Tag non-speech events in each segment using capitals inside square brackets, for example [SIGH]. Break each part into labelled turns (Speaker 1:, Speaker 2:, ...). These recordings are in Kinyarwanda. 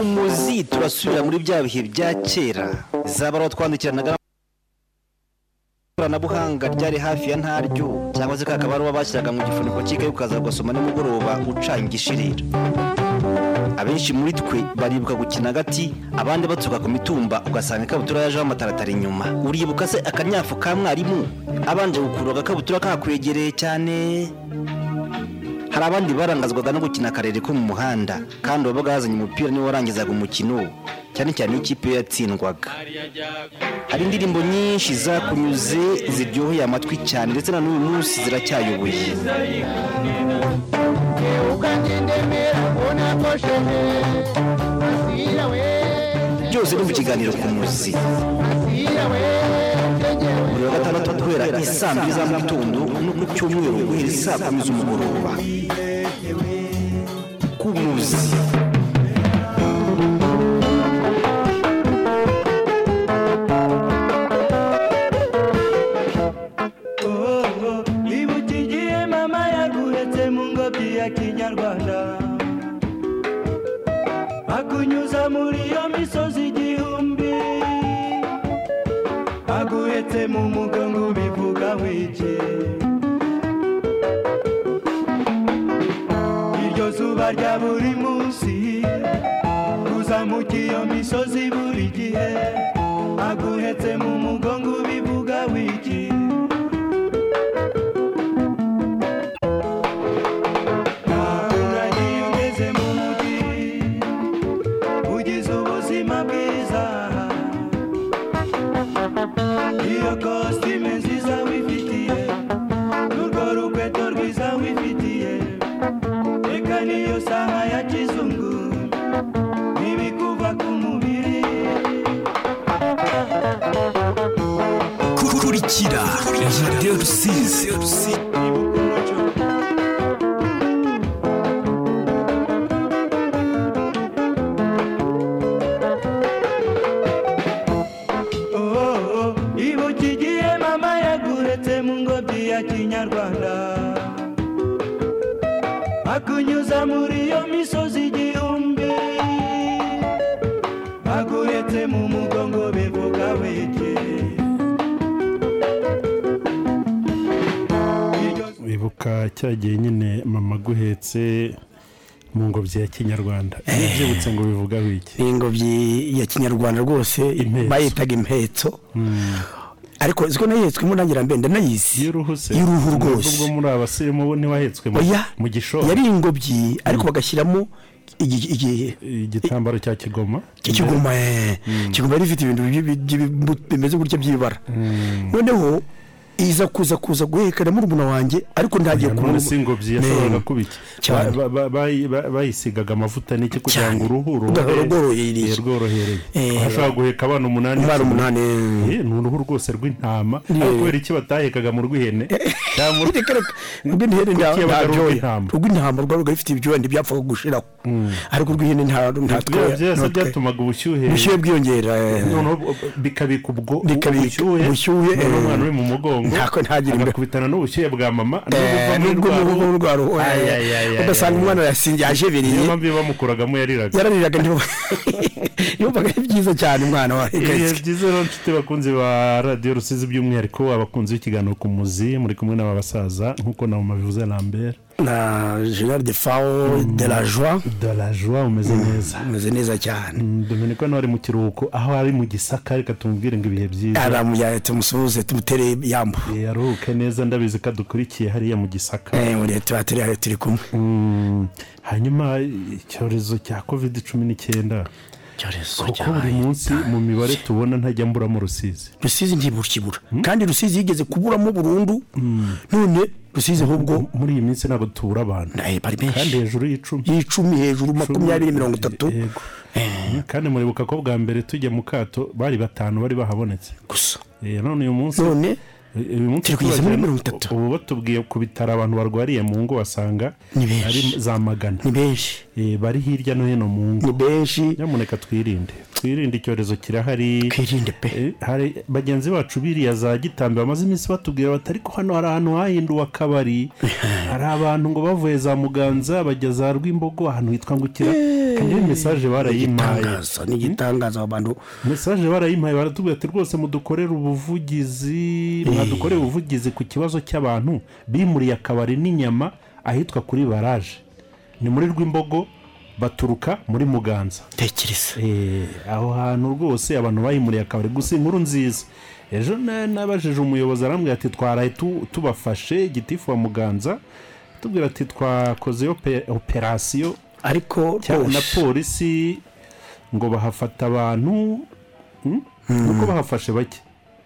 Speaker 1: umuzi turasubira muri bya bihe bya kera zaba ariho twandikiranaga ikoranabuhanga ryari hafi ya ntaryo cyangwa se kakaba ari uwo bashyiraga mu gifuniko cy'ikayi ukaza ugasoma nimugoroba ucangishirira abenshi muri twe baribuka gukina agati abandi batuka ku mitumba ugasanga ikabutura yajeho amataratara inyuma uribuka se akanyafu ka mwarimu abanje gukurura agakabutura kakwegereye cyane hari abandi barangazwaga no gukina akarere ko mu muhanda kandi wabaga yazanye umupira niwe warangizaga umukino cyane cyane ikipe iyo yatsindwaga hari indirimbo nyinshi zakunyuze ziryoheye amatwi cyane ndetse na n'uyu munsi ziracyayoboye byose ni mu kiganiro ku muzi buri wa gatandatu duhera saa mbiri za mu gitondo no ku cyumweru guhera saa kumi z'umugoroba ku muzi
Speaker 2: Oh, ibuka igihe mama yaguhetse mu ngobyi ya kinyarwanda akunyuza muri iyo misozi igihumbi aguhetse mu mugongo bivuga wiki iryo zuba rya buri munsi kuzamuka iyo misozi buri gihe aguhetse mu mugongo bivuga wiki Uragiye ugeze mu mujyi, ugize ubuzima bwiza. Iyo kositime nziza wifitiye, n'urwo rukweto rwiza wifitiye, reka niyo saha ya kizungu, ntibikuva ku mubiri.
Speaker 3: kurikira radiyo rusizi
Speaker 2: Ibuka umuco. Oh, ibuka igihe mama yaguretse mu ngobyi ya kinyarwanda akunyuza muri iyo misozi igihumbi aguretse mu mugongo bivuga weke
Speaker 4: bibuka cya gihe nyine mama aguhetse mu ngobyi ya kinyarwanda
Speaker 5: Eh.
Speaker 4: iyo ubyibutse ngo bivuga wiki
Speaker 5: ni ingobyi ya kinyarwanda rwose
Speaker 4: Impetso.
Speaker 5: bayitaga impetso Hmm. ariko ziko nayihetswe mu ntangira mbende nayizi
Speaker 4: iyo uruhu se
Speaker 5: Iyo uruhu
Speaker 4: nubwo
Speaker 5: rwose.
Speaker 4: ubwo muri aba se mu- ntiwahetswe mu-
Speaker 5: oya
Speaker 4: mu gishoro
Speaker 5: yari ingobyi ariko bagashyiramo igi- igi-
Speaker 4: igitambaro cya kigoma Hmm.
Speaker 5: ikiguma eh, ikiguma yari ifite ibintu by'ibi- by'ibi- bimeze gutya by'ibara
Speaker 4: Hmm. Mm.
Speaker 5: noneho iza kuza kuza guherekana murumuna wanjye ariko ntagiye
Speaker 4: none
Speaker 5: kubona
Speaker 4: si ingobyi
Speaker 5: Ne.
Speaker 4: yashoboraga kuba iki
Speaker 5: Eh. Cyane.
Speaker 4: Ba- ba- ba- ba- bayisigaga amavuta n'iki kugira
Speaker 5: Cyane.
Speaker 4: ngo uruhu
Speaker 5: Ugahora rworohereye.
Speaker 4: rworohereye
Speaker 5: Eh,
Speaker 4: ashobora guheka abana umunani
Speaker 5: umwana
Speaker 4: icumi.
Speaker 5: umunani
Speaker 4: Eh, ni uruhu rwose rw'intama ariko kubera iki batahekaga mu rw'ihene
Speaker 5: Eh,
Speaker 4: cyangwa mu-
Speaker 5: reka reka ubwo intihene nta
Speaker 4: Kuki
Speaker 5: nta
Speaker 4: yabaga ari
Speaker 5: byoya
Speaker 4: urw'intama?
Speaker 5: urw'intama rwabaga rufite ibyoya ntibyafaga gushiraho ariko urw'ihene nta nta
Speaker 4: biriya Mm.
Speaker 5: twoya
Speaker 4: byose byatumaga ubushyuhe
Speaker 5: ubushyuhe bwiyongera eh.
Speaker 4: noneho bikabika ubwo
Speaker 5: Bikabika
Speaker 4: ubushyuhe
Speaker 5: ubushyuhe,
Speaker 4: noneho
Speaker 5: eh,
Speaker 4: umwana uri mu mugongo
Speaker 5: ntako ntagire imbeho.
Speaker 4: agakubitana n'ubushyuhe bwa mama
Speaker 5: Eh,
Speaker 4: n'ubuvamo
Speaker 5: nubwo
Speaker 4: rwa
Speaker 5: umuhungu
Speaker 4: ruhu.
Speaker 5: w'urwaro
Speaker 4: Ay, ay, ay, ay,
Speaker 5: ugasanga
Speaker 4: ay.
Speaker 5: umwana yasinze
Speaker 4: niyo
Speaker 5: yajebereye
Speaker 4: mpamvu iyo bamukuragamo yariraga
Speaker 5: yarariraga [LAUGHS] niba yumvaga ari byiza cyane umwana wa
Speaker 4: ibihe
Speaker 5: Hegetswe.
Speaker 4: byiza rero nshuti bakunzi ba radiyo rusizi by'umwihariko abakunzi b'ikiganiro ku muzi muri kumwe n'aba basaza nk'uko na mama bivuze lambert
Speaker 5: na general de fao de la joie
Speaker 4: de la joie umeze neza
Speaker 5: umeze neza cyane
Speaker 4: Mm, dominiko nawe ari mu kiruhuko aho ari mu gisaka reka tumubwire ngo ibihe byiza
Speaker 5: aramuyaye tumusuhuze tumutere yambo
Speaker 4: Eh, aruhuke neza ndabizi ko adukurikiye hariya mu gisaka
Speaker 5: Eh, buriya tuba turi hariya turi kumwe
Speaker 4: Mm, hanyuma icyorezo cya covid cumi n'icyenda
Speaker 5: icyorezo
Speaker 4: kuko buri munsi mu mibare tubona ntajya mburamo rusizi Hmm?
Speaker 5: rusizi ntibukibura kandi rusizi yigeze kuburamo burundu
Speaker 4: mm.
Speaker 5: none rusizi ahubwo
Speaker 4: muri iyi minsi ntabwo tubura abantu
Speaker 5: eh, bari
Speaker 4: kandi
Speaker 5: benshi
Speaker 4: hejuru y'icumi
Speaker 5: y'icumi hejuru makumyabiri mirongo itatu
Speaker 4: Yego. Eh. kandi muribuka ko bwa mbere tujya mu kato bari batanu bari bahabonetse
Speaker 5: gusa
Speaker 4: Eh, none uyu munsi Eh,
Speaker 5: none
Speaker 4: uyu munsi
Speaker 5: turi kugeza muri
Speaker 4: tubajyana-
Speaker 5: mirongo itatu.
Speaker 4: ubu batubwiye ku bitaro abantu barwariye mu ngo basanga
Speaker 5: Ni benshi.
Speaker 4: ari za magana
Speaker 5: ni benshi
Speaker 4: Eh, bari hirya no hino mu ngo
Speaker 5: ni benshi
Speaker 4: nyamuneka twirinde twirinde icyorezo kirahari
Speaker 5: twirinde pe
Speaker 4: Eh, hari bagenzi bacu biriya za gitambi bamaze iminsi batubwira bati ariko hano hari ahantu hahinduwe
Speaker 5: [LAUGHS]
Speaker 4: akabari hari abantu ngo bavuye za muganza bajya za rwimbogo ahantu hitwa ngukira iyi mesaje barayimpaye
Speaker 5: Eh, igitangaza ni igitangaza aba bantu
Speaker 4: mesaje barayimpaye baratubwira ati rwose mudukorere ubuvugizi mwadukorere ubuvugizi ku kibazo cy'abantu bimuriye akabari n'inyama ahitwa kuri baraje ni muri rwimbogo baturuka muri muganza
Speaker 5: tekereza
Speaker 4: Eh, aho hantu rwose abantu bahimuriye akabari gusa inkuru nziza ejo na- nabajije umuyobozi arambwira ati twaraye tu- tubafashe gitifu wa muganza tubwira ati twakoze ope- operasiyo
Speaker 5: ariko
Speaker 4: cya- na
Speaker 5: rwose
Speaker 4: polisi ngo bahafata abantu hmm? nuko bahafashe bake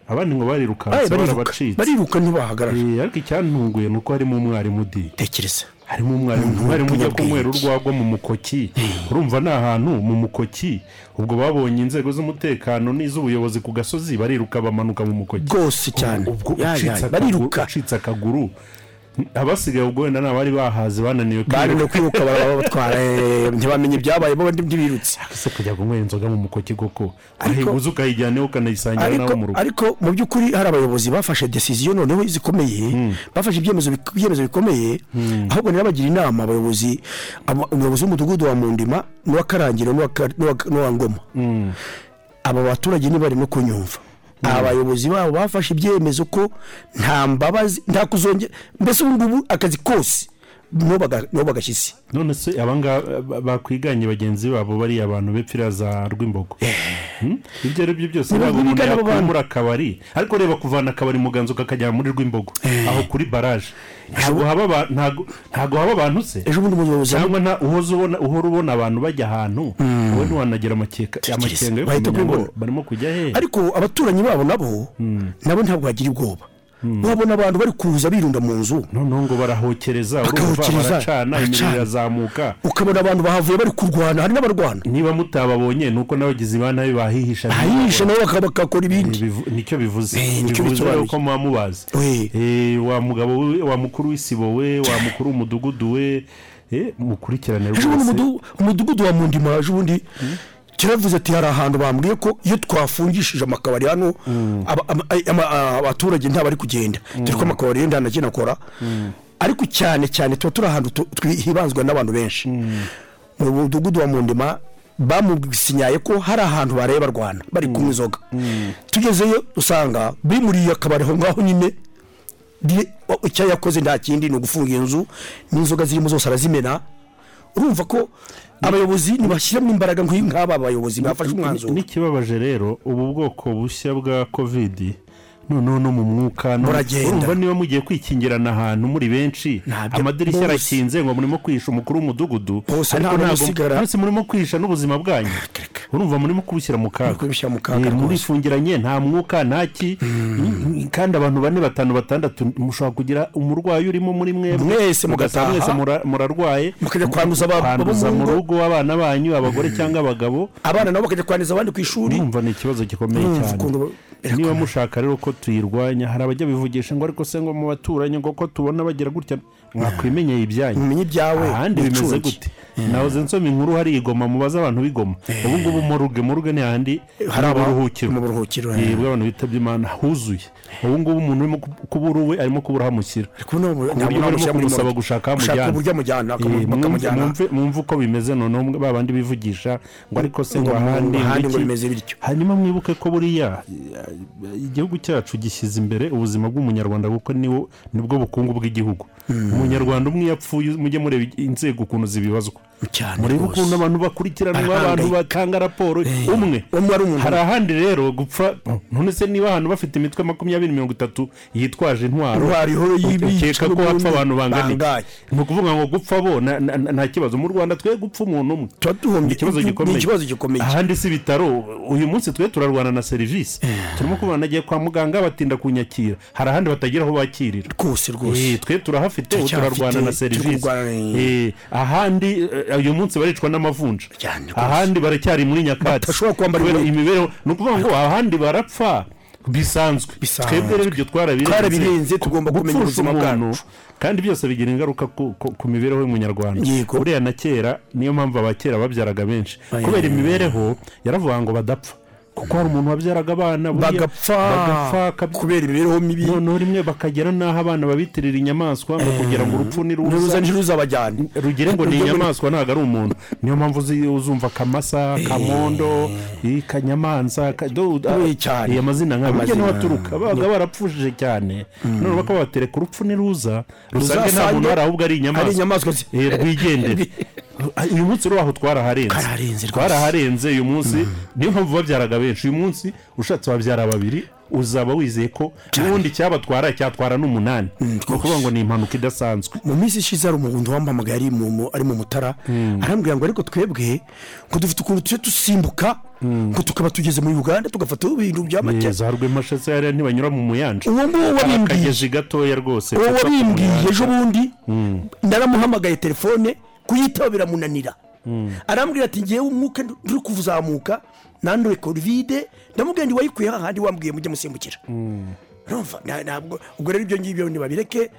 Speaker 4: abandi ngo
Speaker 5: Ay,
Speaker 4: barirukanse
Speaker 5: bariruka
Speaker 4: barabacitse
Speaker 5: bariruka ntibahagarara
Speaker 4: Eh, ariko icyantunguye ni uko harimo umwarimu di
Speaker 5: tekereza
Speaker 4: harimo umwarimu umwarimu ujya
Speaker 5: ubwenge.
Speaker 4: kunywera urwagwa mu mukoki
Speaker 5: Eh.
Speaker 4: urumva ni ahantu mu mukoki ubwo babonye inzego z'umutekano n'iz'ubuyobozi ku gasozi bariruka bamanuka mu mukoki
Speaker 5: rwose cyane
Speaker 4: ubwo
Speaker 5: Ya, ya,
Speaker 4: ucitse akaguru,
Speaker 5: bariruka
Speaker 4: ucitse akaguru abasigaye ubwo wenda nabari bahaze bananiwe
Speaker 5: bari no
Speaker 4: kwiruka
Speaker 5: kwiruka barabatwara eh, ntibamenye ibyabaye bo ntibirutse
Speaker 4: ese kujya kunywera inzoga mu mukoki koko
Speaker 5: Ariko-
Speaker 4: urahiguza ukayijyanaho ukanayisangira
Speaker 5: ariko
Speaker 4: nawe mu rugo
Speaker 5: ariko mu by'ukuri hari abayobozi bafashe decision noneho zikomeye
Speaker 4: Hmm.
Speaker 5: bafashe ibyemezo bik- ibyemezo bikomeye ahubwo nirabagira inama abayobozi ama- umuyobozi w'umudugudu wa Mundima n'uwa Karangiro n'uwa Ka- n'uwa n'uwa Ngoma
Speaker 4: Hmm.
Speaker 5: aba baturage ntibari no kunyumva abayobozi babo bafashe ibyemezo ko nta mbabazi nta kuzongera mbese ubu ngubu akazi kose nibo baga- nibo bagashyitsi
Speaker 4: none se abangaba ba- bakwiganye bagenzi babo bariya abantu bepfira za rwimbogo
Speaker 5: Eh.
Speaker 4: Hmm? ibyo ari byo byose
Speaker 5: Nibo
Speaker 4: yaba umuntu
Speaker 5: bigana abo bantu.
Speaker 4: yakwimura akabari ariko reba kuvana akabari muganza ukakajyana muri rwimbogo
Speaker 5: Eh.
Speaker 4: aho kuri baraje ntabwo haba aba- ntago- ntago haba abantu se
Speaker 5: ejo bundi umuyobozi
Speaker 4: cyangwa nta- uhoza ubona- uhora ubona abantu bajya ahantu wowe ntiwanagira amakeka- amakenga
Speaker 5: Hmm.
Speaker 4: yo
Speaker 5: bahita
Speaker 4: kumenya ngo
Speaker 5: kwibona.
Speaker 4: barimo kujya he
Speaker 5: ariko abaturanyi babo nabo
Speaker 4: Hmm.
Speaker 5: nabo ntabwo bagira ubwoba babona abantu bari kuza birunda mu nzu
Speaker 4: noneho ngo barahokereza urumva
Speaker 5: Bagahokereza,
Speaker 4: baracana imiriro
Speaker 5: baracana.
Speaker 4: irazamuka
Speaker 5: ukabona abantu bahavuye bari kurwana hari n'abarwana
Speaker 4: niba mutababonye ni uko n'abagizi ba nabi bahihisha
Speaker 5: ahishe nabo baka- bakakora ibindi
Speaker 4: Bivu- nicyo bivuze
Speaker 5: Eh, nicyo
Speaker 4: bivuze
Speaker 5: bisobanuye.
Speaker 4: ko muba mubazi
Speaker 5: We.
Speaker 4: Eh, wa mugabo we wa mukuru w'isibo we wa mukuru w'umudugudu we eh, mukurikirane
Speaker 5: ejo bundi
Speaker 4: rwose
Speaker 5: umudu- umudugudu wa mundima ejo bundi kiravuze ati hari ahantu bambwiye ko iyo twafungishije amakabari hano aba- ama- ay- ama- a- abaturage nta bari kugenda dore ko amakabari yenda nagenda akora ariko cyane cyane tuba turi ahantu tu- twi- hibanzwa n'abantu benshi mu mudugudu wa mundima bamusinyaye ko hari ahantu bareba barwana bari kunywa inzoga tugezeyo usanga bimuriye akabari aho ngaho nyine di- wa- icyo yakoze nta kindi ni ugufunga inzu n'inzoga zirimo zose arazimena urumva ko abayobozi ntibashyiramo imbaraga nk'iyi nk'aba bayobozi bafashe umwanzuro
Speaker 4: n'ikibabaje rero ubu bwoko bushya bwa covid noneho no mu mwuka no-
Speaker 5: Muragenda.
Speaker 4: urumva niba mugiye kwikingirana ahantu muri benshi
Speaker 5: Ntabyo-
Speaker 4: amadirishya
Speaker 5: bose.
Speaker 4: arakinze ngo murimo kwihisha umukuru w'umudugudu
Speaker 5: Bose
Speaker 4: ariko
Speaker 5: nta n'umwe
Speaker 4: ntabwo-
Speaker 5: usigara.
Speaker 4: mwese murimo kwihisha n'ubuzima bwanyu urumva murimo kubushyira mu kaga
Speaker 5: Ah, Murimo kubishyira mu kaga
Speaker 4: Eh,
Speaker 5: rwose. Hmm.
Speaker 4: murifungiranye nta mwuka ntaki kandi abantu bane batanu batandatu mushobora kugira umurwayi urimo muri mwe
Speaker 5: Mwese mugataha.
Speaker 4: mwese mura- murarwaye
Speaker 5: Mukajya kwanduza aba-
Speaker 4: Kwanduza
Speaker 5: abo mu
Speaker 4: mu
Speaker 5: ngo.
Speaker 4: rugo abana banyu abagore cyangwa abagabo
Speaker 5: abana nabo bakajya kwaniza abandi ku ishuri
Speaker 4: urumva ni ikibazo gikomeye
Speaker 5: Urumva ukuntu
Speaker 4: cyane
Speaker 5: birakomeye.
Speaker 4: niba mushaka rero ko tuyirwanya hari abajya bivugisha ngo ariko se ngo mu baturanyi ngo ko tubona bagira gutya mwakwimenyeye ibyanyu
Speaker 5: Mumenye ibyawe, Hmm.
Speaker 4: ahandi bimeze
Speaker 5: mwicunge.
Speaker 4: gute nahoze nsoma inkuru hari igoma mubaze abantu b'igoma ubu ngubu muruge muruge ni ahandi hari
Speaker 5: aba-
Speaker 4: uburuhukiro
Speaker 5: Eh. mu buruhukiro, eh.
Speaker 4: yebwe abantu bitabye imana huzuye ubu ngubu umuntu urimo kubura uwe arimo kubura ahamushyira
Speaker 5: ariko nabo
Speaker 4: uburyo barimo kumusaba gushaka aho amujyana
Speaker 5: uburyo amujyana
Speaker 4: Eh,
Speaker 5: akamu-
Speaker 4: mwumve-
Speaker 5: bakamujyana
Speaker 4: mwumve- mwumve uko bimeze noneho mwe- ba bandi bivugisha ngo ariko se ngo
Speaker 5: Ngo mu-
Speaker 4: ahandi ngo
Speaker 5: ahandi ngo
Speaker 4: iki.
Speaker 5: bimeze bityo.
Speaker 4: hanyuma mwibuke ko buriya eh, igihugu cyacu gishyize imbere ubuzima bw'umunyarwanda kuko niwo- nibwo bukungu bw'igihugu
Speaker 5: Hmm.
Speaker 4: umunyarwanda umwe iyo apfuye mujye mureba inzego ukuntu zibibazwa
Speaker 5: Cyane
Speaker 4: murebe
Speaker 5: rwose.
Speaker 4: ukuntu abantu bakurikiranwa abantu
Speaker 5: Barahangayika.
Speaker 4: batanga raporo umwe
Speaker 5: umwe ari umuntu.
Speaker 4: hari ahandi rero gupfa none se niba ahantu bafite imitwe makumyabiri mirongo itatu yitwaje intwaro
Speaker 5: Intwaro ihora yibitswe
Speaker 4: ukeka ko hapfa abantu bangana
Speaker 5: bangahe.
Speaker 4: ni ukuvuga ngo gupfa bo na- na- na- nta kibazo mu rwanda twe gupfa umuntu umwe
Speaker 5: tuba duhombye
Speaker 4: ni ikibazo gikomeye
Speaker 5: ni ikibazo gikomeye
Speaker 4: ahandi si ibitaro uyu munsi twe turarwana na serivisi
Speaker 5: Eh.
Speaker 4: turimo kubona nagiye kwa muganga batinda kunyakira hari ahandi batagira aho bakirira
Speaker 5: rwose rwose
Speaker 4: Eh, twe turahafite ubu
Speaker 5: Turacyahafite,
Speaker 4: turarwana na
Speaker 5: turi
Speaker 4: serivisi
Speaker 5: kurwana-
Speaker 4: Eh, ahandi eh, uyu munsi baricwa n'amavunja
Speaker 5: Cyane rwose.
Speaker 4: ahandi baracyari muri nyakatsi
Speaker 5: Badashobora kwambara
Speaker 4: Kubera
Speaker 5: inkweto.
Speaker 4: imibereho ni ukuvuga ngo ahandi barapfa bisanzwe
Speaker 5: Bisanzwe.
Speaker 4: twebwe rero ibyo twarabirenze
Speaker 5: Twarabirenze, tugomba kumenya
Speaker 4: Gupfusha
Speaker 5: ubuzima
Speaker 4: umuntu,
Speaker 5: bwacu.
Speaker 4: kandi byose bigira ingaruka ku, ku, ku mibereho y'umunyarwanda
Speaker 5: Yego.
Speaker 4: buriya na kera niyo mpamvu abakera babyaraga benshi kubera imibereho yaravuga ngo badapfa kuko hari umuntu wabyaraga abana buriya
Speaker 5: bagapfa
Speaker 4: bagapfa akab-
Speaker 5: kubera imibereho mibi
Speaker 4: noneho rimwe bakagera n'aho abana babitirira inyamaswa
Speaker 5: Eh,
Speaker 4: ngo kugira ngo urupfu
Speaker 5: n'uruza
Speaker 4: niruza
Speaker 5: ntiruzabajyane
Speaker 4: rugire ngo ni inyamaswa ntabwo ari umuntu niyo mpamvu uzi- uzumva akamasa kamondo i- kanyamanza ka- do- a-
Speaker 5: Ubuye cyane.
Speaker 4: aya mazina nk'ayo burya
Speaker 5: Amazina.
Speaker 4: n'abaturuka babaga barapfujije cyane none bakaba batereka urupfu niruza rusange nta
Speaker 5: Ruzasange
Speaker 4: muntu hari ahubwo ari
Speaker 5: ari
Speaker 4: inyamaswa
Speaker 5: inyamaswa zi-
Speaker 4: Eh, [LAUGHS] rwigendere uyu munsi rwaho twaraharenze Mm.
Speaker 5: Twaraharenze rwose.
Speaker 4: twaraharenze uyu munsi niyo mpamvu babyaraga benshi uyu munsi ushatse wabyara babiri uzaba wizeye ko n'ubundi cyabatwara cyatwara n'umunani ni ukuvuga ngo ni impanuka idasanzwe
Speaker 5: mu minsi ishize hari umuhundo wampamagaye ari mu- mu- ari mu mutara arambwira ngo ariko twebwe ngo dufite ukuntu tujye dusimbuka ngo tukaba tugeze muri uganda tugafata ibintu bya make
Speaker 4: za rwemashase hariya ntibanyura mu muyanja
Speaker 5: uwo nguwo wabimbwiye
Speaker 4: akagejeje gatoya rwose
Speaker 5: uwo
Speaker 4: gapfa
Speaker 5: wabimbwiye
Speaker 4: kumuyanja.
Speaker 5: ejo bundi
Speaker 4: Mm,
Speaker 5: naramuhamagaye telefone kuyitaba biramunanira
Speaker 4: mm.
Speaker 5: arambwira ati ngewe umwuka nturi kuzamuka nanduye kovide ndamubwira ndi wayikuye hahandi wambwiye mujye musimbukira Urumva? Na- ntabwo ubwo rero ibyo ngibyo ntibabireke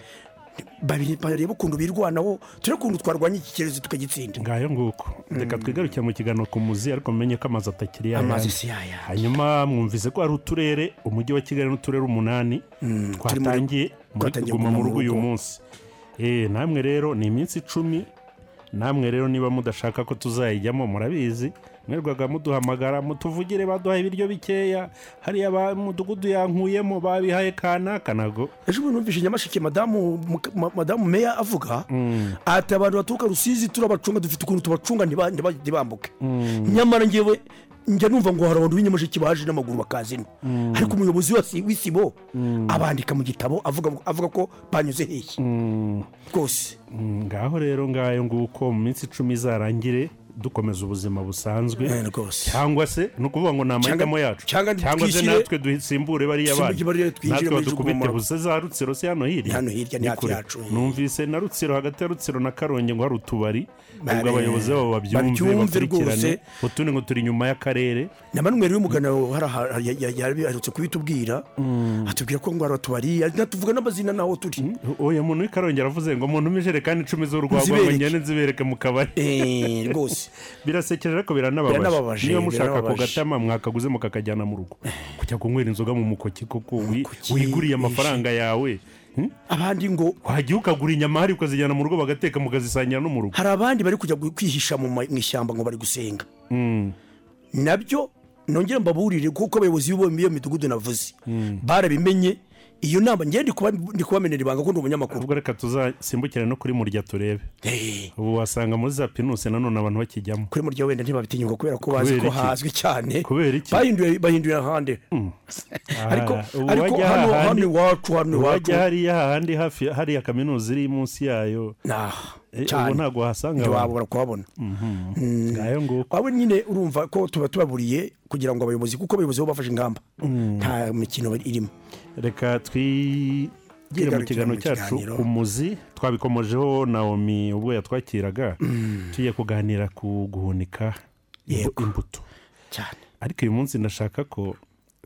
Speaker 5: babi- barebe ukuntu birwanaho turebe ukuntu twarwanya iki cyorezo tukagitsinda
Speaker 4: ngayo nguko reka twigarukire mu kiganiro ku muzi ariko mumenye ko amazi atakiri yayandi.
Speaker 5: Amazi si yayandi.
Speaker 4: hanyuma mwumvise ko hari uturere umujyi wa kigali n'uturere umunani twatangiye muri
Speaker 5: twatangiye
Speaker 4: kuguma mu rugo uyu munsi Eh, namwe rero ni iminsi icumi namwe rero niba mudashaka ko tuzayijyamo murabizi mwerwaga muduhamagara mutuvugire baduhaye ibiryo bikeya hariya ba mudugudu yankuyemo babihaye kanaka nago
Speaker 5: ejo bundi numvise nyamasheke madamu muka- ma- madamu meya avuga
Speaker 4: Mm.
Speaker 5: ati abantu baturuka rusizi turabacunga dufite ukuntu tubacunga ntiba- ntiba- ntibambuke nyamara ngewe njya numva ngo hari abantu b'inyamasheke baje n'amaguru bakazina
Speaker 6: Mm.
Speaker 5: ariko umuyobozi wese w'isibo
Speaker 4: Mm.
Speaker 5: abandika mu gitabo avuga avuga ko banyuze hehe rwose
Speaker 4: Mm, ngaho rero ngayo nguko mu minsi icumi izarangire dukomeza ubuzima busanzwe
Speaker 5: Eh, rwose
Speaker 4: cyangwa se ni ukuvuga ngo ni amahitamo
Speaker 5: Cyangwa-
Speaker 4: yacu
Speaker 5: cyangwa
Speaker 4: cyangwa se
Speaker 5: twishyire-
Speaker 4: natwe dusimbure bariya bana
Speaker 5: Dusimbure bariya twinjire
Speaker 4: natwe
Speaker 5: muri icyo
Speaker 4: badukubite
Speaker 5: gihombo.
Speaker 4: buze za rutsiro si hano hirya
Speaker 5: Hano hirya ni hafi
Speaker 4: kure.
Speaker 5: yacu.
Speaker 4: numvise na rutsiro hagati ya rutsiro na karongi ngo hari utubari ubwo
Speaker 5: Bare-
Speaker 4: abayobozi babo babyumve
Speaker 5: babyumve
Speaker 4: bakurikirane
Speaker 5: rwose.
Speaker 4: utundi ngo turi inyuma y'akarere
Speaker 5: namanumwe rero umugana yaraherutse kubitubwira atubwira ko ngo hari tubari tuvuga n'amazina naho turi
Speaker 4: uyu muntu w'ikarongi aravuze ngo muntu ijerekani icumi z'urwagwa ngo
Speaker 5: Nzibereke.
Speaker 4: ngende nzibereke mu kabari
Speaker 5: Eh, rwose
Speaker 4: [LAUGHS] birasekeje ariko
Speaker 5: Biranababaje,
Speaker 4: biranababaje niba mushaka
Speaker 5: biranababaje. Eh.
Speaker 4: kugatama mwakaguzemo kakajyana mu rugo kujya kunywera inzoga mu mukoki koko wi- wiguriye amafaranga yawe hmm?
Speaker 5: eh. abandi ngo
Speaker 4: wajya ukagura inyama hari ukazijyana mu rugo bagateka mukazisangira no mu rugo
Speaker 5: hari abandi bari kujya gu- kwihisha mu ma- mu ishyamba ngo bari gusenga
Speaker 4: Hmm.
Speaker 5: nabyo nongere mbaburire kuko abayobozi b'iyo b'iyo midugudu navuze barabimenye iyo nama njyewe ndi kuba- ndi kubamenera ibanga ko ndi umunyamakuru
Speaker 4: ubwo reka tuzasimbukire no kuri murya turebe
Speaker 5: Eh,
Speaker 4: ubu wasanga muri za pinusi nanone abantu bakijyamo
Speaker 5: kuri murya wenda ntibabitinyuka kubera ko bazi
Speaker 4: Kubera
Speaker 5: ko
Speaker 4: iki?
Speaker 5: hazwi cyane
Speaker 4: Kubera iki?
Speaker 5: bahinduye bahinduye ahandi [LAUGHS] ariko
Speaker 4: ubu
Speaker 5: ariko
Speaker 4: wajya
Speaker 5: hano
Speaker 4: ahandi-
Speaker 5: hano iwacu hano iwacu
Speaker 4: wajya hariya handi hafi hariya kaminuza iri munsi yayo
Speaker 5: nah
Speaker 4: Eh,
Speaker 5: cyane
Speaker 4: ubu ntabwo wahasanga abantu
Speaker 5: ntiwabura kuhabona
Speaker 4: ngayo nguko
Speaker 5: aho Hmm. nyine urumva ko tuba tubaburiye kugira ngo abayobozi kuko abayobozi bo bafashe ingamba nta mikino irimo
Speaker 4: Hmm. reka twigire mu
Speaker 5: Twigarukire
Speaker 4: kiganiro
Speaker 5: mu
Speaker 4: cyacu
Speaker 5: kiganiro.
Speaker 4: ku muzi twabikomojeho naomi ubwo yatwakiraga tugiye kuganira ku guhunika imbu-
Speaker 5: Hmm. Yego.
Speaker 4: imbuto
Speaker 5: cyane
Speaker 4: ariko uyu munsi ndashaka ko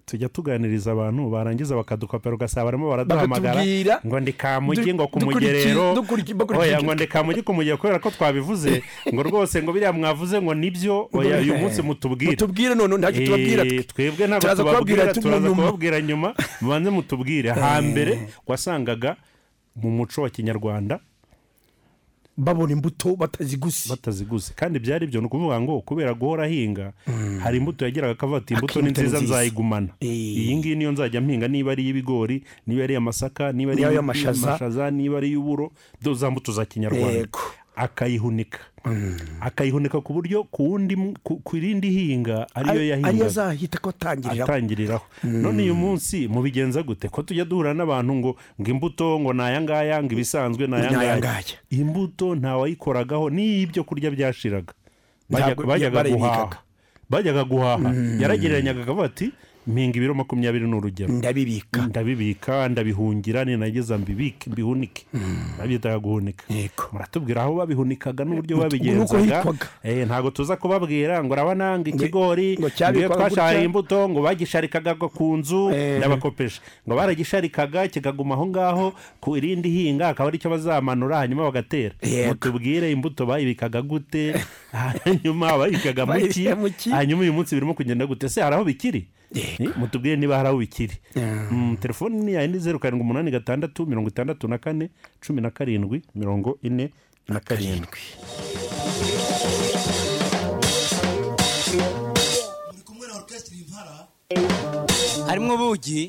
Speaker 4: tujya tuganiriza abantu barangiza bakadukopera ugasaba barimo baraduhamagara
Speaker 5: Bakatubwira.
Speaker 4: ngo ndi kamugi ngo ku
Speaker 5: Dukuriki-
Speaker 4: mugerero
Speaker 5: dukuriki- bakurikije.
Speaker 4: oya ngo ndi kamugi ku mugerero kubera ko twabivuze ngo rwose ngo biriya mwavuze ngo nibyo oya uyu munsi mutubwire
Speaker 5: mutubwire none ntacyo tubabwira
Speaker 4: Eh,
Speaker 5: twe.
Speaker 4: twebwe ntabwo
Speaker 5: Turaza kubabwira Eh.
Speaker 4: tubabwira
Speaker 5: tu-
Speaker 4: turaza
Speaker 5: nyuma.
Speaker 4: kubabwira nyuma mubanze mutubwire hambere wasangaga mu muco wa kinyarwanda
Speaker 5: babona imbuto bataziguze
Speaker 4: bataziguze kandi byari byo ni ukuvuga ngo kubera guhora ahinga hari imbuto yagiraga akavuga ati imbuto ni
Speaker 5: imbuto Mm. ni
Speaker 4: nziza
Speaker 5: nziza."
Speaker 4: nzayigumana
Speaker 5: Eh.
Speaker 4: iyi ngiyi niyo nzajya mpinga niba ari iy'ibigori niba ari iy'amasaka niba ari
Speaker 5: Niba ari
Speaker 4: iy'amashaza
Speaker 5: iy'amashaza. Eh,
Speaker 4: niba ari iy'uburo do- za mbuto za kinyarwanda
Speaker 5: Yego.
Speaker 4: akayihunika akayihunika ku buryo ku wundi mu- ku ku rindi hinga ariyo
Speaker 5: ariyo
Speaker 4: yahingaga
Speaker 5: azahita ko Hmm. atangirira
Speaker 4: atangiriraho none uyu munsi mubigenza gute ko tujya duhura n'abantu ngo ngo imbuto ngo ni aya ngaya ngo ibisanzwe ni aya
Speaker 5: Ni aya
Speaker 4: ngaya
Speaker 5: ngaya.
Speaker 4: imbuto ntawayikoragaho niyo ibyo kurya byashiraga Bajya-
Speaker 5: Ntabwo- Hmm.
Speaker 4: bajyaga
Speaker 5: barayibikaga.
Speaker 4: guhaha bajyaga guhaha yaragereranyaga akavuga ati mpinga ibiro makumyabiri ni urugero
Speaker 5: ndabibika
Speaker 4: ndabibika ndabihungira ninageza mbibike mbihunike babyitaga guhunika
Speaker 5: Hmm. Yego.
Speaker 4: muratubwira aho babihunikaga n'uburyo
Speaker 5: Nuko- nuko
Speaker 4: babigenzaga
Speaker 5: hitwaga.
Speaker 4: Eh, ntago tuza kubabwira ngo urabona ngo ikigori
Speaker 5: ngo cyabikwaga
Speaker 4: iyo twashaye
Speaker 5: gutya.
Speaker 4: imbuto ngo bagisharikaga ngo ku nzu
Speaker 5: Eh.
Speaker 4: ndabakopesha ngo baragisharikaga kikaguma aho ngaho ku irindi hinga akaba aricyo bazamanura hanyuma bagatera
Speaker 5: Yego.
Speaker 4: mutubwire imbuto bayibikaga
Speaker 5: [LAUGHS]
Speaker 4: gute hanyuma bayibikaga muki
Speaker 5: Bayibika mu ki?
Speaker 4: hanyuma uyu munsi birimo kugenda gute se hari aho bikiri
Speaker 5: Yego.
Speaker 4: Eh, mutubwire niba hari aho bikiri
Speaker 5: Yeah.
Speaker 4: Mm, telefoni ni yawe ni zeru karindwi umunani gatandatu mirongo itandatu na kane cumi na karindwi mirongo ine na karindwi
Speaker 7: harimo ubugi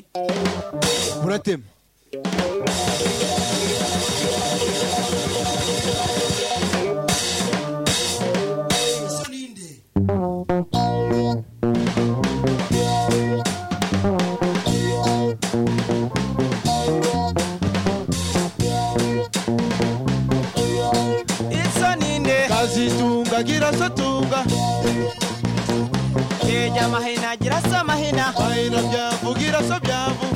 Speaker 7: buratema
Speaker 2: kazitunga agira so tunga
Speaker 7: yeja amahina agira se amahina
Speaker 2: mahina byavu gira so byavu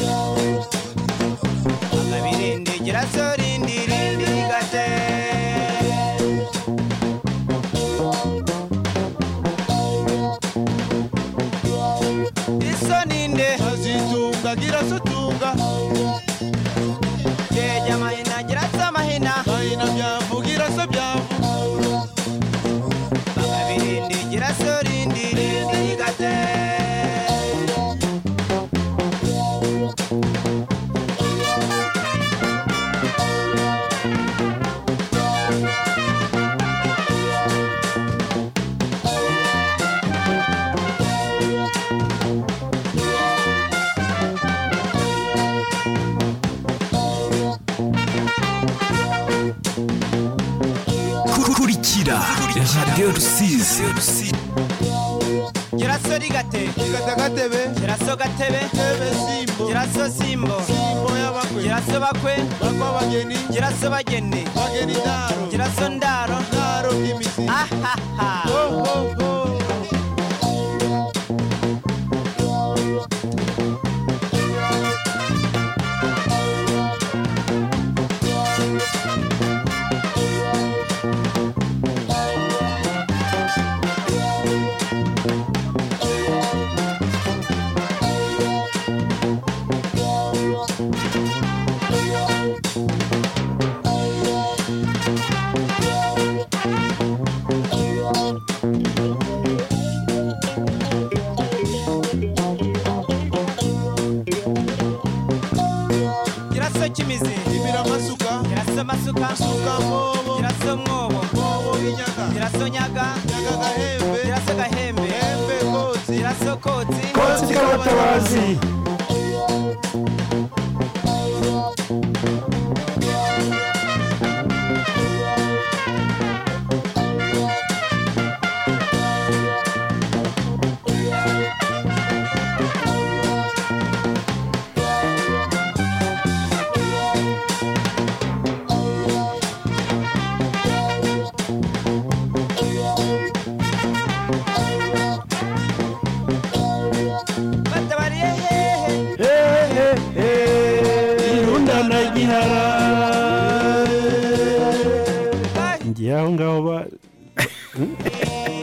Speaker 7: amabirindi gira se rindi rindi gate isoni nde
Speaker 2: kazitunga agira so tunga
Speaker 7: yeja amahina agira se amahina
Speaker 2: mahina byavu gira so byavu
Speaker 7: amabirindi gira se rindi rindi gate
Speaker 3: kurikira radiyo rusizi
Speaker 7: Giraso rigate
Speaker 2: gata gatebe
Speaker 7: Giraso gatebe
Speaker 2: tebe simbo
Speaker 7: Giraso simbo
Speaker 2: simbo y'abakwe
Speaker 7: Giraso bakwe
Speaker 2: bakwa bageni
Speaker 7: Giraso bageni
Speaker 2: bageni daro
Speaker 7: Giraso ndaro Ah,
Speaker 2: daro bw'imizi
Speaker 7: Ahaha
Speaker 2: ho ho ho
Speaker 7: Giraso kimizi
Speaker 2: ibira amasuka
Speaker 7: Giraso masuka
Speaker 2: suka mwobo
Speaker 7: Giraso mwobo
Speaker 2: mwobo w'inyaga
Speaker 7: Giraso nyaga
Speaker 2: nyaga gahembe
Speaker 7: Giraso gahembe
Speaker 2: hembe kotsi
Speaker 7: Giraso kotsi
Speaker 2: kotsi k'abatabazi
Speaker 7: Batabariye hehe
Speaker 4: irundana gihara ngiye aho ngaho ba
Speaker 5: [LAUGHS]
Speaker 4: Hmm?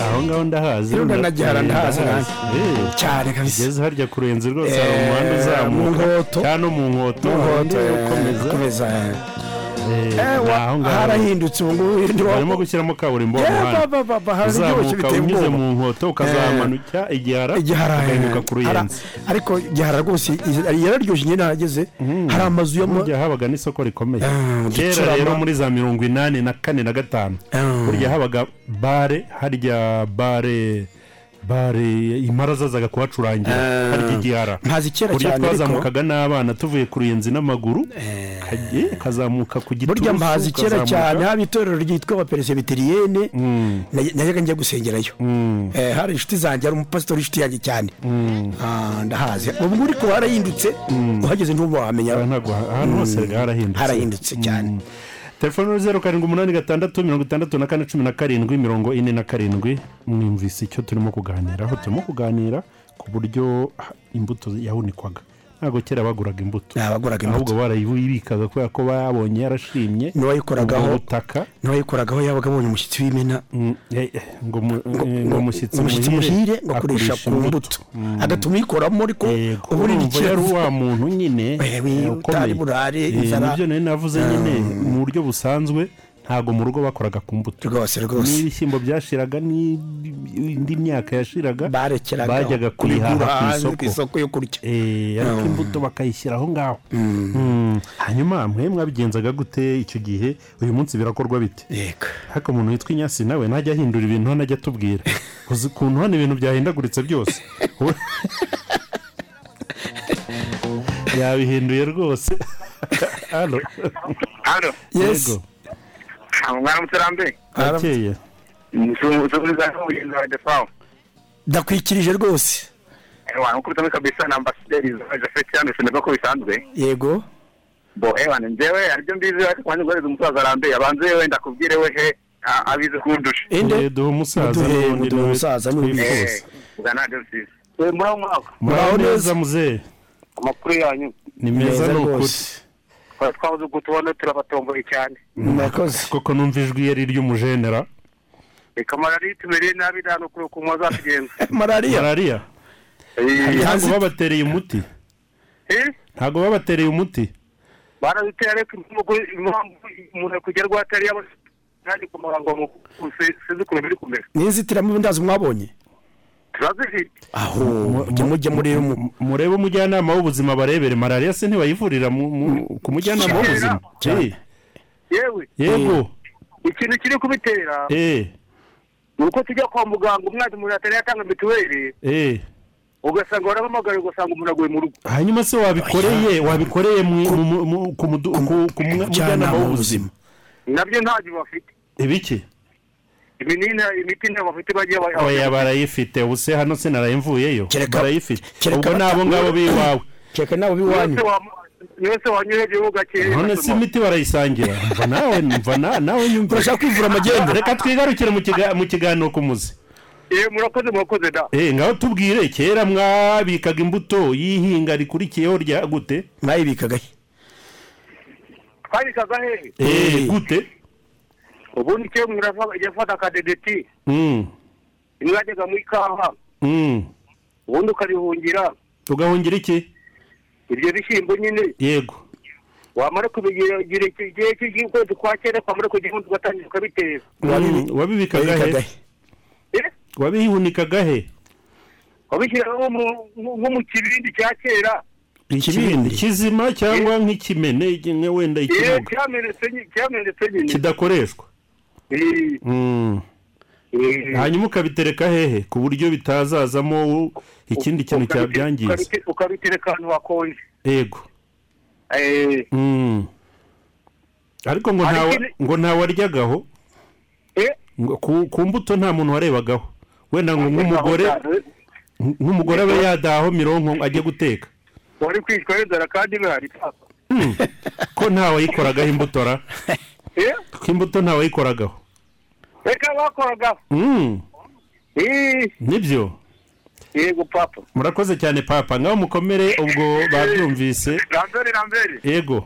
Speaker 4: aho ngaho ndahazi
Speaker 5: Irundana gihara
Speaker 4: Eh,
Speaker 5: ndahazi
Speaker 4: Eh,
Speaker 5: cyane kabisa
Speaker 4: ugeze harya ku ruyenzi rwose hari
Speaker 5: Eh,
Speaker 4: umuhanda
Speaker 5: mu
Speaker 4: uzamuka
Speaker 5: Nkoto.
Speaker 4: cyangwa no mu nkoto
Speaker 5: Nkoto,
Speaker 4: hari undi
Speaker 5: eh,
Speaker 4: ukomeza
Speaker 5: ukomeza, eh.
Speaker 4: Eh,
Speaker 5: Eh,
Speaker 4: ni
Speaker 5: wa-
Speaker 4: aho ngaho
Speaker 5: harahindutse ubu ngubu hirya wa-
Speaker 4: barimo gushyiramo kaburimbo mu
Speaker 5: Yeah,
Speaker 4: muhanda
Speaker 5: ba- ba- ba- hararyoshye
Speaker 4: uzamuka
Speaker 5: biteye
Speaker 4: unyuze
Speaker 5: ubwoba. Eh.
Speaker 4: mu nkoto ukazamanuka igihara
Speaker 5: igihara eh.
Speaker 4: ugahinduka
Speaker 5: hara-
Speaker 4: ku ruyenzi
Speaker 5: ariko igihara rwose izi- yararyoshye nyine ahageze hari amazu yo mu
Speaker 4: Mm. burya habaga n'isoko rikomeye
Speaker 5: Ah,
Speaker 4: kera
Speaker 5: uducurama.
Speaker 4: rero muri za mirongo inani na kane na gatanu
Speaker 5: Ah.
Speaker 4: burya habaga bare harya bare bare impara zazaga kuhacurangira harya igihara
Speaker 5: Ah. ntazi kera
Speaker 4: burya
Speaker 5: cyane ariko- Eh.
Speaker 4: twazamukaga n'abana tuvuye ku ruyenzi n'amaguru kage- kazamuka ku giturusu
Speaker 5: burya mpazi kera
Speaker 4: kazamuka.
Speaker 5: cyane haba itorero ryitwa abaperesibiteriyene
Speaker 4: Mm.
Speaker 5: najyaga njya gusengerayo Eh, hari inshuti zanjye hari umupasitori inshuti yanjye cyane
Speaker 4: Mm.
Speaker 5: Ah, ndahazi ubu ngubu ariko harahindutse uhageze ntuba wamenya Mm.
Speaker 4: Aha Mm. Ah, ntabwo- ahantu hose harahindutse
Speaker 5: harahindutse cyane
Speaker 4: Mm. telefone zeru karindwi umunani gatandatu mirongo itandatu na kane cumi na karindwi mirongo ine na karindwi mwumvise icyo turimo kuganiraho turimo kuganira ku buryo ah, imbuto yahunikwaga ntabwo kera baguraga imbuto
Speaker 5: abaguraga
Speaker 4: ahubwo
Speaker 5: imbuto
Speaker 4: barayibikaga kubera ko babonye yarashimye
Speaker 5: n'uwayikoragaho
Speaker 4: ubwo butaka
Speaker 5: n'uwayikoragaho yabaga abonye umushyitsi w'imena
Speaker 4: Mm, eh, eh, ngo mu- eh, ngo umushyitsi
Speaker 5: umushyitsi muhire ngo akoresha ku mbuto
Speaker 4: Mm.
Speaker 5: agatuma uyikoramo ariko
Speaker 4: Yego,
Speaker 5: ubu ni
Speaker 4: urumva yari
Speaker 5: ikiyavu
Speaker 4: wa muntu nyine
Speaker 5: Eh, we,
Speaker 4: eh,
Speaker 5: utari burare,
Speaker 4: Eh,
Speaker 5: inzara. Ah.
Speaker 4: nibyo nari navuze nyine mu buryo busanzwe ntabwo mu rugo bakoraga ku mbuto
Speaker 5: rwose rwose
Speaker 4: n'ibishyimbo byashiraga n'indi myaka yashiraga
Speaker 5: barekeraga
Speaker 4: bajyaga kuyihaha ku
Speaker 5: hanze ku
Speaker 4: isoko
Speaker 5: Ah, isoko Ah. yo kurya Mm.
Speaker 4: Eh, ariko imbuto bakayishyira aho ngaho Mm. hanyuma mwe mwabigenzaga gute icyo gihe uyu munsi birakorwa bite
Speaker 5: yego
Speaker 4: ariko umuntu witwa inyasi nawe najya ahindura ibintu hano ajya atubwira uzi ukuntu hano ibintu byahindaguritse byose
Speaker 5: [LAUGHS]
Speaker 4: Ubu- yabihinduye rwose hano
Speaker 8: Halo,
Speaker 5: yesi
Speaker 8: mwana muterambe.
Speaker 4: arakeye
Speaker 8: Mzungumza huu ulinzi wa Defao.
Speaker 5: ndakwikirije rwose
Speaker 8: Ewa, nkukutame kabisa na ambasaderi za Jafet Yano sinabwo ko eh. bisanzwe.
Speaker 5: yego
Speaker 8: Bo ewa ni njewe aribyo mbizi ariko kwanyu ngoreza umusaza arambe abanze we ndakubwire we he a- abizi kundusha.
Speaker 5: inde
Speaker 4: duhe umusaza
Speaker 5: Muduhe-
Speaker 4: n'ubundi
Speaker 5: muduhe
Speaker 4: nawe
Speaker 5: umusaza n'ubundi.
Speaker 4: twifuza.
Speaker 8: Eh, ugana ndio sisi. Eh, murao mwako.
Speaker 4: muraho neza muzehe
Speaker 8: Amakuru yanyu
Speaker 4: ni meza
Speaker 5: neza
Speaker 4: ni ukuri
Speaker 5: rwose
Speaker 8: twabuze gutubona turabatomboye cyane.
Speaker 5: murakoze
Speaker 4: koko numva ijwi yari iry'umujenera
Speaker 8: Reka marari tumereye nabi nta n'ukuri ku mwa zakigenza.
Speaker 5: malariya
Speaker 4: malariya
Speaker 8: Eh,
Speaker 4: ntabwo
Speaker 5: Hasi-
Speaker 4: babatereye umuti
Speaker 8: eh,
Speaker 4: ntabwo babatereye umuti
Speaker 8: baraziteye ariko impamvu impamvu umuntu akugerwa atari yabona kandi ku murongo mu- si- sinzi ukuntu biri kumera.
Speaker 5: n'inzitiramibu ndazi mwabonye
Speaker 8: turazifite
Speaker 5: aho mujye mujye murebe mu-
Speaker 4: murebe umujyanama w'ubuzima barebere malariya se ntibayivurira mu- mu- ku mujyanama w'ubuzima
Speaker 5: Cyane.
Speaker 4: Eh,
Speaker 8: yewe
Speaker 4: yego
Speaker 8: ikintu kiri kubitera
Speaker 4: eh
Speaker 8: ni uko tujya kwa muganga umwana umuntu atari yatanga mituweli
Speaker 4: eh
Speaker 8: ugasanga baramuhamagara ugasanga umuntu aguye mu rugo
Speaker 4: hanyuma se wabikoreye wabikoreye mu- mu- mu- ku mudu- ku- ku mu- mujyanama
Speaker 5: mujyanama
Speaker 4: w'ubuzima
Speaker 5: w'ubuzima
Speaker 4: Eh,
Speaker 8: nabyo ntacyo bafite
Speaker 4: ibiki
Speaker 8: ibinini imiti ntabwo bafite bagiye baha-
Speaker 4: oya barayifite ubu se hano sinarayimvuyeyo
Speaker 5: Kereka-
Speaker 4: barayifite
Speaker 5: kereka-
Speaker 4: ubwo n'abo ngabo b'iwawe
Speaker 5: keka nawe
Speaker 8: Mwese
Speaker 5: b'iwanyu
Speaker 8: wa- mwese wanyuheje ugakeye
Speaker 4: none si imiti barayisangira mva nawe mva na- nawe nyumva
Speaker 5: urashaka kwivura amagenda
Speaker 4: reka twigarukire mu kiga- mu kiganiro ku muzi
Speaker 8: murakoze murakoze da
Speaker 4: Eh, ngaho tubwire kera mwabikaga imbuto y'ihinga rikurikiyeho rya gute
Speaker 5: mwayibikaga he
Speaker 8: twabikaga hehe
Speaker 4: Eh,
Speaker 5: Eh.
Speaker 4: gute
Speaker 8: ubundi ke yafata akadedeti
Speaker 4: Mm,
Speaker 8: imwajyaga mu ikawa
Speaker 4: mm.
Speaker 8: ubundi ukarihungira
Speaker 4: ugahungira iki
Speaker 8: ibyo bishyimbo nyine
Speaker 4: yego
Speaker 8: wamara kubigira igihe kigiye cy'ukwezi kwa cyenda kwamara kugira ngo ugatangira ukabitera
Speaker 4: Mm, wabibikaga
Speaker 5: mwayibikaga
Speaker 4: he
Speaker 5: he
Speaker 8: Eh?
Speaker 4: wabihunikaga he
Speaker 8: wabishyiraho mu- mu- nko mu kibindi cya kera
Speaker 4: ikibindi kizima cyangwa nk'ikimene iki- nka wenda
Speaker 8: Eh,
Speaker 4: ikibuga
Speaker 8: cyamenetse nyi- cyamenetse nyine
Speaker 4: kidakoreshwa
Speaker 8: Eh,
Speaker 4: Mm.
Speaker 8: eh,
Speaker 4: hanyuma ukabitereka hehe ku buryo bitazazamo ikindi kintu
Speaker 8: ukabite-
Speaker 4: cyabyangiza
Speaker 8: ukabite- ukabitereka ahantu hakonje
Speaker 4: yego
Speaker 8: Eh,
Speaker 4: Mm. ariko ngo
Speaker 8: Ariko
Speaker 4: ntawa-
Speaker 8: ini-
Speaker 4: ngo ntawaryagaho
Speaker 8: eh,
Speaker 4: ngo ku, ku mbuto nta muntu warebagaho wenda ngo nk'umugore nk'umugore
Speaker 8: Eh,
Speaker 4: abe yadaho mironko ajye guteka
Speaker 8: wari kwicwa n'inzara kandi bihari papa.
Speaker 4: ko nta wayikoragaho imbuto ra
Speaker 8: [LAUGHS] Eh,
Speaker 4: ko imbuto nta wayikoragaho
Speaker 8: reka bakoraga
Speaker 4: Mm,
Speaker 8: Eh,
Speaker 4: nibyo
Speaker 8: yego papa
Speaker 4: murakoze cyane papa ngaho mukomere ubwo babyumvise
Speaker 8: rambere rambere
Speaker 4: yego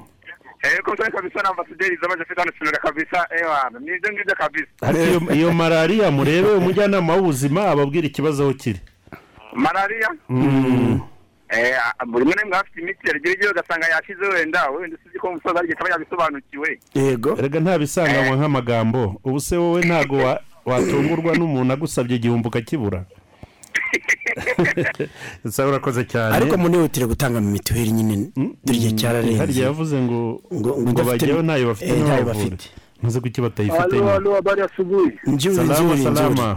Speaker 8: Eko mtani Eh, kabisa na ambasaderi zama jafita na sinura kabisa eh, ewa nizo ngizo kabisa
Speaker 4: ariko iyo- iyo malariya murebe umujyanama w'ubuzima ababwira ikibazo aho kiri Hmm.
Speaker 8: malaria eh buri mwe mwe afite imiti yarigeze ugasanga yashize wenda wenda sije ko umusaza arigeze aba yabisobanukiwe
Speaker 5: yego
Speaker 4: erega ntabisanganwa nk'amagambo ubu se wowe ntabwo wa- watungurwa n'umuntu agusabye igihumbi ukakibura
Speaker 8: [LAUGHS]
Speaker 4: Ese urakoze cyane
Speaker 5: ariko munihutire gutanga mituweli nyine dore
Speaker 4: harya
Speaker 5: cyararenze
Speaker 4: Mm. yavuze ngo
Speaker 5: Ngo- ngo
Speaker 4: ngo
Speaker 5: udafite-
Speaker 4: bajyayo ntayo bafite
Speaker 5: eh, ntayo
Speaker 4: ntibavure
Speaker 5: bafite.
Speaker 4: ntuzi ko icyo batayifite
Speaker 9: Halo,
Speaker 4: nyine
Speaker 9: halo, habari ya asubuhi.
Speaker 5: njyewe
Speaker 4: salama
Speaker 5: njyewe
Speaker 4: salama
Speaker 5: njyewe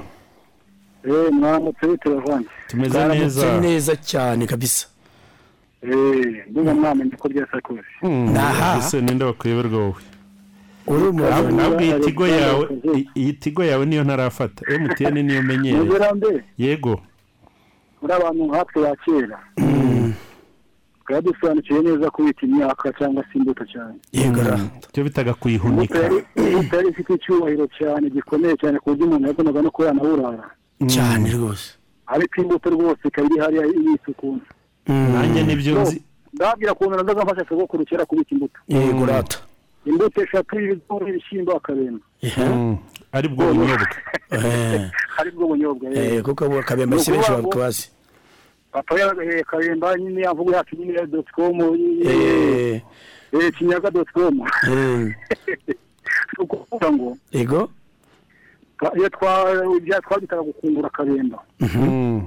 Speaker 9: Eh, mwaramutse biterefone.
Speaker 4: tumeze neza
Speaker 5: baramutse neza cyane kabisa
Speaker 9: Eh, ndumva mwamenye ko byasakuze.
Speaker 4: Hmm,
Speaker 5: Aha.
Speaker 4: ese ninde bakwiyoberwa wowe
Speaker 5: uri umuntu
Speaker 4: ahubwo iyi tigo
Speaker 9: Alexander
Speaker 4: yawe
Speaker 9: Kazuki.
Speaker 4: i- iyi tigo yawe niyo ntarafata mtn niyo menyereye
Speaker 9: Mugera mbe,
Speaker 4: yego
Speaker 9: muri abantu nkatwe ba kera.
Speaker 5: Hmm.
Speaker 9: Twari dusobanukiwe neza kubita imyaka cyangwa se imbuto cyane.
Speaker 5: yego ra
Speaker 4: icyo Hmm. bitaga
Speaker 9: Imbuto
Speaker 4: kuyihunika
Speaker 9: yari- imbuto yari
Speaker 4: Hmm.
Speaker 9: ifite icyubahiro cyane gikomeye cyane ku buryo umuntu yagonaga no kuba yanaburara.
Speaker 5: cyane rwose
Speaker 9: ariko imbuto rwose ikaba iri hariya yisukunze
Speaker 5: Mm.
Speaker 4: nanjye nibyo nzi
Speaker 9: ndabwira ukuntu nazamfasha sogokuru kera kubika imbuto
Speaker 4: Mm.
Speaker 5: yego rata
Speaker 9: imbuto eshatu y'ibigori ibishyimbo akabenga
Speaker 4: Mm. ari bwo bunyobwa
Speaker 5: Eh,
Speaker 9: ari bwo bunyobwa yego.
Speaker 5: eh, kuko abo kabemba si benshi babikabazi
Speaker 9: papa yaragahe karemba nyine yamvuga yacu nyine doti komu eh,
Speaker 5: Eh.
Speaker 9: kinyaga doti komu ukuvuga ngo
Speaker 5: Mm. yego
Speaker 9: twa- iyo twa- twabitaga gukungura karemba
Speaker 4: Mm.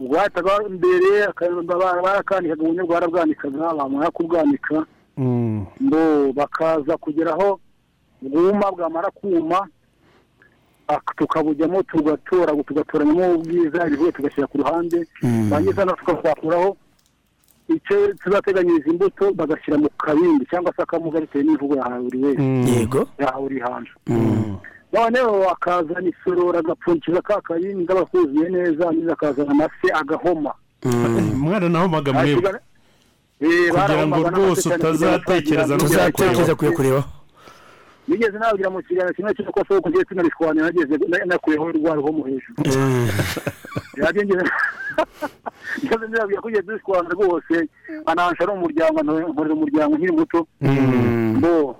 Speaker 9: bwataga mbere akaremba ba- barakandikaga ubunya bwarabwanikaga bamara kubwanika
Speaker 4: Mm.
Speaker 9: ngo bakaza kugera aho bwuma bwamara kuma ak- tukabujyamo tugatora tugatoranyamo ubwiza ibivuye tugashyira ku ruhande
Speaker 5: Mm.
Speaker 9: bangiza na tukazakuraho icyo tuzateganyiriza imbuto bagashyira mu kabindi cyangwa se akamuga bitewe n'ivugo yahawe buri wese
Speaker 5: Mm. yego
Speaker 9: yahawe uri hanze noneho akazana isorora agapfundikiza ka kabindi aba akuzuye neza neza akazana amase agahoma
Speaker 4: Hmm.
Speaker 9: Eh,
Speaker 4: mwana nahomaga mwebwe kugira ngo rwose utazatekereza no
Speaker 5: tuzatekereza kuyo kureba
Speaker 9: nigeze nabwira mu kiganiro kimwe cy'uko soko ngiye tunarishwanya nageze na- nakuyeho rwa ruhomo hejuru [LAUGHS] nabyo [LAUGHS] ngeze ngeze nabwira ko ngiye turishwana rwose anansha ari umuryango nkorera umuryango nkiri muto bo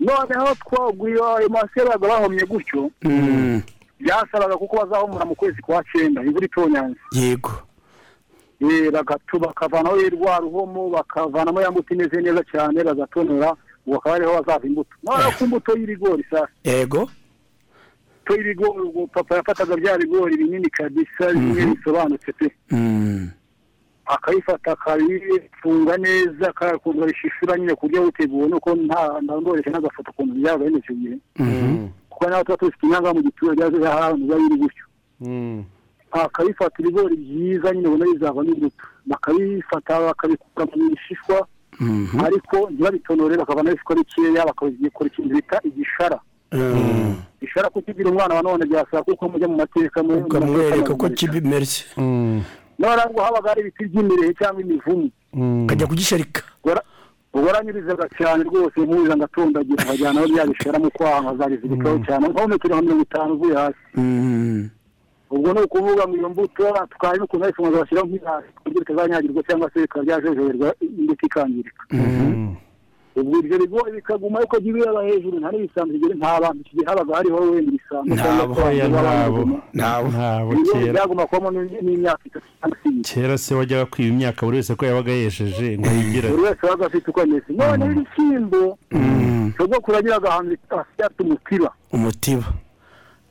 Speaker 9: noneho twaguye ayo masi yabaga bahomye gutyo
Speaker 5: Mm.
Speaker 9: byasabaga kuko bazahomora mu kwezi kwa cyenda imvura itonyanze
Speaker 5: yego
Speaker 9: Eh, bagatu bakavanaho rwa ruhomo bakavanamo ya mbuto imeze neza cyane bagatonora ubu akaba ariho bazava imbuto noneho ku mbuto y'ibigori sasa
Speaker 5: yego
Speaker 9: to ibigori ubwo papa yafataga bya bigori binini kabisa bimwe bisobanutse pe
Speaker 5: Mm.
Speaker 9: akabifata akabifunga neza akakunda bishishura nyine ku buryo buteguwe nuko nta ndandoresha n'agafoto ukuntu byabaye muri icyo gihe kuko nawe tuba tufite inyangamu giturage ahantu biba biri gutyo
Speaker 4: Mm.
Speaker 9: akabifata ibigori byiza nyine ubona bizavamo imbuto bakabifata bakabikura mu bishishwa
Speaker 3: Mhm.
Speaker 9: ariko ntibabitonore bakavana ibishishwa bikeya bakabikora ikintu bita igishara
Speaker 5: Mm.
Speaker 9: ishara kukigira umwana wa none byasaba kuko mujya mu mateka mu- mu
Speaker 5: ukamwereka
Speaker 9: mateka
Speaker 5: ko kibimerye
Speaker 4: Mm.
Speaker 9: nora ngo habaga hari ibiti by'imirehe cyangwa imivumu
Speaker 4: Mm.
Speaker 5: ukajya kugisharika
Speaker 9: Wara- waranyurizaga cyane rwose mpuza ngatondagira nkajyana aho byabishara mu kwaha nkazabizirikaho
Speaker 4: Mm.
Speaker 9: cyane nko metero nka mirongo itanu uvuye hasi
Speaker 5: Mm.
Speaker 9: ubwo ni ukuvuga ngo iyo mbuto tukaba n'ukuntu ayifunga bashyiraho nk'ihasi kugira itazanyagirwa cyangwa se bikaba byajojoberwa imbuto ikangirika
Speaker 4: Mm.
Speaker 9: ubwo ibyo bigori bikaguma yuko byibera hejuru nta n'ibisambo bigera nta bantu iki gihe habaga hariho wenda ibisambo cyangwa se
Speaker 4: Nabo ya
Speaker 9: abantu baba
Speaker 4: nabo
Speaker 9: babiguma.
Speaker 5: nabo
Speaker 4: nabo
Speaker 9: Ibigori
Speaker 4: kera
Speaker 9: byaguma kubamo n'indi- n'imyaka itatu cyangwa se ibiri
Speaker 4: kera se wajyaga kwiba imyaka buri wese ko yabaga yesheje ngo yigira
Speaker 9: buri wese wabaga afite uko ameze
Speaker 4: Mm.
Speaker 9: noneho ibishyimbo
Speaker 5: Mm.
Speaker 9: sogokuru agira agahanzi afite umutiba
Speaker 5: umutiba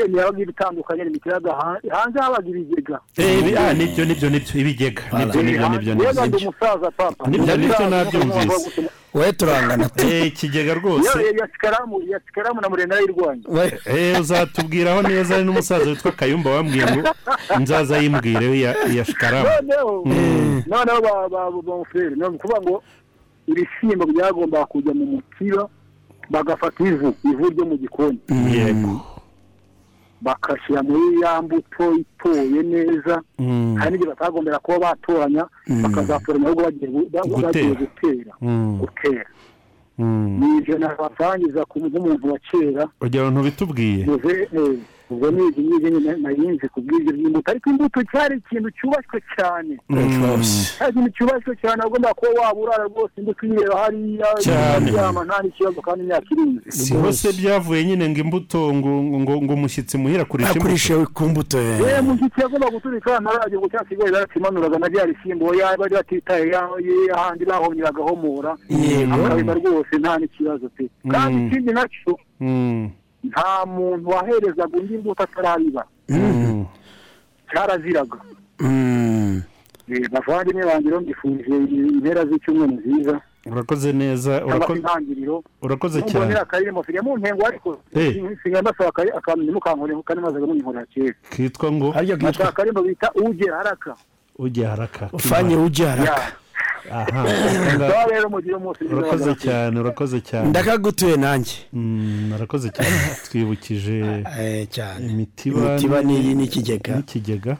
Speaker 9: Eh, ntiyabaga ibitandukanye n'imitiba yabaga hanze hanze habaga ibigega
Speaker 4: Eh, ibi- ah, nibyo nibyo nibyo ibigega nibyo
Speaker 9: Eh,
Speaker 4: nibyo nibyo nibyo
Speaker 9: yewe ndi umusaza papa
Speaker 4: Nibyo, nibyo nabyumvise.
Speaker 5: wowe turangana tu
Speaker 4: Eh, ikigega rwose
Speaker 9: yewe yasikaramu yasikaramu na murenda y'irwanya
Speaker 5: We-
Speaker 4: [LAUGHS] Eh, uzatubwiraho neza hari n'umusaza witwa kayumba wambwiye ngo nzaza yimbwire we ya- ya Hmm. shikaramu
Speaker 9: noneho noneho ba- ba- ba- bamufurere ni ukuvuga ngo ibishyimbo byagombaga kujya mu mutiba bagafata ivu ivu ryo mu gikoni
Speaker 4: yego
Speaker 9: bagashyira muri ya mbuto itoye neza
Speaker 4: Mm.
Speaker 9: hari n'ibyo batagombera kuba batoranya
Speaker 4: Hmm.
Speaker 9: bakazatoranya ahubwo bagiye gu- ba-
Speaker 4: Gutera.
Speaker 9: bagiye gutera
Speaker 4: Mm.
Speaker 9: gutera
Speaker 4: Mm.
Speaker 9: ni ibyo nabatangiza ku nk'umuntu wa kera
Speaker 4: ugira ngo ntubitubwiye
Speaker 9: muze eh, ubwo ni ibyo ngibyo nyine narinzi ku bw'ibyo by'imbuto ariko imbuto cyari ikintu cyubashywe cyane nta kintu cyubashywe cyane agomba kuba waburara rwose imbuto uyireba hariya
Speaker 4: Cyane.
Speaker 9: ukaryama nta n'ikibazo kandi imyaka irinze
Speaker 4: si hose byavuye nyine ngo imbuto ngo ngo ngo umushyitsi muhira kurisha imbuto
Speaker 5: akoreshewe ku mbuto eh.
Speaker 9: yewe mushyitsi yagomba guturika ntarajya ngo cyangwa kigali yarakimanuraga na rya rishyimbo yaba bari batitaye ya- ye- ahandi bahomye bagahomora akabima rwose nta n'ikibazo pe kandi ikindi nacyo
Speaker 4: Mm.
Speaker 9: nta muntu waherezaga undi imbuto atarariba
Speaker 5: Hmm.
Speaker 4: Mm.
Speaker 9: cyaraziraga
Speaker 5: Mm.
Speaker 9: Eh, bavandimwe banjye bamwifurije impera z'icyumweru nziza
Speaker 4: urakoze neza
Speaker 9: cyangwa se
Speaker 4: urako-
Speaker 9: intangiriro
Speaker 4: urakoze
Speaker 9: Numva
Speaker 4: cyane
Speaker 9: ngira akarere mufite mu ntengo ariko
Speaker 4: Eh.
Speaker 9: nsigaye mbasaba akari- akantu ntimukankoreho kandi mazaga munihorera kera
Speaker 4: kitwa ngo
Speaker 5: harya kitwa
Speaker 9: nashaka akarimbo bita ugera haraka
Speaker 4: ujye haraka
Speaker 5: ufanye ujye haraka
Speaker 9: Ya.
Speaker 4: aha
Speaker 9: ngaho rero mugire umunsi mwiza
Speaker 4: urakoze
Speaker 9: w'abanyafurika.
Speaker 4: cyane urakoze cyane
Speaker 5: ndakagutuye nanjye
Speaker 4: Mm, urakoze cyane
Speaker 5: [LAUGHS]
Speaker 4: twibukije
Speaker 5: Eh, cyane
Speaker 4: imitiba
Speaker 5: Imitiba ni Hmm. iyi
Speaker 4: ni-
Speaker 5: n'ikigega.
Speaker 4: n'ikigega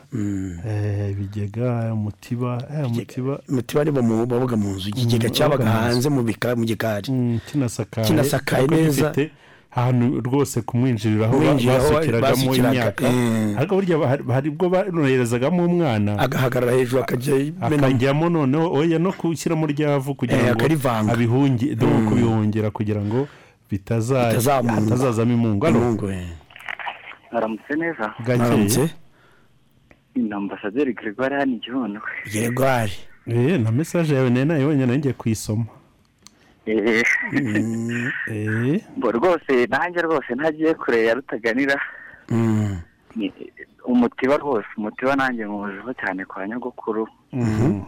Speaker 4: Eh, ibigega umutiba eh, umutiba
Speaker 5: imitiba ni bo mu- babaga mu nzu ikigega
Speaker 4: Mm,
Speaker 5: cyabaga
Speaker 4: babaga mu nzu.
Speaker 5: hanze mu bika- mu gikari
Speaker 4: Mm, kinasakaye
Speaker 5: Kinasakaye
Speaker 4: ariko
Speaker 5: neza.
Speaker 4: gifite ahantu Ah, rwose kumwinjirira aho ba-
Speaker 5: Kumwinjirira aho
Speaker 4: basukiragamo
Speaker 5: basukiraga,
Speaker 4: imyaka
Speaker 5: eh.
Speaker 4: ariko burya ba- hari ubwo banoherezagamo umwana
Speaker 5: agahagarara hejuru akajya imenamo
Speaker 4: akajyamo noneho oya no kushyiramo ryavu
Speaker 5: Eh, Mm.
Speaker 4: kugira ngo
Speaker 5: akarivanga.
Speaker 4: abihungi no kubihungira kugira ngo bitaza-
Speaker 5: Bitazamungwa.
Speaker 4: bitazazamo imungu hano
Speaker 5: Mungu, eh.
Speaker 8: haramutse neza
Speaker 4: bwakeye
Speaker 5: Mwaramutse?
Speaker 8: ni ambasaderi gregoire hano ikibondo
Speaker 5: Gregoire
Speaker 4: Eh, na mesaje yawe nari nayibonye nayo ngiye kuyisoma Eh,
Speaker 8: [LAUGHS] mbo rwose nanjye rwose ntagiye kure ya rutaganira
Speaker 5: Mm.
Speaker 8: ni umutiba rwose umutiba nanjye nywuziho cyane kwa nyogokuru
Speaker 5: Mm-hmm.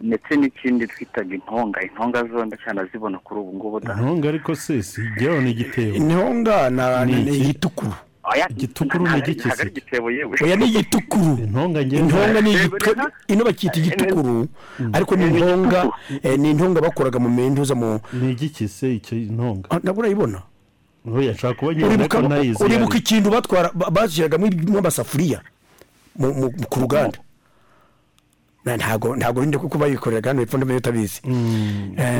Speaker 8: ndetse n'ikindi twitaga intonga intonga zo ndacyanazibona kuri ubu ngubu da
Speaker 4: Mhm. intonga ariko se sijyaho ni igitebo
Speaker 5: intihonga na-
Speaker 4: Ni
Speaker 5: na- ni
Speaker 4: iki?
Speaker 5: igitukuru
Speaker 8: oya
Speaker 4: Igitukuru ni
Speaker 8: ntago-
Speaker 4: igiki
Speaker 8: ntago ari
Speaker 4: se?
Speaker 8: igitebo yewe
Speaker 5: oya ni igitukuru
Speaker 4: intonga ngewe
Speaker 5: intonga ni
Speaker 8: Eh,
Speaker 5: igito-
Speaker 8: buriya-
Speaker 5: ino bakita igitukuru ariko ni intonga eh, ni intonga bakoraga mu mentuza mu
Speaker 4: ni igiki se icyo intonga
Speaker 5: Ah, nabwo urayibona
Speaker 4: oya nshaka kuba nyine
Speaker 5: uribuka
Speaker 4: ariko nayizi
Speaker 5: uribuka
Speaker 4: yari.
Speaker 5: ikintu batwara ba- bashyiragamo ibi- amasafuriya mu- mu- ku ruganda Na- ntago ntago rinde kuko bayikoreraga hano hepfo ndamenya utabizi Eh,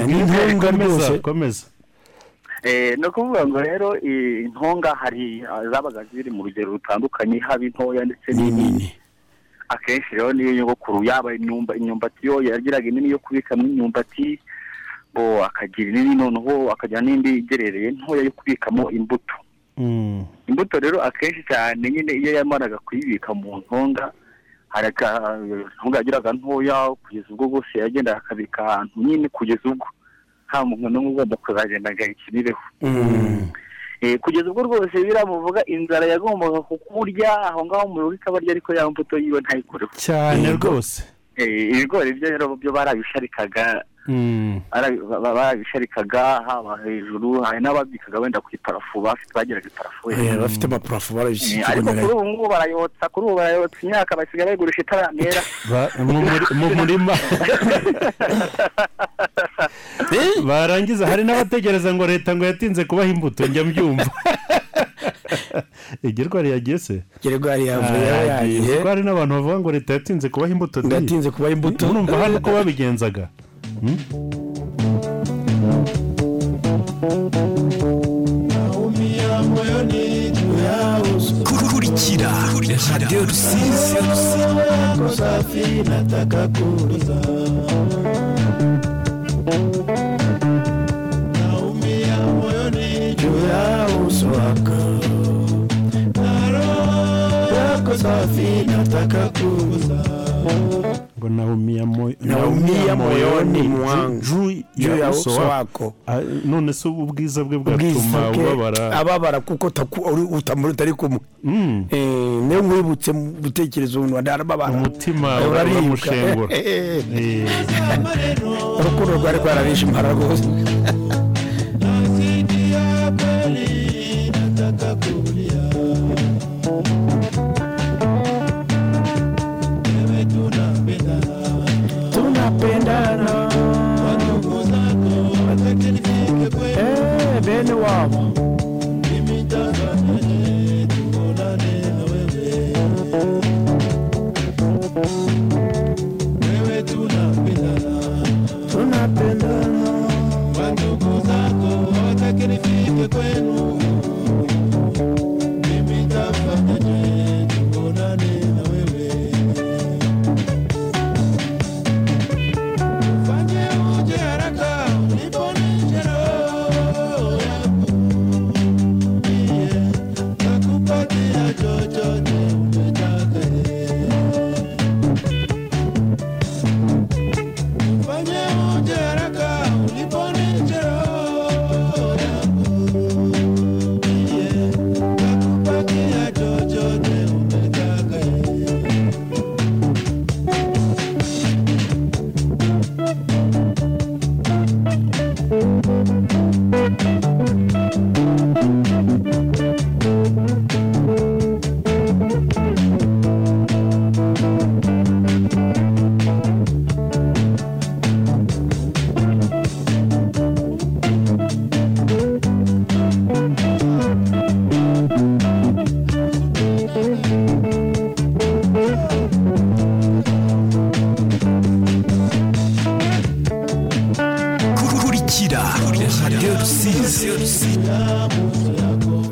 Speaker 5: ni intonga
Speaker 4: komeza
Speaker 5: rwose
Speaker 4: komeza
Speaker 8: Eh, ni ukuvuga ngo rero i- intonga hari ah, zabaga ziri mu rugero rutandukanye haba intoya ndetse n'inini
Speaker 5: nini
Speaker 8: akenshi rero niyo nyogokuru yaba imyumba- imyumbati yo yagiraga inini yo kubikamo imyumbati ngo akagira inini noneho akagira n'indi igerereye ntoya yo kubikamo imbuto
Speaker 4: Mm.
Speaker 8: imbuto rero akenshi cyane nyine iyo yamaraga kuyibika mu ntonga hari aka- intonga yagiraga ntoya kugeza ubwo bwose yagenda akabika ahantu nyine kugeza ubwo nta muntu n'umwe ugomba kuzagenda ngo ayikinireho Eh, kugeza ubwo rwose biramuvuga inzara yagombaga kukurya aho ngaho mu rugo ikabarya ariko ya mbuto yiwe ntayikureho
Speaker 4: cyane rwose
Speaker 8: Eh, ibigori byo rero byo barabisharikaga
Speaker 4: Mm.
Speaker 8: bara- ba- ba- barabisharikaga haba hejuru hari n'ababikaga wenda ku iparafu bafite bageraga iparafu
Speaker 5: Eh, bafite amapurafu
Speaker 8: Eh, ariko kuri ubu ngubu barayotsa kuri ubu barayotsa imyaka basigaye bayigurisha itaramera
Speaker 4: Ba- mu muri- mu
Speaker 5: [LAUGHS]
Speaker 4: murima
Speaker 5: Eh?
Speaker 4: barangiza hari n'abategereza ngo leta ngo yatinze kubaha imbuto njya
Speaker 5: [LAUGHS]
Speaker 4: mbyumva igerwa riyagiye se
Speaker 5: geregwari yavuye
Speaker 4: Yagiye.
Speaker 5: yagiye
Speaker 4: kuko hari n'abantu bavuga ngo leta yatinze kubaha imbuto di.
Speaker 5: ndatinze kuba imbuto
Speaker 4: murumva hano uko babigenzaga
Speaker 10: kurikira radiyo rusizi
Speaker 4: ngo naumia moyo
Speaker 5: naumia moyoni mwangu
Speaker 4: juu
Speaker 5: juu
Speaker 4: ya
Speaker 5: ya
Speaker 4: uso
Speaker 5: uso
Speaker 4: wako
Speaker 5: wako
Speaker 4: Ah, none se ubwiza bwe
Speaker 5: ubwiza
Speaker 4: bwatuma
Speaker 5: bwe
Speaker 4: ubabara Hmm.
Speaker 5: ababara kuko taku- uri- utamuri utari kumwe Eh, niyo nkwibutse mu bitekerezo umuntu arababara
Speaker 4: Umutima
Speaker 5: Eh, uraribwa.
Speaker 4: uramushengura.
Speaker 5: Eh, eh, eh.
Speaker 4: Eh,
Speaker 5: urukundo rwari rwarabishe impara rwose tunapendana Eh, bene wabo
Speaker 10: Hum.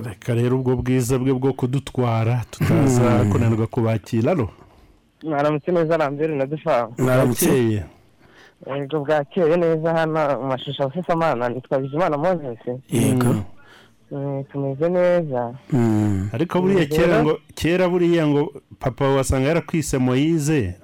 Speaker 4: reka rero ubwo bwiza bwe bwo kudutwara tutaza
Speaker 5: Hmm.
Speaker 4: kunanirwa kubakira no
Speaker 11: mwaramutse neza arambere na dufamu
Speaker 5: mwaramutse
Speaker 4: Bukeye.
Speaker 11: ubwo bwakeye neza hano mu mashusho afite amana nitwa bizimana mozesi
Speaker 5: yego
Speaker 11: Mm, tumeze neza
Speaker 5: Mm.
Speaker 4: ariko buriya
Speaker 11: Yego.
Speaker 4: kera ngo kera buriya ngo papa wasanga yarakwise moyize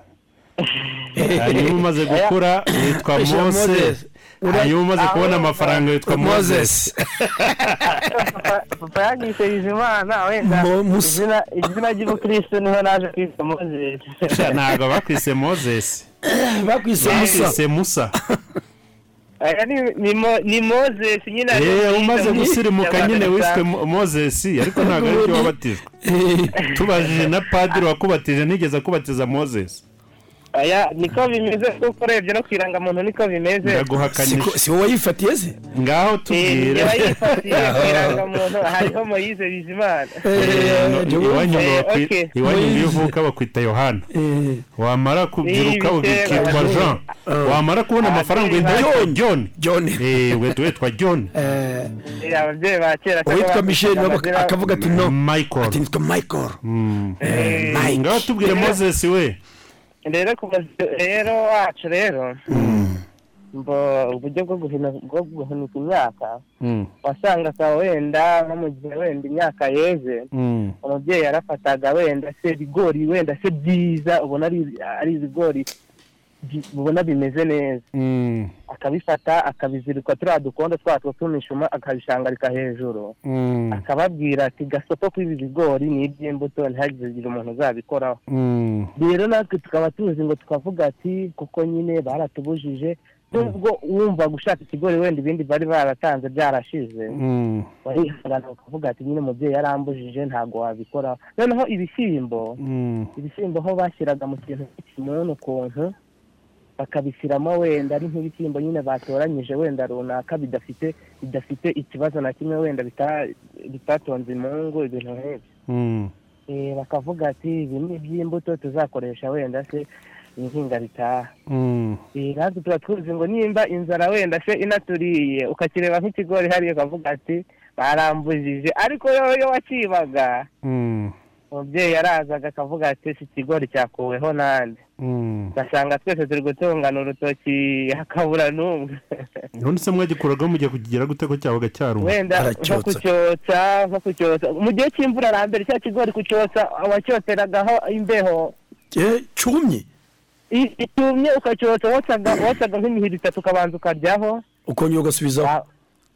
Speaker 4: hanyuma umaze gukura witwa
Speaker 5: Ijambo
Speaker 4: mose
Speaker 5: Moses. Ah,
Speaker 4: hanyuma umaze kubona amafaranga witwa mose
Speaker 5: moses
Speaker 11: Papa- papa yagise bizimana wenda
Speaker 5: Mo- Musa.
Speaker 11: izina- izina ry'ubukristo niho naje kwitwa mozesi
Speaker 4: ntabwo bakwise mozesi
Speaker 5: [LAUGHS] bakwise musa
Speaker 4: bakwise musa
Speaker 11: Aya ni- ni Mo- ni mozesi nyine ari-
Speaker 4: yewe Eh, umaze gusirimuka nyine
Speaker 11: Yabaga-
Speaker 4: wiswe Mo- mozesi ariko ntabwo aribyo
Speaker 11: [LAUGHS]
Speaker 4: wabatijwe tubajije na padiri wakubatije ntigeze akubatiza mozesi
Speaker 11: aya niko bimeze kuko urebye no ku irangamuntu niko bimeze
Speaker 4: ndaguhakanyije
Speaker 5: si wowe wayifatiye se
Speaker 4: ngaho
Speaker 11: Eh,
Speaker 4: tubwira
Speaker 11: niba yifatiye ku irangamuntu hariho moyize bizimana
Speaker 5: Eh, ni wowe.
Speaker 4: iwanyu ngo
Speaker 11: Eh,
Speaker 4: bakwi-
Speaker 11: okay.
Speaker 4: iwanyu ngo iyo
Speaker 5: Moise.
Speaker 4: uvuka bakwita yohana
Speaker 5: Eh, Ah.
Speaker 4: wamara kubyiruka
Speaker 11: Ni ibitera
Speaker 4: ukitwa
Speaker 11: abantu.
Speaker 4: jean wamara kubona amafaranga
Speaker 11: Ababyeyi
Speaker 4: uhita witwa [LAUGHS] john
Speaker 5: john
Speaker 4: Eh, ugahita witwa john
Speaker 5: Eh,
Speaker 11: Eh, ababyeyi ba kera
Speaker 5: uwitwa michel nawe baka- akavuga ati no ati
Speaker 4: michael Hmm.
Speaker 5: nitwa michael
Speaker 11: Eh,
Speaker 4: ngaho tubwire mozesi we
Speaker 11: rero ku bazi- rero wacu rero mbo uburyo bwo guhina- bwo guhunika imyaka
Speaker 5: Hmm.
Speaker 11: wasangaga wenda nko mu gihe wenda imyaka yeze umubyeyi yarafataga wenda se ibigori wenda se byiza ubona ari ari ibigori bi- ubona bimeze neza
Speaker 4: Mm,
Speaker 11: akabifata akabizirika turiya dukondo twatwo tw'imishuma akabishangarika hejuru
Speaker 4: mm,
Speaker 11: akababwira ati gasoko k'ibi bigori ni iby'imbuto ntihagire umuntu uzabikoraho
Speaker 4: mm.
Speaker 11: rero natwe tukaba tuzi ngo tukavuga ati kuko nyine baratubujije nubwo wumva gushaka ikigori wenda ibindi bari baratanze byarashize
Speaker 4: Mm,
Speaker 11: warihangana ukavuga ati nyine umubyeyi yarambujije ntabwo wabikoraho noneho ibishyimbo
Speaker 4: mm,
Speaker 11: ibishyimbo aho bashyiraga mu kintu cy'ikimunu ukuntu bakabishyiramo wenda ari nk'ibishyimbo nyine batoranyije wenda runaka bidafite bidafite ikibazo na kimwe wenda bitara- bitatonze imungu ibintu nk'ibyo
Speaker 4: mm.
Speaker 11: Eh, bakavuga ati ibi ni iby'imbuto tuzakoresha wenda se ihinga ritaha
Speaker 4: Mm.
Speaker 11: Eh, natwe tuba tuzi ngo nimba inzara wenda se inaturiye ukakireba nk'ikigori hariya ukavuga ati barambujije ariko yo- yo wakibaga
Speaker 4: Mm.
Speaker 11: umubyeyi yarazaga akavuga ati iki kigori cyakuweho nande
Speaker 4: Mm.
Speaker 11: ugasanga twese turi gutungana urutoki hakabura n'umwe
Speaker 4: none se mwagikuragaho mugiye kukigera gute ko cyabaga cyaruma
Speaker 11: wenda nko
Speaker 5: aracyotsa.
Speaker 11: kucyotsa nko kucyotsa mu gihe cy'imvura arambere cya kigori kucyotsa wacyotseragaho imbeho
Speaker 5: Eh, cyumye
Speaker 11: I- icyumye ukacyotsa wotsaga wotsaga nk'imihiri itatu ukabanza ukaryaho
Speaker 5: ukongera ugasubizaho
Speaker 11: Ah,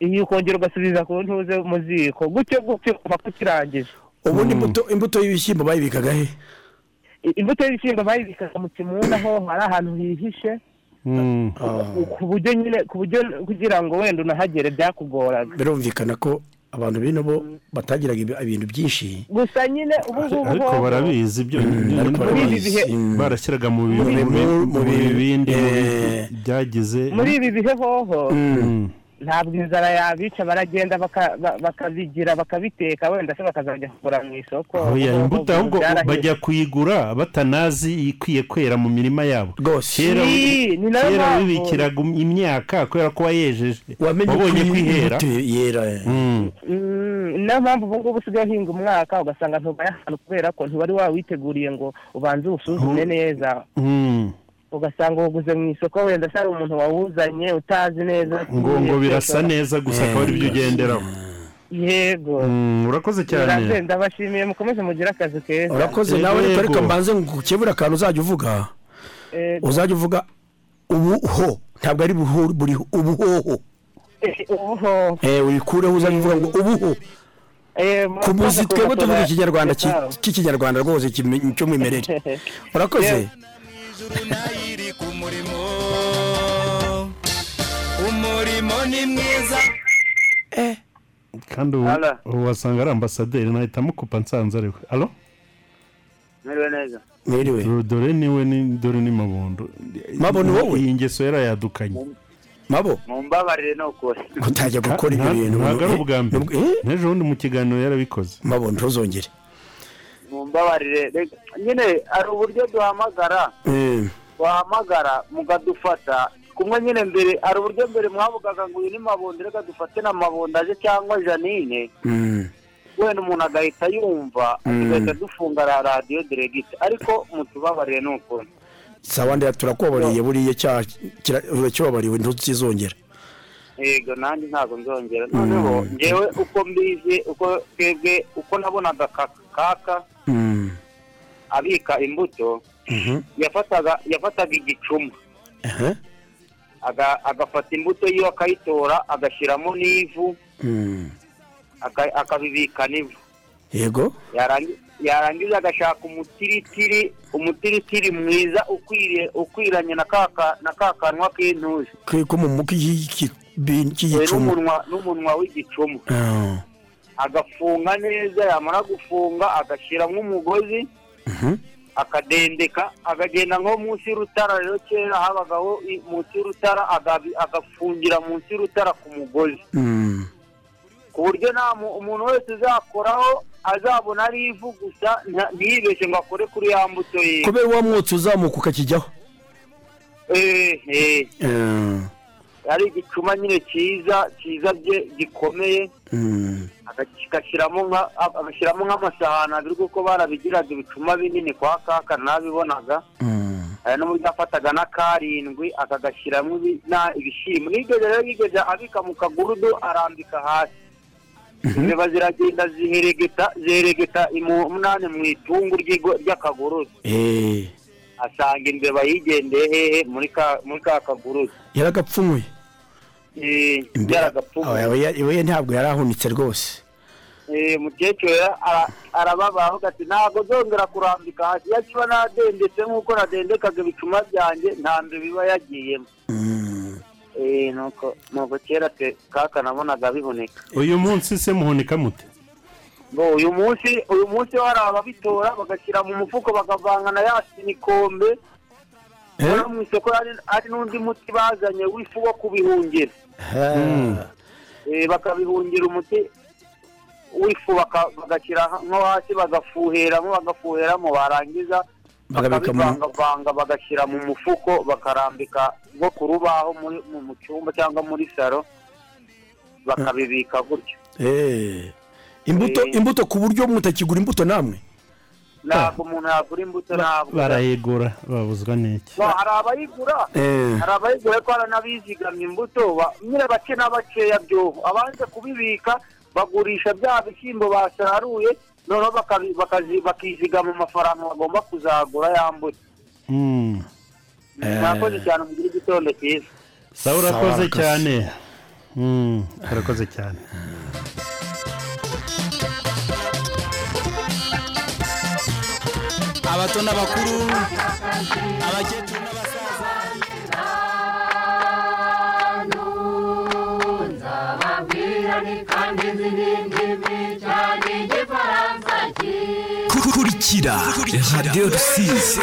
Speaker 11: iyi ukongera ugasubiza ku ntuze mu ziko gutyo gutyo kuva kukirangije
Speaker 5: ubundi imbuto imbuto y'ibishyimbo bayibikaga he
Speaker 11: I- imbuto y'ibishyimbo bayibikaga mu kimunda aho hari ahantu hihishe
Speaker 4: Mm.
Speaker 5: Oh.
Speaker 11: ku buryo nyine ku buryo kugira ngo wenda unahagere byakugoraga
Speaker 5: birumvikana ko abantu bino bo batagiraga ibi- ibintu byinshi
Speaker 11: gusa nyine ubu ngubu
Speaker 4: ariko
Speaker 11: hoho,
Speaker 4: barabizi ibyo
Speaker 5: Eh, ariko
Speaker 11: muri ibi bihe-
Speaker 5: barabizi.
Speaker 4: barashyiraga mu bi-
Speaker 5: Muri-
Speaker 4: mu- mu
Speaker 5: muri-
Speaker 4: bibindi mu bi-
Speaker 5: eh.
Speaker 4: byagize
Speaker 11: muri ibi bihe hoho
Speaker 4: Mm.
Speaker 11: ntabwo inzara yabica baragenda baka- ba- bakabigira bakabiteka wenda se bakazajya kugura mu isoko
Speaker 4: oya
Speaker 11: Ubu-
Speaker 4: imbuto
Speaker 11: ubu
Speaker 4: ahubwo
Speaker 11: byarahise.
Speaker 4: bajya kuyigura batanazi ikwiye kwera mu mirima yabo
Speaker 5: rwose
Speaker 4: kera
Speaker 11: Ni- ni nayo
Speaker 4: kera
Speaker 11: mpamvu.
Speaker 4: bibikiraga imyaka kubera ko wayejeje
Speaker 5: wamenye
Speaker 4: wabonye
Speaker 5: ko
Speaker 4: kwihera
Speaker 5: imbuto yera
Speaker 4: Mm.
Speaker 11: Mm, ni nayo mpamvu ubu ngubu usigaye uhinga umwaka ugasanga ntubaye ahantu kubera ko ntiwari wawiteguriye ngo ubanze uwusuzume neza
Speaker 4: Mm.
Speaker 11: ugasanga uwuguze mu isoko wenda se hari umuntu wawuzanye utazi neza
Speaker 4: ngo ngo birasa neza gusa
Speaker 5: Eh,
Speaker 4: akaba ari byo ugenderaho
Speaker 11: yego
Speaker 4: Mm, urakoze cyane
Speaker 11: Murakoze, ndabashimiye mukomeze mugire akazi keza
Speaker 5: urakoze nawe
Speaker 4: Yego.
Speaker 5: reka reka mbanze ngukebura akantu uzajya uvuga
Speaker 11: Eh,
Speaker 5: uzajya uvuga ubuho ntabwo ari buho buriho ubuhoho
Speaker 11: eh, ubuho
Speaker 5: eh uyikureho uzajya uvuga ngo ubuho
Speaker 11: Eh,
Speaker 5: ku
Speaker 11: murakoze
Speaker 5: muzi twebwe tuvuga
Speaker 11: kubatora-
Speaker 5: ikinyarwanda ki-
Speaker 11: Yego.
Speaker 5: cy'ikinyarwanda rwose kimi- cy'umwimerere
Speaker 11: [LAUGHS]
Speaker 5: urakoze
Speaker 11: Yego.
Speaker 7: ijuru nayiri ku murimo Oh, umurimo ni mwiza
Speaker 4: kandi ubu
Speaker 12: Alo.
Speaker 4: ubu wasanga ari ambasaderi nahita mukupa nsanze ariwe alo
Speaker 12: mwiriwe neza
Speaker 5: mwiriwe
Speaker 4: dore niwe ni dore ni mabondo
Speaker 5: Mabo ni wowe?
Speaker 4: iyi ngeso yarayadukanye
Speaker 5: mabo
Speaker 12: mumbabarire ni ukuri
Speaker 5: utajya gukora ibyo
Speaker 4: Nta-
Speaker 5: bintu
Speaker 4: ntabwo ari
Speaker 5: Eh,
Speaker 4: ubwa mbere
Speaker 5: eh,
Speaker 4: n'ejo bundi mu kiganiro yarabikoze
Speaker 5: mabo ntuzongere
Speaker 12: mumbabarire Reka- nyine hari uburyo duhamagara
Speaker 5: Eh,
Speaker 12: wahamagara mukadufata
Speaker 13: kumwe nyine mbere hari uburyo mbere mwavugaga ngo uyu ni mabondo reka dufate na mabondo aje cyangwa janine wenda umuntu agahita yumva
Speaker 5: Mm.
Speaker 13: tugahita dufunga ra radiyo deregite ariko mutubabarire ni ukuntu
Speaker 5: sawa ndera turakubabariye buriya cyaha kira- urakibabariwe ntuzizongera
Speaker 13: yego nanjye ntabwo nzongera noneho ngewe uko mbizi uko twebwe uko nabonaga kaka kaka
Speaker 5: Mm.
Speaker 13: abika imbuto
Speaker 5: Mhm.
Speaker 13: yafataga yafataga igicuma
Speaker 5: Aha.
Speaker 13: aga- agafata imbuto yiwe akayitora agashyiramo n'ivu
Speaker 5: Mm.
Speaker 13: aka- akabibikana ivu
Speaker 5: yego
Speaker 13: Yarangi- yarangiza agashaka umutiritiri umutiritiri mwiza ukwiriye ukwiranye na kaka na ka kanwa k'intuzi
Speaker 5: ke ko mu muki
Speaker 13: We
Speaker 5: y'igicuma
Speaker 13: n'umunwa n'umunwa w'igicuma
Speaker 5: Eh.
Speaker 13: agafunga neza yamara gufunga agashyiramo umugozi akadendeka akagenda nko munsi y'urutara rero kera habagaho i- munsi y'urutara agabi- agafungira munsi y'urutara ku mugozi ku buryo nta mu- umuntu wese uzakoraho azabona ari ivu gusa nta- ntiyibeshye ngo akore kuri ya mbuto ye
Speaker 5: kubera uwa mwotsi uzamuka ukakijyaho
Speaker 13: Eh, eh.
Speaker 5: Mm.
Speaker 13: ari igicuma nyine cyiza cyiza bye gikomeye
Speaker 5: Mm.
Speaker 13: agashyiramo nka- agashyiramo nk'amasahani abiri kuko barabigiraga ibicuma binini kwa kaka nabibonaga hari n'uburyo afataga n'akarindwi akagashyiramo ibi- na- ibishyimbo nigeze rero yigeze abika mu kagurudu arambika hasi imbeba ziragenda ziheregeta ziheregeta umunani mu itungu ry'igo- ry'akagurudu
Speaker 5: Eh.
Speaker 13: asanga imbeba yigendeye hehe muri ka- muri ka kagurudu
Speaker 5: yaragapfumuye
Speaker 13: Eh, yaragapfuye
Speaker 5: Aba- aba- we ntabwo yari ahunitse rwose
Speaker 13: Eh, mukecuru rero ara- arababara avuga ati ntabwo zongera kurambika hasi iyo kiba nadendetse nk'uko nadendekaga ibicuma byanjye nta mbe biba yagiyemo
Speaker 4: Mm.
Speaker 13: Eh, nuko nuko kera pe kaka nabonaga biboneka
Speaker 4: uyu munsi se muhunika mute
Speaker 13: ngo uyu munsi uyu munsi ho hari ababitora bagashyira mu mufuko bakavanga na ya sinikombe ubona mu isoko hari- hari n'undi muti bazanye w'ifu wo kubihungira Eh, bakabihungira umuti w'ifu baka- bagashyira nko hasi bagafuheramo bagafuheramo barangiza
Speaker 5: Bakabika mu-
Speaker 13: bakabivangavanga bagashyira mu mufuko bakarambika nko ku rubaho muri- mu mu cyumba cyangwa muri saro bakabibika gutyo
Speaker 5: Eh. imbuto imbuto ku buryo mutakigura imbuto namwe
Speaker 13: ntabwo umuntu yagura imbuto ntabwo
Speaker 4: barayigura babuzwa n'iki
Speaker 13: Ba- hari abayigura
Speaker 5: Eh.
Speaker 13: hari abayigura ko hari n'abizigamye imbuto ba- nyine bake na bakeya byobo abanze kubibika bagurisha bya bishyimbo basaruye noneho bakabi- bakazi- bakizigama amafaranga bagomba kuzagura ya mbuto
Speaker 4: Mm.
Speaker 5: Eh.
Speaker 13: mwakoze cyane mugire igitondo cyiza
Speaker 4: sawa urakoze
Speaker 5: Sawa,
Speaker 4: cyane Mm, urakoze cyane
Speaker 3: abato n'abakuru abakecuru n'abasaza kurikira radiyo rusizi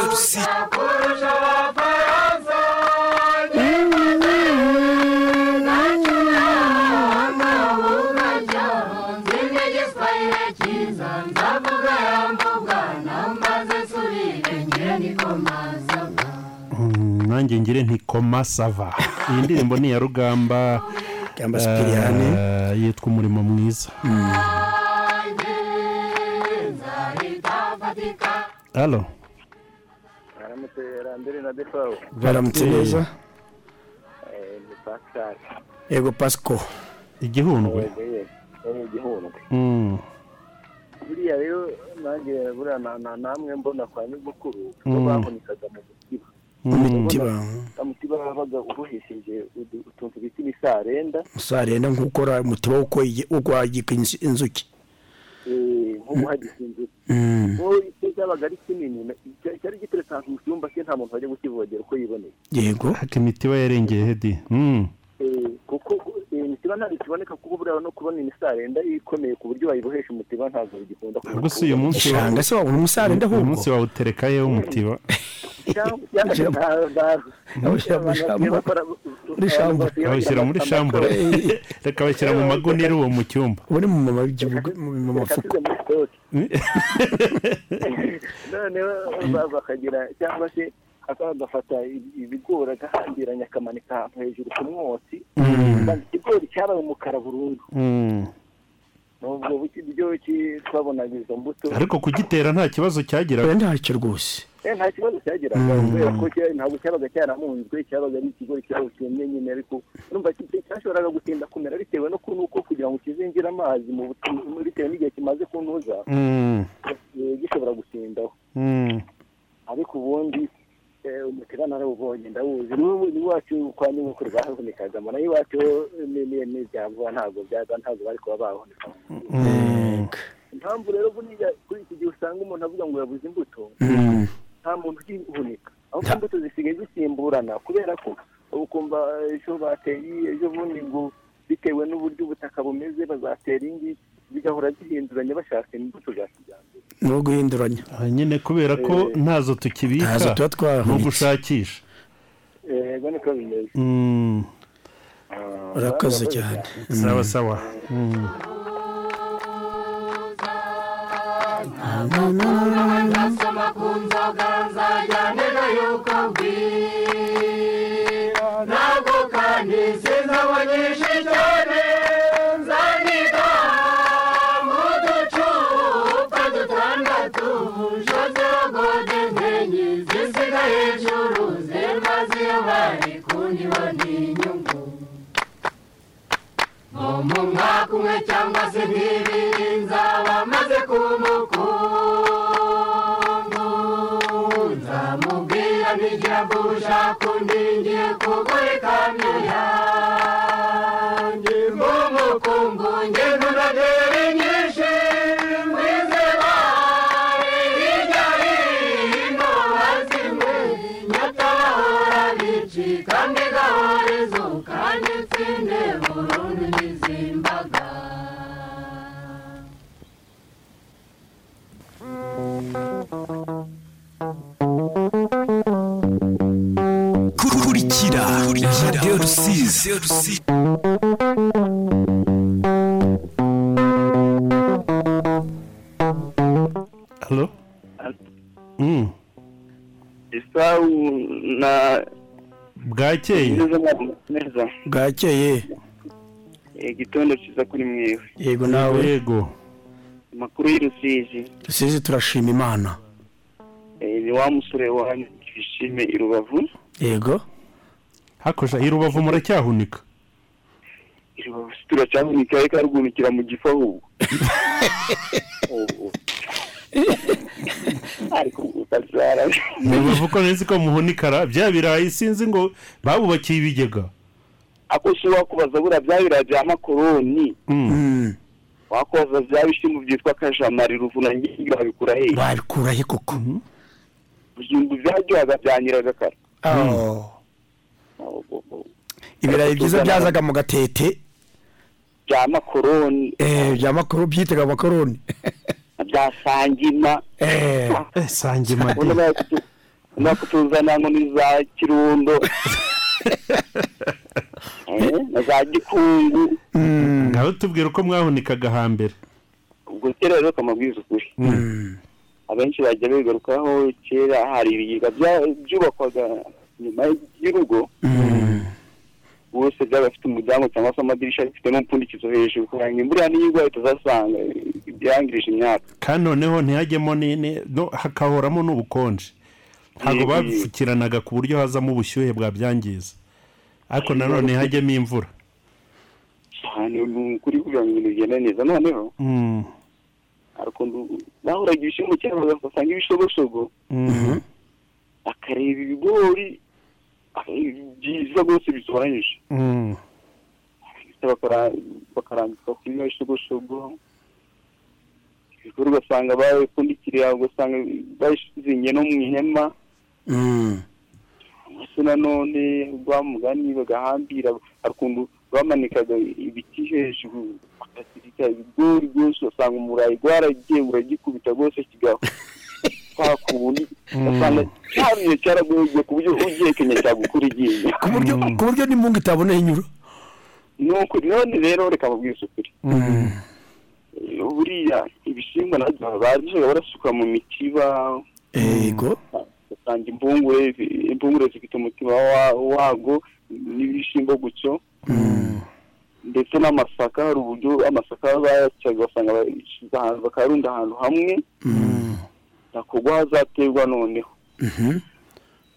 Speaker 4: Mm, nanjye ngire nti koma sava iyi ndirimbo ni iya rugamba
Speaker 5: Rugamba Mm. Sipiriyani.
Speaker 4: eh, yitwa umurimo mwiza [LAUGHS] halo
Speaker 14: Aramutse na defawo.
Speaker 5: baramutse neza
Speaker 14: Eh, Ni Pascal.
Speaker 5: yego pasco
Speaker 4: igihundwe
Speaker 14: Eh, eh, igihundwe.
Speaker 4: Mm,
Speaker 14: Buriya rero nanjye buriya na- na- namwe mbona kwa nyogokuru bo
Speaker 4: Mm.
Speaker 14: bahunikaga mu mutiba.
Speaker 5: Umutiba.
Speaker 14: Wa mutiba wabaga ubohesheje udu- utuntu bita imisarenda.
Speaker 5: usarenda nk'ukora umutiba wo kwege- wo kwagika inzu- inzuki
Speaker 14: eh, nko guhagisinzira
Speaker 5: Mm.
Speaker 14: uwo icyo cyabaga ari kinini na- cya- cyari giteretse ahantu mu cyumba cye nta muntu wajya kukivogera uko yiboneye
Speaker 5: yego
Speaker 4: ariko imitiba yarengeye hedi Mm,
Speaker 14: Eh, kuko eh, imitiba ntabwo ikiboneka kuko buriya no kubona imisarenda ikomeye ku buryo wayibohesha umutiba ntabwo bigikunda
Speaker 4: gusa uyu munsi wa-
Speaker 5: Shanga se wabona umusarenda
Speaker 4: uyu
Speaker 5: ahubwo?
Speaker 4: munsi wawutereka yewe umutiba
Speaker 10: Hum.
Speaker 4: bawushyira muri shambura reka bashyira mu magunira uwo mu cyumba
Speaker 5: ubone mu mama w'igihugu mu mafuko
Speaker 14: noneho ba- bakagira cyangwa se
Speaker 9: agafata ibigori agahambiranya akamanika ahantu hejuru ku mwotsi
Speaker 4: Mm.
Speaker 9: ikigori cyabaye umukara burundu
Speaker 4: Hmm.
Speaker 9: nubwo buryo ki- twabonaga izo mbuto
Speaker 4: ariko kugitera nta kibazo cyagiraga
Speaker 5: ntacyo rwose
Speaker 9: Eh, nta kibazo cyagiraga
Speaker 4: Mm.
Speaker 9: kubera ko cya- ntabwo cyabaga cyaramunzwe cyabaga ari ikigo cyabo cyumye nyine ariko urumva ki- cyashoboraga gutinda kumera bitewe no ku- nuko kugira ngo kizinjire amazi mu butu- bitewe n'igihe kimaze kuntuza
Speaker 4: Mm,
Speaker 9: eh, gishobora gutindaho
Speaker 4: mm.
Speaker 9: ariko ubundi eh, umutegano narawubonye ndawuzi n'ubu iwacu kwa nyamukuru bahahunikagamo nayo iwacu ni- ni- ni ibya vuba ntabwo byaza ntabwo bari kuba bahunika impamvu rero buriya kuri iki gihe usanga umuntu avuga ngo yabuze imbuto nta muntu ugihunika ahubwo imbuto zisigaye zisimburana kubera ko uba ukumva eh, ejo bateye iyi, ejo bundi ngo bitewe n'uburyo ubutaka bumeze bazatera indi zigahora zihinduranya bashaka imbuto za kijyambere
Speaker 5: no guhinduranya
Speaker 4: aha Ah, nyine kubera ko ntazo tukibika
Speaker 5: Ntazo tuba twahunitse.
Speaker 4: ni ugushakisha
Speaker 9: ego niko eh, bimeze
Speaker 4: Mm.
Speaker 5: Urakoze cyane. Hmm.
Speaker 4: sawa sawa Mm.
Speaker 3: Nasoma ku nzoga nzajya niga yuko bwira Ntabwo kandi sinabonyesha cyane Nzandika mu ducupa dutandatu Jozeho gode enye zisiga hejuru Zemaze iyo bari kundiho n'inyungu mu mwaka umwe cyangwa se nk'ibiri nzaba maze kumukundu nzamubwira ntigira mbuja kundi ngiye kugura ikamyo yanjye nk'umukungu nge ntunagere nyinshi mwize bare hirya hino bazimwe nyatabahora bici kandi gahorezo kandi nsinde burundu n'izimbaga kurikira radiyo rusizi
Speaker 4: halo Mm.
Speaker 8: isawu na
Speaker 4: bwakeye
Speaker 8: neza
Speaker 5: bwakeye
Speaker 8: Eh, igitondo cyiza kuri mwewe
Speaker 5: yego nawe
Speaker 4: yego
Speaker 8: amakuru y'urusizi
Speaker 5: rusizi turashima imana
Speaker 8: eh, ni wa musore wanyu twishime i rubavu
Speaker 5: yego
Speaker 4: hakoja i rubavu muracyahunika
Speaker 8: i rubavu si turacyahunika ariko arugunikira mu gifu ahubwo ariko utazara
Speaker 4: mu rubavu ko nzi ko muhunikara bya birayi sinzi ngo babubakiye ibigega
Speaker 8: ako si wakubaza buriya bya birayi bya makoroni
Speaker 5: Mm.
Speaker 8: wakubaza bya bishyimbo byitwa kajamari ruvuna ngiyi babikura hehe
Speaker 5: babikura he koko
Speaker 8: byumbu byaryohaga bya nyiragakara
Speaker 5: Oh. ibirayi byiza byazaga mu gatete
Speaker 8: bya makoroni
Speaker 5: eh bya makoro byitaga makoroni
Speaker 8: bya sangima
Speaker 5: eh
Speaker 4: sangima
Speaker 8: nakutuzana ngo ni za kirundo Eh, na za gikungu
Speaker 5: Mm.
Speaker 4: ngaho tubwira uko mwahunikaga hambere Mm.
Speaker 8: ubwo kera rero kamabwiza ukuri
Speaker 5: Mm.
Speaker 8: abenshi bajya bigarukaho kera hari ibigega bya- byubakwaga nyuma y'urugo bose byaba bifite umuryango cyangwa se amadirishya bifite n'umupfundikizo hejuru kugira ngo imvura niyigwa itazasanga ibyangirije imyaka
Speaker 4: kandi noneho ntihajyemo ni- ni- no, hakahoramo n'ubukonje ntabwo
Speaker 8: Yego.
Speaker 4: babipfukiranaga ku buryo hazamo ubushyuhe bwabyangiza ariko nanone hajyemo imvura
Speaker 8: cyane ni ukuri kugira ngo ibintu bigende neza noneho
Speaker 4: Mm,
Speaker 8: ariko ndu- bahoraga ibishyimbo cyangwa bagasanga ibishogoshogo
Speaker 4: mm.
Speaker 8: akareba ibigori akareba byiza rwose bitoranyije
Speaker 4: Mm.
Speaker 8: ndetse bakara- bakarambika kuri iyo shogoshogo ibikorwa ugasanga babipfundikiriye ugasanga bazingiye no mu ihema ndetse nanone rwa mugani bagahambira hari ukuntu bamanikaga ibiti hejuru bakazirika ibigori rwose ugasanga umurayi rwaragiye uragikubita rwose kigaho kwa kundi ugasanga cyaruye cyaragoye ku buryo ugihekenya cyagukura iryinyo
Speaker 5: ku buryo ku buryo n'imungu itabona inyura
Speaker 8: ni ukuri none rero reka mubwize ukuri
Speaker 5: Mm.
Speaker 8: buriya ibishyimbo nabyo barajyaga barasuka mu mitiba
Speaker 5: yego
Speaker 8: ugasanga kandi impungure impungure zifite umutima wa- wago n'ibishyimbo gutyo ndetse n'amasaka hari uburyo amasaka bayacaga basanga bayashyize ahantu bakarunda ahantu hamwe nakugwa hazaterwa noneho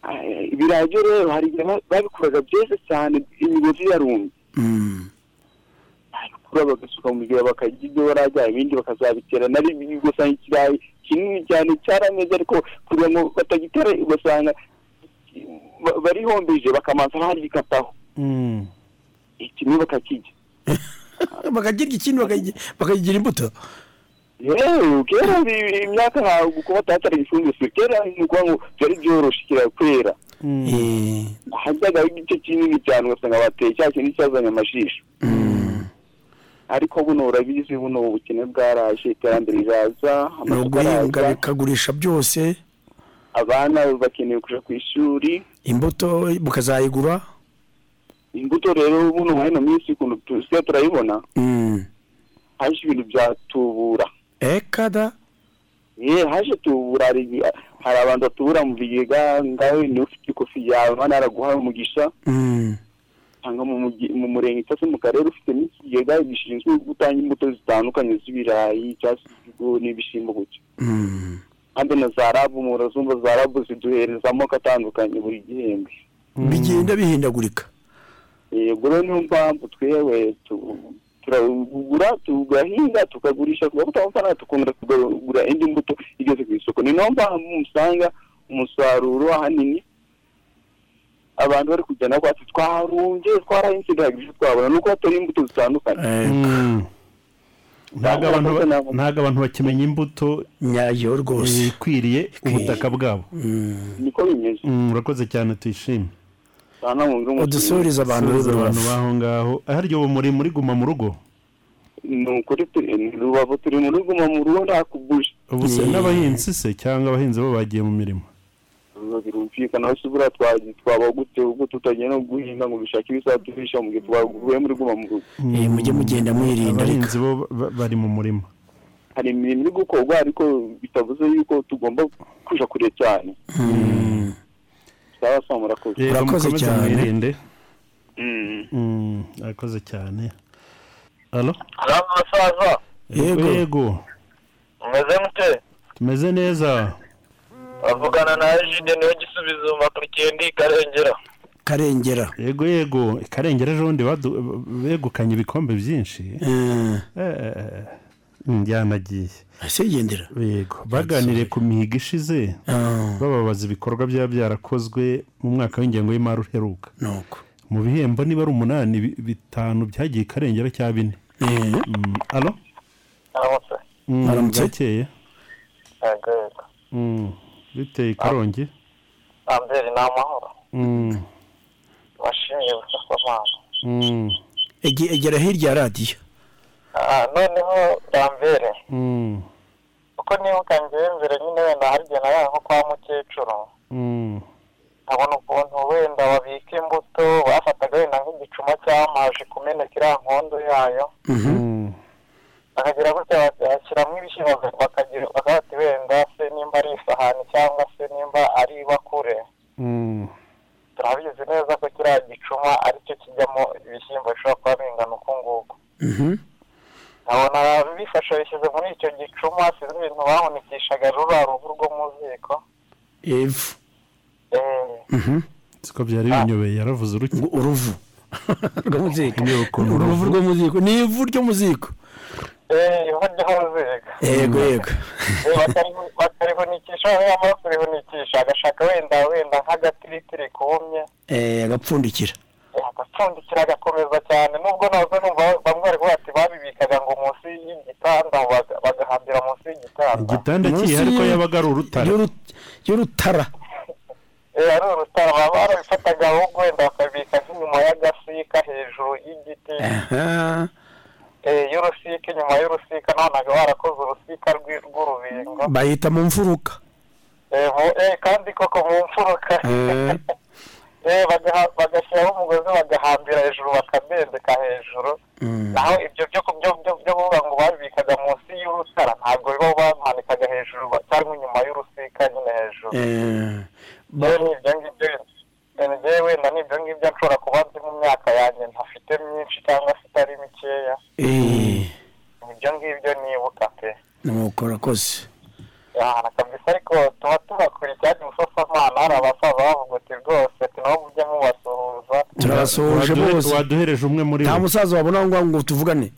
Speaker 8: Aya, ibirayi byo rero hari igihe ba- babikuraga byeze cyane imigozi yarumye babikura bagasuka mu gihe bakajya ibyo barajya ibindi bakazabitera nari ugasanga ikirayi kinini cyane cyarameze ariko kugira ngo batagitera ugasanga ba- barihombeje bakamanza bagikataho ikimwe bakakijya
Speaker 5: bakagirwa ikindi bakagi- bakagira imbuto
Speaker 8: yewe kera bi- imyaka ntabwo kuba batataraga ifumbire si kera ni ukuvuga ngo byari byoroshye ikira kwera hajyaga igice kinini cyane ugasanga bateye cya kintu cyazanye amajisho ariko buno urabizi buno ubukene bwaraje iterambere riraza
Speaker 5: ni
Speaker 8: amasoko
Speaker 5: uguhinga
Speaker 8: araza
Speaker 5: bikagurisha byose
Speaker 8: abana bakeneye kuja ku ishuri
Speaker 5: imbuto mukazayigura
Speaker 8: imbuto rero buno muri ino minsi ukuntu tusigaye turayibona haje ibintu bya tubura
Speaker 5: ekada
Speaker 8: ye haje tubura hari ibi- hari abantu batubura mu bigega ngawe niwe ufite ikofi yawe abana araguha umugisha cyangwa mu mugi- mu murenge cyangwa se mu karere ufitemo ikigega gishinzwe gutanga imbuto zitandukanye z'ibirayi cyangwa se ibigori n'ibishyimbo gutyo kandi na za rabu murazumva za rabu ziduhereza amoko atandukanye buri gihembwe
Speaker 5: bigenda bihindagurika
Speaker 8: yego rero niyo mpamvu twewe tu- turagura tugahinga tukagurisha tugabuta amafaranga tukongera tukagura indi mbuto igeze ku isoko ni nayo mpamvu usanga umusaruro ahanini abantu bari kugenda bavuga ati twarumbye twarahinze duhagije twabona nuko hatari imbuto zitandukanye
Speaker 4: Eh. ntabwo Mm. abantu ba- ntabwo abantu bakimenya imbuto
Speaker 5: nyayo rwose
Speaker 4: ikwiriye ubutaka bwabo
Speaker 8: niko bimeze
Speaker 4: Mm, urakoze cyane tuyishime
Speaker 5: udusuhurize abantu
Speaker 4: Suhuza
Speaker 5: b'i
Speaker 4: abantu
Speaker 5: Rubavu.
Speaker 4: baho ngaho hari ubu muri muri guma mu rugo
Speaker 8: ni ukuri turi ni rubavu turi mu rugo mu rugo ntakuguje
Speaker 4: ubu se n'abahinzi se cyangwa abahinzi bo bagiye mu mirimo
Speaker 8: biba birumvikana aho buriya twagiye twaba gute ubwo tutagiye no guhinga ngo dushake ibizaturisha mu gihe twaguye muri guma mu rugo
Speaker 5: mujye mugenda mwirinda
Speaker 4: abahinzi bo ba- bari mu murima
Speaker 8: hari imirimo iri gukorwa ariko bitavuze yuko tugomba kuja kure cyane
Speaker 5: Mm.
Speaker 8: sawa sawa murakoze
Speaker 4: Yego, mukomeze mwirinde
Speaker 8: Mm.
Speaker 4: Mm, urakoze cyane alo
Speaker 15: Halo musaza,
Speaker 4: yego yego
Speaker 15: umeze mute?
Speaker 4: tumeze neza
Speaker 15: Avugana na Ajide niwe gisubizo makurikiye ndi Karengera.
Speaker 5: karengera
Speaker 4: yego yego karengera ejo bundi badu- begukanye ibikombe byinshi Eh, njyanagiye
Speaker 5: ese yigendera
Speaker 4: yego baganiriye ku mihigo ishize
Speaker 5: Ah.
Speaker 4: bababaza ibikorwa byaba byarakozwe mu mwaka w'ingengo y'imari uheruka
Speaker 5: nuko
Speaker 4: mu bihembo niba ari umunani bi- bitanu byagiye karengera cya bine
Speaker 5: Eh.
Speaker 4: Mm, alo
Speaker 15: Aramutse.
Speaker 4: Mm,
Speaker 15: Aramutse.
Speaker 4: bwakeye
Speaker 15: Yego yego.
Speaker 4: Mm, biteye karongi
Speaker 15: Ambere ni amahoro.
Speaker 4: Mm,
Speaker 15: Washimiye ubufasha mpano.
Speaker 4: mm,
Speaker 5: Ege- egera hirya ya radiyo
Speaker 15: Ah, noneho Ambere,
Speaker 4: mm,
Speaker 15: uko nibuka njyewe mbere nyine wenda hari igihe nabaye nko kwa mukecuru.
Speaker 4: mm,
Speaker 15: nkabona ukuntu wenda babika imbuto bafataga wenda nk'igicuma cy'amazi kumeneka iriya nkondo yayo
Speaker 5: Hmm.
Speaker 4: mm,
Speaker 15: bakagira gutya bashyiramo ibishyimbo bakagira bakaba bati wenda se nimba ari isahani cyangwa se nimba ari ibakure
Speaker 4: mm,
Speaker 15: turabizi neza ko kiriya gicuma aricyo kijyamo ibishyimbo bishobora kuba bingana uku nguku nkabona bifashe bishyize muri icyo gicuma sinzi ibintu bahunikishaga ruriya ruhu rwo mu ziko
Speaker 5: evu
Speaker 15: Eh,
Speaker 4: siko byari binyobeye yaravuze uruki
Speaker 5: uruvu uruvu rwo mu ziko ni ivu ryo mu ziko
Speaker 15: eh, ivu ryo mu ziko Eh,
Speaker 5: yego yego
Speaker 15: bakarihunikisha bamara kurihunikisha agashaka wenda wenda nk'agatiritiri kumye
Speaker 5: Eh, agapfundikira
Speaker 15: agapfundikira agakomeza cyane nubwo nabwo numva bamwe bari kuvuga ati babibikaga ngo munsi y'igitanda baga- bagahambira munsi y'igitanda
Speaker 4: igitanda kiyihe ariko yabaga ari urutare
Speaker 5: y'urutara
Speaker 15: Eh, ari urutara baba barabifataga ahubwo wenda bakabibika nk'inyuma y'agasika hejuru y'igiti Eh, y'urusika inyuma y'urusika nonaga barakoze urusika rw'i- rw'urubingo
Speaker 5: bayita mu mfuruka
Speaker 15: Eh, mu- eh, kandi koko mu mfuruka Eh, bagaha- bagashyiraho umugozi bagahambira hejuru bakamendeka hejuru naho ibyo byo kubyo byo byo kuvuga ngo babikaga munsi
Speaker 3: Eh,
Speaker 15: y'urutara ntabwo biba bamanikaga hejuru ba- cyangwa inyuma y'urusika nyine hejuru yewe ibyo ngibyo njyewe wenda ni ibyo ngibyo nshobora kuba nzi mu myaka yanjye ntafite myinshi cyangwa se itari mikeya
Speaker 5: eh.
Speaker 15: ibyo ngibyo nibuka pe
Speaker 5: nuko urakoze
Speaker 15: aha kabisa ariko tuba tubakurikiye umusosamana hari abasaza bavuga uti rwose tunaho mujye mubasuhuza
Speaker 5: turabasuhuje
Speaker 4: Waduhe-
Speaker 5: bose
Speaker 4: waduhereje umwe muri
Speaker 5: nta
Speaker 4: bo
Speaker 5: musaza wabona ngo ngo tuvugane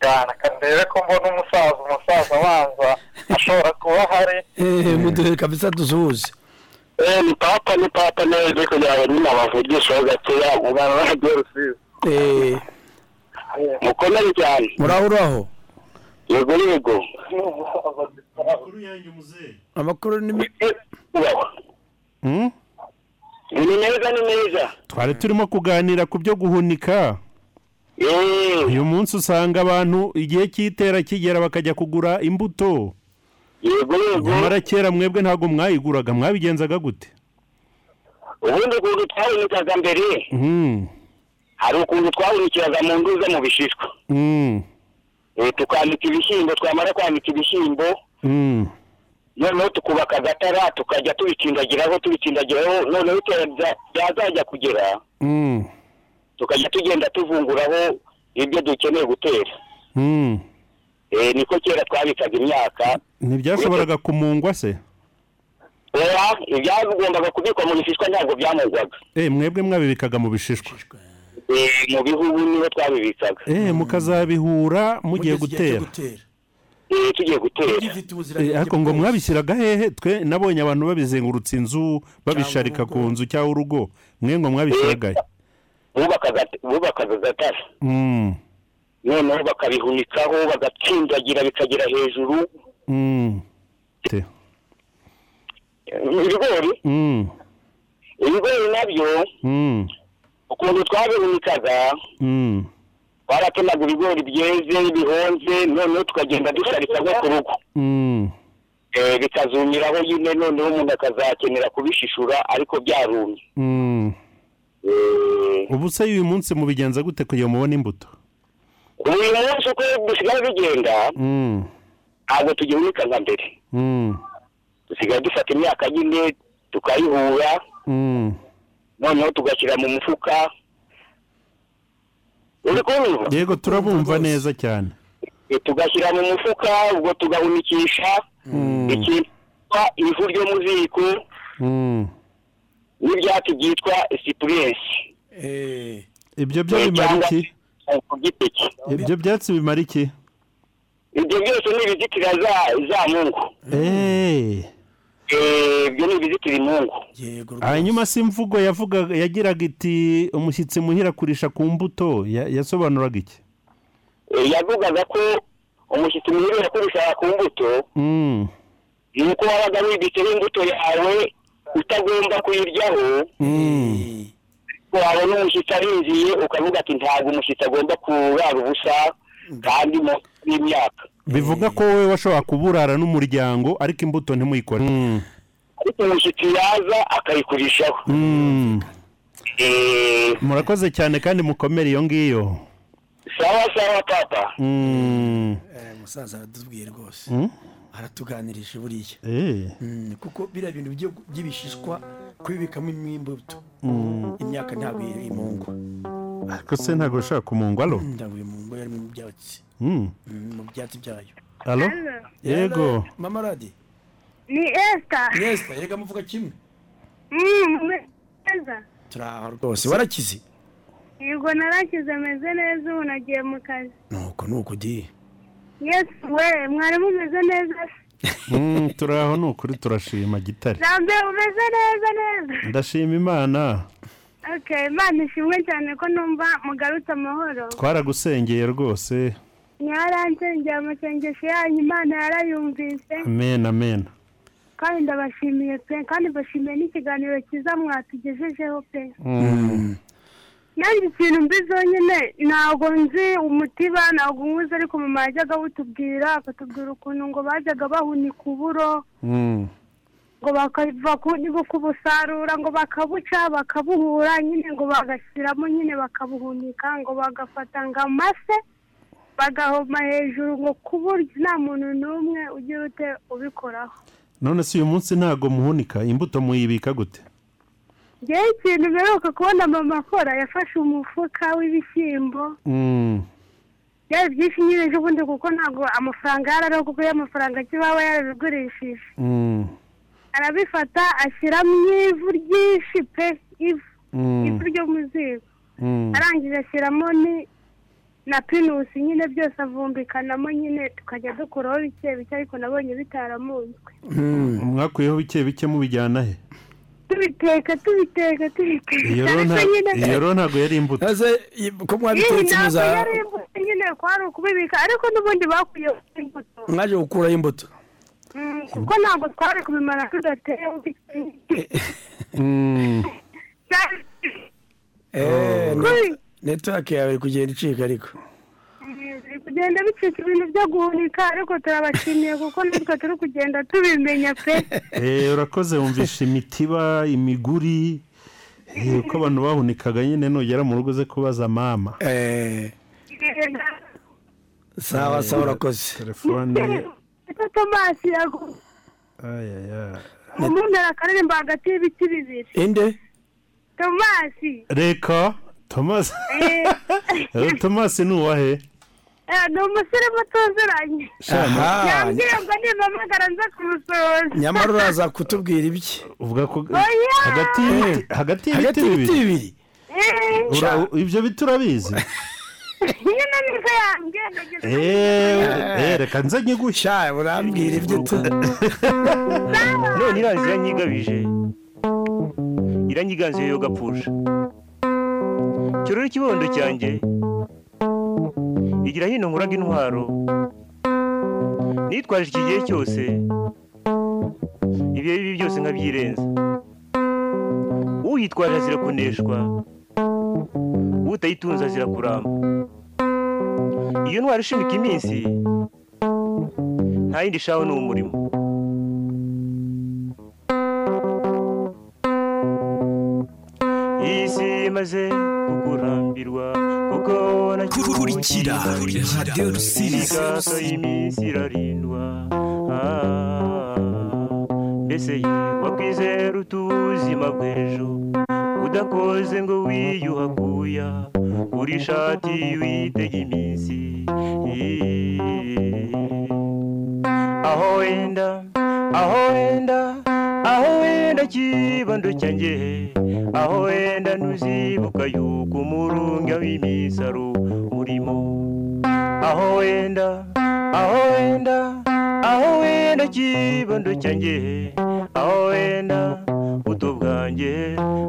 Speaker 15: reka ndebe ko mbona umusaza umusaza abanza ashobora kuba ahari
Speaker 4: Eh.
Speaker 5: eee Eh, muduhe kabisa dusuhuze
Speaker 16: Eh, ni papa ni papa nawe uri kugira ngo nyine abavugisheho gakeya umwana wagiye rusizi
Speaker 5: eee
Speaker 16: mukomere cyane
Speaker 5: muraho uraho
Speaker 16: yego yego
Speaker 5: amakuru ni me-
Speaker 4: Hmm?
Speaker 16: ni meza ni meza
Speaker 4: twari turimo kuganira ku byo guhunika uyu munsi usanga abantu igihe cy'itera kigera bakajya kugura imbuto nyamara kera mwebwe ntabwo mwayiguraga mwabigenzaga gute
Speaker 16: ubundi ukuntu twabonekaga mbere
Speaker 4: Hmm.
Speaker 16: hari ukuntu twabonekeraga mu nduza mu bishishwa
Speaker 4: Hmm.
Speaker 16: Eh, tukanika ibishyimbo twamara kwanika ibishyimbo
Speaker 4: Hmm.
Speaker 16: noneho tukubaka agatara tukajya tubitsindagiraho tubitsindagiraho noneho iterambere rya- ryazajya kugera
Speaker 4: Hmm.
Speaker 16: tukajya tugenda tuvunguraho ibyo dukeneye gutera
Speaker 4: Hmm.
Speaker 16: Eh, niko kera twabikaga imyaka
Speaker 4: ntibyashoboraga kumungwa se
Speaker 16: oya ibyagombaga kubikwa mu bishishwa ntabwo byamugwaga
Speaker 4: Eh, mwebwe mwabibikaga mu bishishwa
Speaker 16: Eh, mu bihugu niho twabibikaga
Speaker 4: Eh, mukazabihura mugiye gutera
Speaker 16: Eh, tugiye gutera
Speaker 4: Eh, ariko ngo mwabishyiraga hehe twe nabonye abantu babizengurutse inzu babisharika ku nzu cyangwa urugo mwe ngo mwabishyiraga he
Speaker 16: bubakaga bubakaga agatara
Speaker 4: Mm,
Speaker 16: noneho bakabihunikaho bagatsindagira bikagera hejuru
Speaker 4: mm, te,
Speaker 16: ibigori
Speaker 4: mm,
Speaker 16: ibigori nabyo
Speaker 4: mm,
Speaker 16: ukuntu twabihunikaga
Speaker 4: mm.
Speaker 16: twaratemaga ibigori byeze bihonze noneho tukagenda dusharika nko ku rugo
Speaker 4: Mm,
Speaker 16: Eh, bikazumiraho nyine noneho umuntu akazakenera kubishishura ariko byarumye
Speaker 4: mm. ubu se uyu munsi mubigenza gute kugira mubone imbuto
Speaker 16: uyu munsi uko dusigaye bigenda
Speaker 4: Mm,
Speaker 16: ntabwo tugihunika nka mbere
Speaker 4: mm,
Speaker 16: dusigaye dufata imyaka nyine tukayihura
Speaker 4: mm.
Speaker 16: noneho tugashyira mu mufuka uri kumva
Speaker 4: yego turabumva neza cyane
Speaker 16: Eh, tugashyira mu mufuka ubwo tugahunikisha
Speaker 4: Hmm.
Speaker 16: icyitwa ivu ryo mu ziko
Speaker 4: Mm.
Speaker 16: n'ibyatsi byitwa sipuresi
Speaker 4: ibyo byo bimara iki
Speaker 16: ku giteke
Speaker 4: ibyo byatsi bimara iki
Speaker 16: ibyo byose ni ibizitira za za mungu
Speaker 4: Eh,
Speaker 16: Eh, ibyo ni ibizitira imungu
Speaker 4: hanyuma si imvugo yavuga yagiraga iti umushyitsi muhira kurisha ku mbuto ya- yasobanuraga iki
Speaker 16: Eh, yavugaga ko umushyitsi mwiza yakoreshaga ku mbuto
Speaker 4: Mm,
Speaker 16: ni uko wabaga wibitseho imbuto yawe utagomba kuyiryaho
Speaker 4: mm.
Speaker 16: ko wabona umushyitsi arinjiye ukavuga ati ntabwo umushyitsi agomba kurara ubusa kandi mu y'imyaka
Speaker 4: bivuga ko wowe washobora kuburara n'umuryango ariko imbuto ntimuyikore
Speaker 16: ariko umushyitsi yaza akayikurishaho
Speaker 4: Mm.
Speaker 16: Eh,
Speaker 4: murakoze cyane kandi mukomere iyo ngiyo
Speaker 16: sawa sawa papa
Speaker 4: Mm.
Speaker 5: umusaza aradubwiye Eh, rwose
Speaker 4: Mm?
Speaker 5: aratuganirije buriya
Speaker 4: Eh.
Speaker 5: Mm, kuko biriya bintu byo- by'ibishishwa kubibikamo imbuto
Speaker 4: Mm.
Speaker 5: imyaka ntabwo iri imungwa
Speaker 4: ariko se ntabwo ushaka kumungwa alo
Speaker 5: ntabwo iri mungwa yari Mm, mu byatsi
Speaker 4: Mm.
Speaker 5: Mm, mu byatsi byayo
Speaker 4: alo yego
Speaker 5: Hello, mama radi
Speaker 17: ni esita
Speaker 5: yesita yega muvuga kimwe
Speaker 17: Mm, neza
Speaker 5: turi aha rwose warakize
Speaker 17: yego narakize ameze neza ubu nagiye mu kazi
Speaker 5: nuko nuko ugiye
Speaker 17: yesi we mwarimu umeze neza
Speaker 4: Mm, turi aho ni ukuri turashima gitare
Speaker 17: zambe umeze neza neza
Speaker 4: ndashima imana
Speaker 17: ok imana ishimwe cyane ko numva mugarutse amahoro
Speaker 4: twaragusengeye rwose
Speaker 17: mwaransengeye amasengesho yanyu imana yarayumvise
Speaker 4: amen amen
Speaker 17: kandi ndabashimiye pe kandi mbashimiye n'ikiganiro cyiza mwatugejejeho pe
Speaker 4: Mm.
Speaker 17: nanjye ikintu mbi zonyine ntabwo nzi umutiba ntabwo nywuzi ariko mama yajyaga awutubwira akatubwira ukuntu ngo bajyaga bahunika uburo
Speaker 4: Mm.
Speaker 17: ngo bakava ku- kubusarura ngo bakabuca bakabuhura nyine ngo bagashyiramo nyine bakabuhunika ngo bagafata ngo amase bagahoma hejuru ngo ku buryo nta muntu n'umwe ugira ute ubikoraho
Speaker 4: none se uyu munsi ntabwo muhunika imbuto muyibika gute
Speaker 17: ngewe ikintu mperuka kubona mama akora yafashe umufuka w'ibishyimbo
Speaker 4: Mm.
Speaker 17: byari byinshi nyine ubundi kuko ntabwo amafaranga yararogoye amafaranga akibaba yarabigurishije
Speaker 4: Mm.
Speaker 17: arabifata ashyiramo ivu ryinshi pe ivu
Speaker 4: Mm.
Speaker 17: ivu ryo mu ziko
Speaker 4: Mm.
Speaker 17: arangije ashyiramo ni na pinusi nyine byose avumbikanamo nyine tukajya dukuraho bike bike ariko nabonye bitaramunzwe
Speaker 5: Hmm.
Speaker 4: mwakuyeho bike bike mubijyana he
Speaker 17: tubiteka tubiteka
Speaker 4: iyo
Speaker 17: tubiteka
Speaker 4: rero
Speaker 17: ariko
Speaker 4: nta-
Speaker 17: nyine
Speaker 4: iyo rero ntabwo yari imbuto
Speaker 5: ko
Speaker 17: Iyi
Speaker 5: mwabitetse
Speaker 17: ntabwo
Speaker 5: muza
Speaker 17: yari imbuto nyine kwari ukubibika ariko n'ubundi bakuye imbuto
Speaker 5: mwaje gukuraho imbuto
Speaker 17: Mm, kuko ntabwo twari kubimara tudateye
Speaker 18: Mm.
Speaker 5: [LAUGHS] Eh,
Speaker 18: Oh.
Speaker 5: net- network yawe iri kugenda icika ariko
Speaker 17: biri kugenda bicika ibintu byo guhunika ariko turabashimiye kuko natwe turi kugenda tubimenya pe
Speaker 4: Eh, urakoze wumvisha imitiba imiguri eh, uko abantu bahunikaga nyine nugera mu rugo uze kubaza mama
Speaker 5: Eh, sawa sawa urakoze
Speaker 4: Eh, telefone
Speaker 17: Ese tomasi yagu-
Speaker 4: ayaya
Speaker 17: umuntu arakaririmba hagati y'ibiti bibiri
Speaker 5: inde
Speaker 17: tomasi
Speaker 4: reka
Speaker 17: [LAUGHS]
Speaker 4: tomasi
Speaker 17: eh,
Speaker 4: Eh, tomasi ni uwahe
Speaker 17: eh, ni umusore mutuzuranye
Speaker 4: Aha.
Speaker 17: yambwiye ngo nimpamagara nza kumusoza
Speaker 5: nyamara uraza kutubwira Eh, ibiki
Speaker 4: uvuga ko
Speaker 17: Oya!
Speaker 4: hagati y'ibiti- hagati y'ibiti bibiri
Speaker 17: Eh,
Speaker 4: Ura- ibyo biti urabizi
Speaker 17: nyine niko yambwiye ngo njye
Speaker 4: Eh, eh, reka nze nyigushya
Speaker 5: urambwira ibyo tu
Speaker 6: none irazi iranyigabije iranyiganze yo gapfusha kirore ikibondo cyanjye igira hino nkuraga intwaro nitwaje iki gihe cyose ibihe bibi byose nkabyirenza uyitwaje azira kuneshwa utayitunze azira kuramba iyo ntwaro ishimika iminsi nta yindi shaho ni umurimo isi imaze kukurambirwa kuko
Speaker 19: kurikira radiyo rusizi
Speaker 6: imigaso y'iminsi irarindwa Ah, mbese wakwizera utuzima bw'ejo udakoze ngo wiyuhakuya uri ishati witega iminsi aho wenda aho wenda aho wenda kibando cyanjye aho wenda ntuzibuka yuko umurunga w'imisaro urimo aho wenda aho wenda aho wenda kibando cyanjye aho wenda buto bwanjye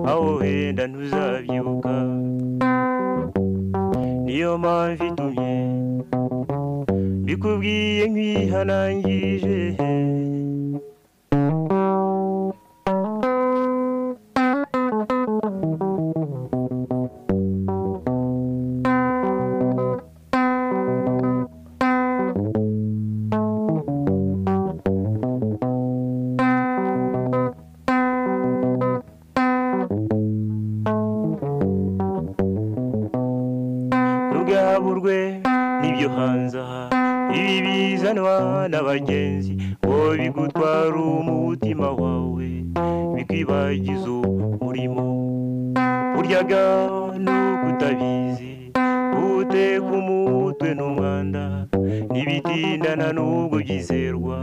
Speaker 6: aho wenda ntuzabyibuka niyo mpamvu itumye mbikubwiye nkwihanangije ntugaburwe n'ibyo hanze aha ibi bizanwa n'abagenzi ngo bigutwara umutima wawe bikwibagiza umurimo buryaga nuko utabizi uteka umutwe n'umwanda ntibitindana n'ubwo byizerwa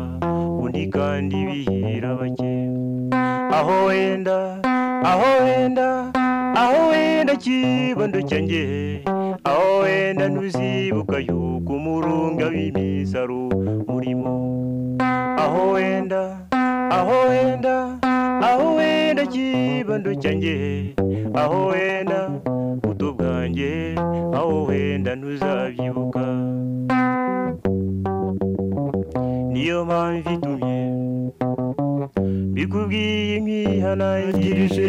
Speaker 6: undi kandi bihira bake aho wenda aho wenda aho wenda kibondo cyanjye aho wenda ntuzibuka yuko umurunga w'imisaro urimo aho wenda aho wenda aho wenda kibondo cyanjye aho wenda buto bwanjye aho wenda ntuzabyibuka niyo mpamvu itumye bikubwiye nkwihanangirije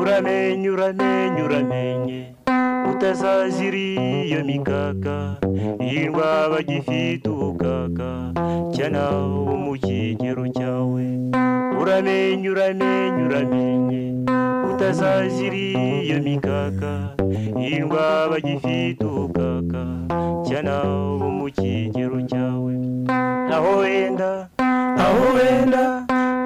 Speaker 6: uramenye uramenye uramenye
Speaker 18: iyo mikaka yirwa bagifite ubukaka cyana ubu mu kigero cyawe uramenye uramenye uramenye utazazira iyo mikaka yirwa bagifite ubukaka cyana ubu mu kigero cyawe aho wenda aho wenda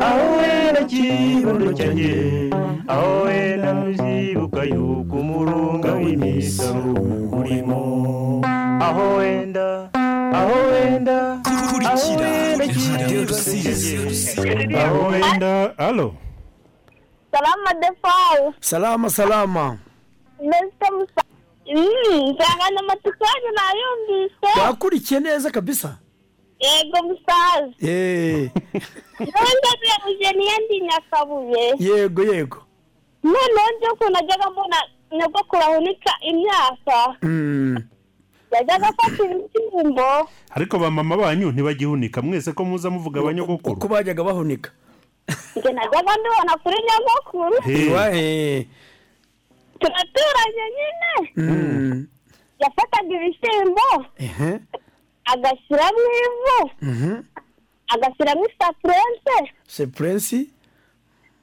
Speaker 18: aho wenda kibondo cyanjye aho wenda muzibuka yuko umurunga w'imisaro urimo aho wenda aho wenda aho wenda kibondo cyanjye aho wenda
Speaker 4: alo
Speaker 20: salama defawu
Speaker 5: salama salama
Speaker 20: mbese musa Mm, insanganyamatsiko yanyu nayumvise
Speaker 5: bakurikiye neza kabisa
Speaker 20: yego musaza
Speaker 5: Eh,
Speaker 20: nondabiye mujeniye ndi nyakabuye
Speaker 5: yego yego
Speaker 20: noneho nzi ukuntu najyaga mbona nyogokuru ahunika imyaka
Speaker 4: Mm.
Speaker 20: yajyaga afata ibishyimbo
Speaker 4: ariko ba mama banyu ntibagihunika mwese ko muza muvuga abanyogokuru
Speaker 5: uko bajyaga bahunika
Speaker 20: njye najyaga ndibona kuri nyogokuru turaturanye nyine
Speaker 5: Mm.
Speaker 4: Mm.
Speaker 20: yafataga ibishyimbo
Speaker 5: Uh-huh.
Speaker 20: agashyiramo ivu agashyiramo isapurense
Speaker 5: se purensi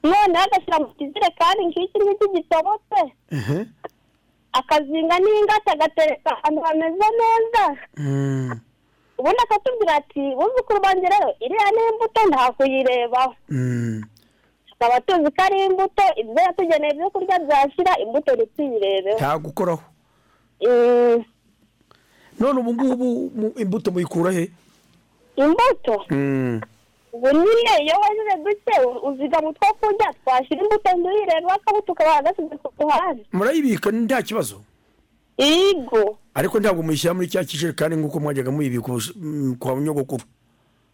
Speaker 20: noneho agashyira mu kizerekani ngiki ngiki gitobotse
Speaker 15: Eh.
Speaker 20: akazinga n'ingata agatereka ahantu hameze neza ubundi akatubwira ati buzukuru banjye rero iriya ni imbuto nta kuyirebaho tukaba tuzi ko ari imbuto ibyo yatugeneye ibyo kurya byashyira imbuto ntituyirebeho
Speaker 5: ntagukoraho none ubu ngubu mu- imbuto muyikura he
Speaker 20: imbuto
Speaker 4: Mm.
Speaker 20: ubu nyine iyo wejeje duke uzigama utwo kurya twashyira imbuto ntuyirebe akabuto ukaba wagasize ku ruhande
Speaker 5: murayibika nta kibazo
Speaker 20: yego
Speaker 5: ariko ntabwo muyishyira muri cya kijerekani nk'uko mwajyaga muyibika ubus- mm, kwa nyogokuru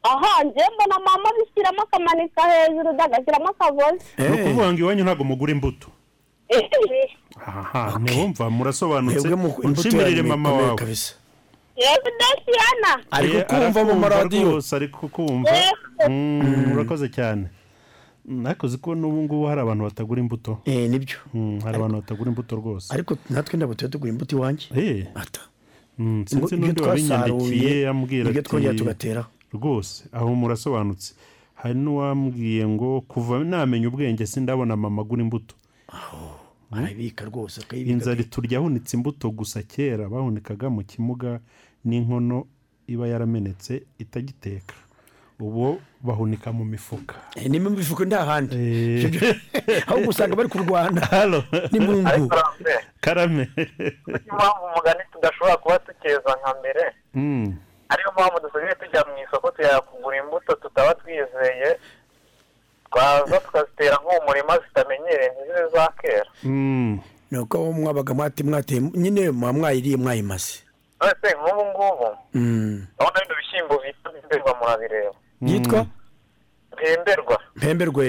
Speaker 20: aha njyewe mbona mama abishyiramo akamanika hejuru dagashyiramo akagozi
Speaker 4: ni ukuvuga ngo iwanyu ntabwo mugura imbuto aha ntiwumva murasobanutse
Speaker 5: Mwebwe mu- imbuto
Speaker 4: unshimirire
Speaker 5: yanyu
Speaker 4: mama
Speaker 5: ikomeye
Speaker 4: wawe
Speaker 20: yego udashyirana
Speaker 5: Ariko
Speaker 4: Eh,
Speaker 5: kumva mu
Speaker 4: arakumva
Speaker 5: maradiyo.
Speaker 4: rwose ari kukumva
Speaker 20: Yego.
Speaker 4: Mm, urakoze cyane ntakoze ko n'ubu ngubu hari abantu batagura imbuto
Speaker 5: Eh, nibyo
Speaker 4: Oh. Mm, hari abantu batagura imbuto rwose
Speaker 5: ariko natwe ntabwo tuba tugura imbuto iwanjye ata
Speaker 4: sinzi
Speaker 5: Ngo
Speaker 4: n'undi
Speaker 5: ibyo
Speaker 4: wabinyandikiye
Speaker 5: twasaruye,
Speaker 4: yambwira
Speaker 5: nibyo twongera tugateraho.
Speaker 4: rwose aho murasobanutse hari n'uwambwiye ngo kuva namenya ubwenge sindabona mama agura imbuto Mm.
Speaker 5: arabika rwose
Speaker 4: inzara iturya ahunitse imbuto gusa kera bahunikaga mu kimuga n'inkono iba yaramenetse itagiteka ubu bahunika mu mifuka
Speaker 5: Eh,
Speaker 4: Eh.
Speaker 5: ni mu mifuka nta handi [LAUGHS] ahubwo usanga bari kurwana ni mu nzu
Speaker 4: karame
Speaker 15: niyo mpamvu umugani tudashobora kuba tukeza nka mbere
Speaker 4: Mm.
Speaker 15: ariyo mpamvu dusigaye tujya mu isoko tujya kugura imbuto tutaba twizeye twaza tukazitera nko mu murima zitamenyereye ntizibe zakera
Speaker 4: Mm.
Speaker 5: ni uko abo mwabaga mwate mwateye nyine muba mwayiriye mwayimaze
Speaker 15: none nk'ubu ngubu
Speaker 5: Mm.
Speaker 15: urabona bino bishyimbo bita bimberwa murabireba
Speaker 4: Mm.
Speaker 5: yitwa
Speaker 15: bimberwa
Speaker 5: mpemberwe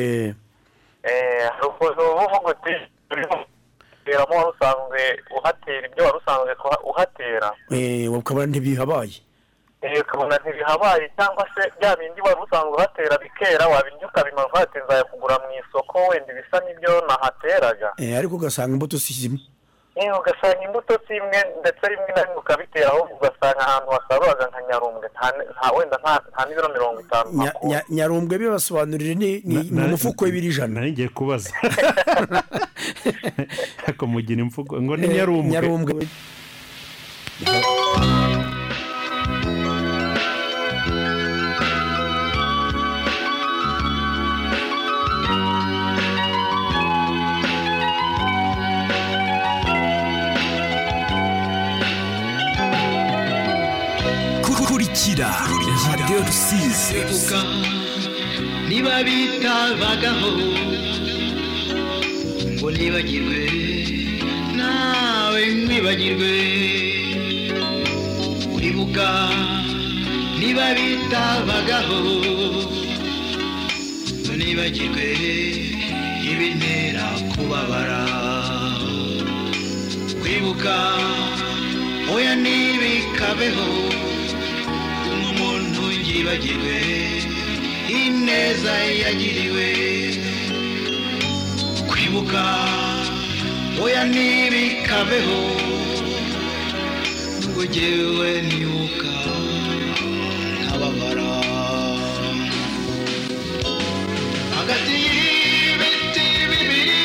Speaker 15: Eh, hari ukuntu uba uvuga uti uteramo wari usanzwe uhatera ibyo wari usanzwe kuha- uhatera
Speaker 5: eh, ukabona ntibihabaye
Speaker 15: Eh, ukabona ntibihabaye cyangwa se bya bindi wari usanzwe uhatera bikera wabirya ukabimara ukahatera nzajya kugura mu isoko wenda ibisa n'ibyo nahateraga
Speaker 5: Eh, ariko ugasanga imbuto si zimwe
Speaker 15: Eh, ugasanga imbuto si imwe ndetse rimwe na rimwe ukabiteraho ugasanga ahantu wasaruraga nka nyarumbwe nta- nta- wenda nta- nta n'ibiro mirongo itanu
Speaker 5: Nya- nya- nyarumbwe bibasobanurire ni ni ni umufuko w'ibiri ijana
Speaker 4: nari ngiye kubaza [LAUGHS] ariko mugira imvugo ngo ni nyarumbwe
Speaker 5: Eh, nyarumbwe
Speaker 19: kurikira radiyo rusizi
Speaker 10: niba bitabagaho ngo nibagirwe nawe nkwibagirwe uribuka niba bitabagaho ngo nibagirwe ibintera kubabara kwibuka oya ntibikabeho umuntu yibagirwe ineza yagiriwe kwibuka oya ntibikabeho ahubwo jyewe nibuka nkababara hagati y'ibiti bibiri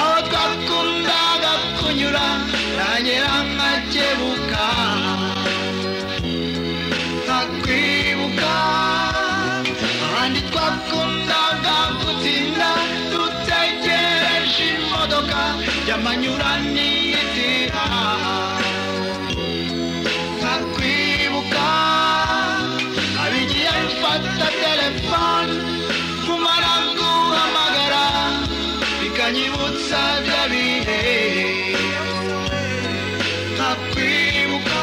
Speaker 10: aho twakundaga kunyura nanyera nkakebuka nkakwibuka ahandi twakundaga gutinda dutegereje imodoka y'amanyuraniyitira nkakwibuka abigiye mfata telefone kumara guhamagara bikanyibutsa bya bihe nkakwibuka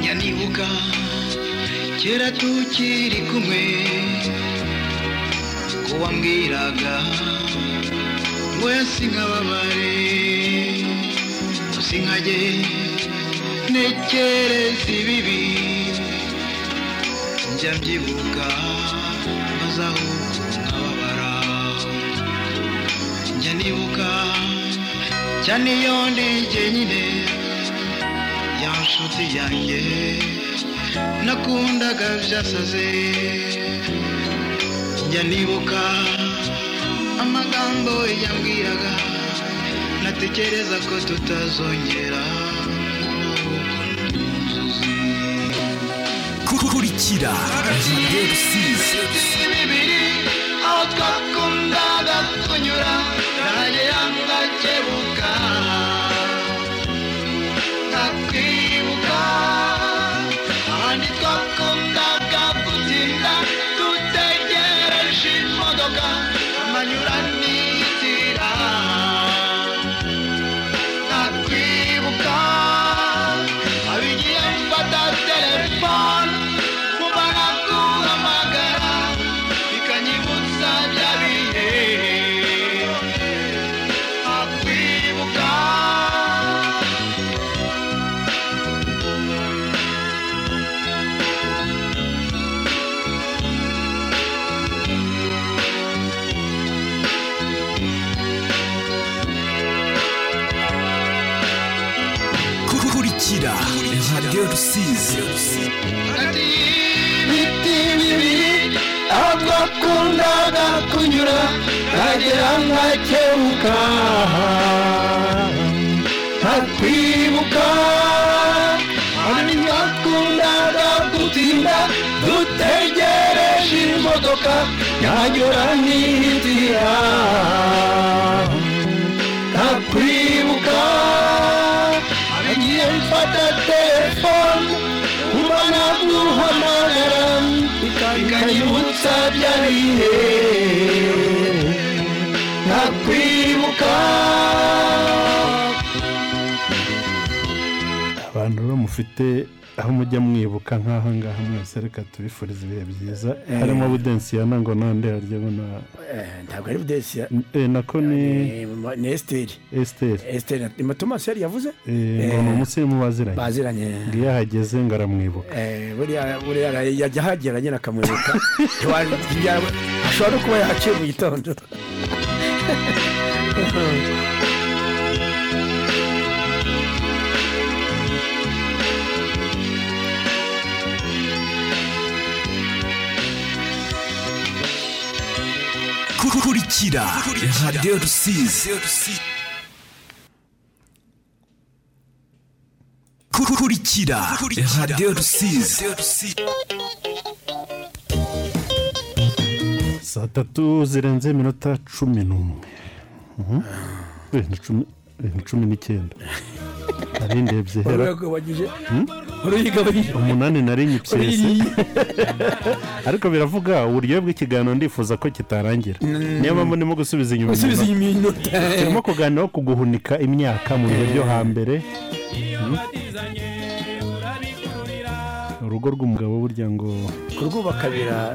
Speaker 10: njya nibuka kera tukiri kumwe ko wambwiraga ngo yasinkababare usinkage ntekereza ibibi njya mbyibuka maze aho nkababara njya nibuka cyane iyo ndege nyine ya nshuti yanjye nakundaga byasaze njya nibuka amagambo yambwiraga natekereza ko tutazongera
Speaker 19: kurikira Radio Rusizi
Speaker 10: bibiri aho twakundaga kunyura nagera ngakebuka ntakwibuka ahandi twakundaga gutinda dutegereje imodoka amanyuranitira ntakwibuka abigiye mfata telefone kumara guhamagara ikanyibutsa bya bihe ntakwibuka
Speaker 19: kurikira Radio Rusizi
Speaker 10: hagati y'ibiti bibiri aho twakundaga kunyura nkagera nkakebuka nkakwibuka hano twakundaga gutinda dutegereje imodoka yanyura n'inzira nkakwibuka agiye mfata telefone ubona guhamagara ikanyibutsa bya bihe nkakwibuka
Speaker 4: abantu rero mufite aho mujya mwibuka nk'aha ngaha mwese reka tubifuriza ibihe byiza
Speaker 5: Eh.
Speaker 4: harimo budensi ya nango nande harya bona
Speaker 5: ntabwo ari budensiya
Speaker 4: eh, nako ni
Speaker 5: ni esiteri
Speaker 4: esiteri
Speaker 5: esiteri ni tomasi yari yavuze
Speaker 4: eh, ngo ni umunsi mu baziranye
Speaker 5: baziranye
Speaker 4: ngo iyo ahageze ngo aramwibuka
Speaker 5: Eh, buriya buriya ara- yajya ahagera nyine
Speaker 4: [LAUGHS]
Speaker 5: akamwibuka Ntiwa- ashobora no kuba yahaciye mu gitondo
Speaker 19: kurikira Radio Rusizi kurikira Radio Rusizi
Speaker 4: saa tatu zirenze iminota cumi n'umwe Mhm. Eh, ni cumi- eh, ni cumi n'icyenda nari ndebye hera
Speaker 5: urwegabanyije
Speaker 4: Hmm? umunani nari nyipyese [LAUGHS] ariko biravuga uburyohe bw'ikiganiro ndifuza ko kitarangira niyo mpamvu ndimo gusubiza inyuma
Speaker 5: Hmm. Gusubiza
Speaker 4: iminota.
Speaker 5: inyuma iminota.
Speaker 4: turimo kuganira ku guhunika imyaka mu bihe byo hambere Hmm? urugo rw'umugabo burya ngo Hmm?
Speaker 5: kurwubaka bira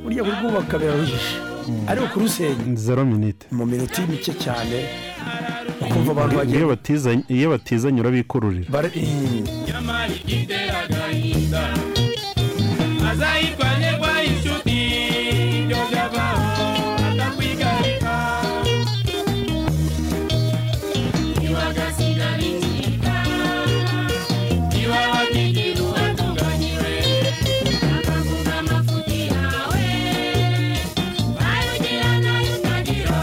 Speaker 5: burya kurwubaka biraruhishe ari ukurusenya
Speaker 4: Hmm. zero minite
Speaker 5: mu minota mike cyane ukumva abantu bagiye
Speaker 4: iyo batizanye iyo batizanye urabikururira
Speaker 5: bare- Mm.
Speaker 7: nyamara igitera agahinda azayirwanyirwa inshuti yogavaho atakwigarika ntiwagasigara inzika niba wakigira uwatunganyijwe akagura amafuti yawe barugira nayo utagira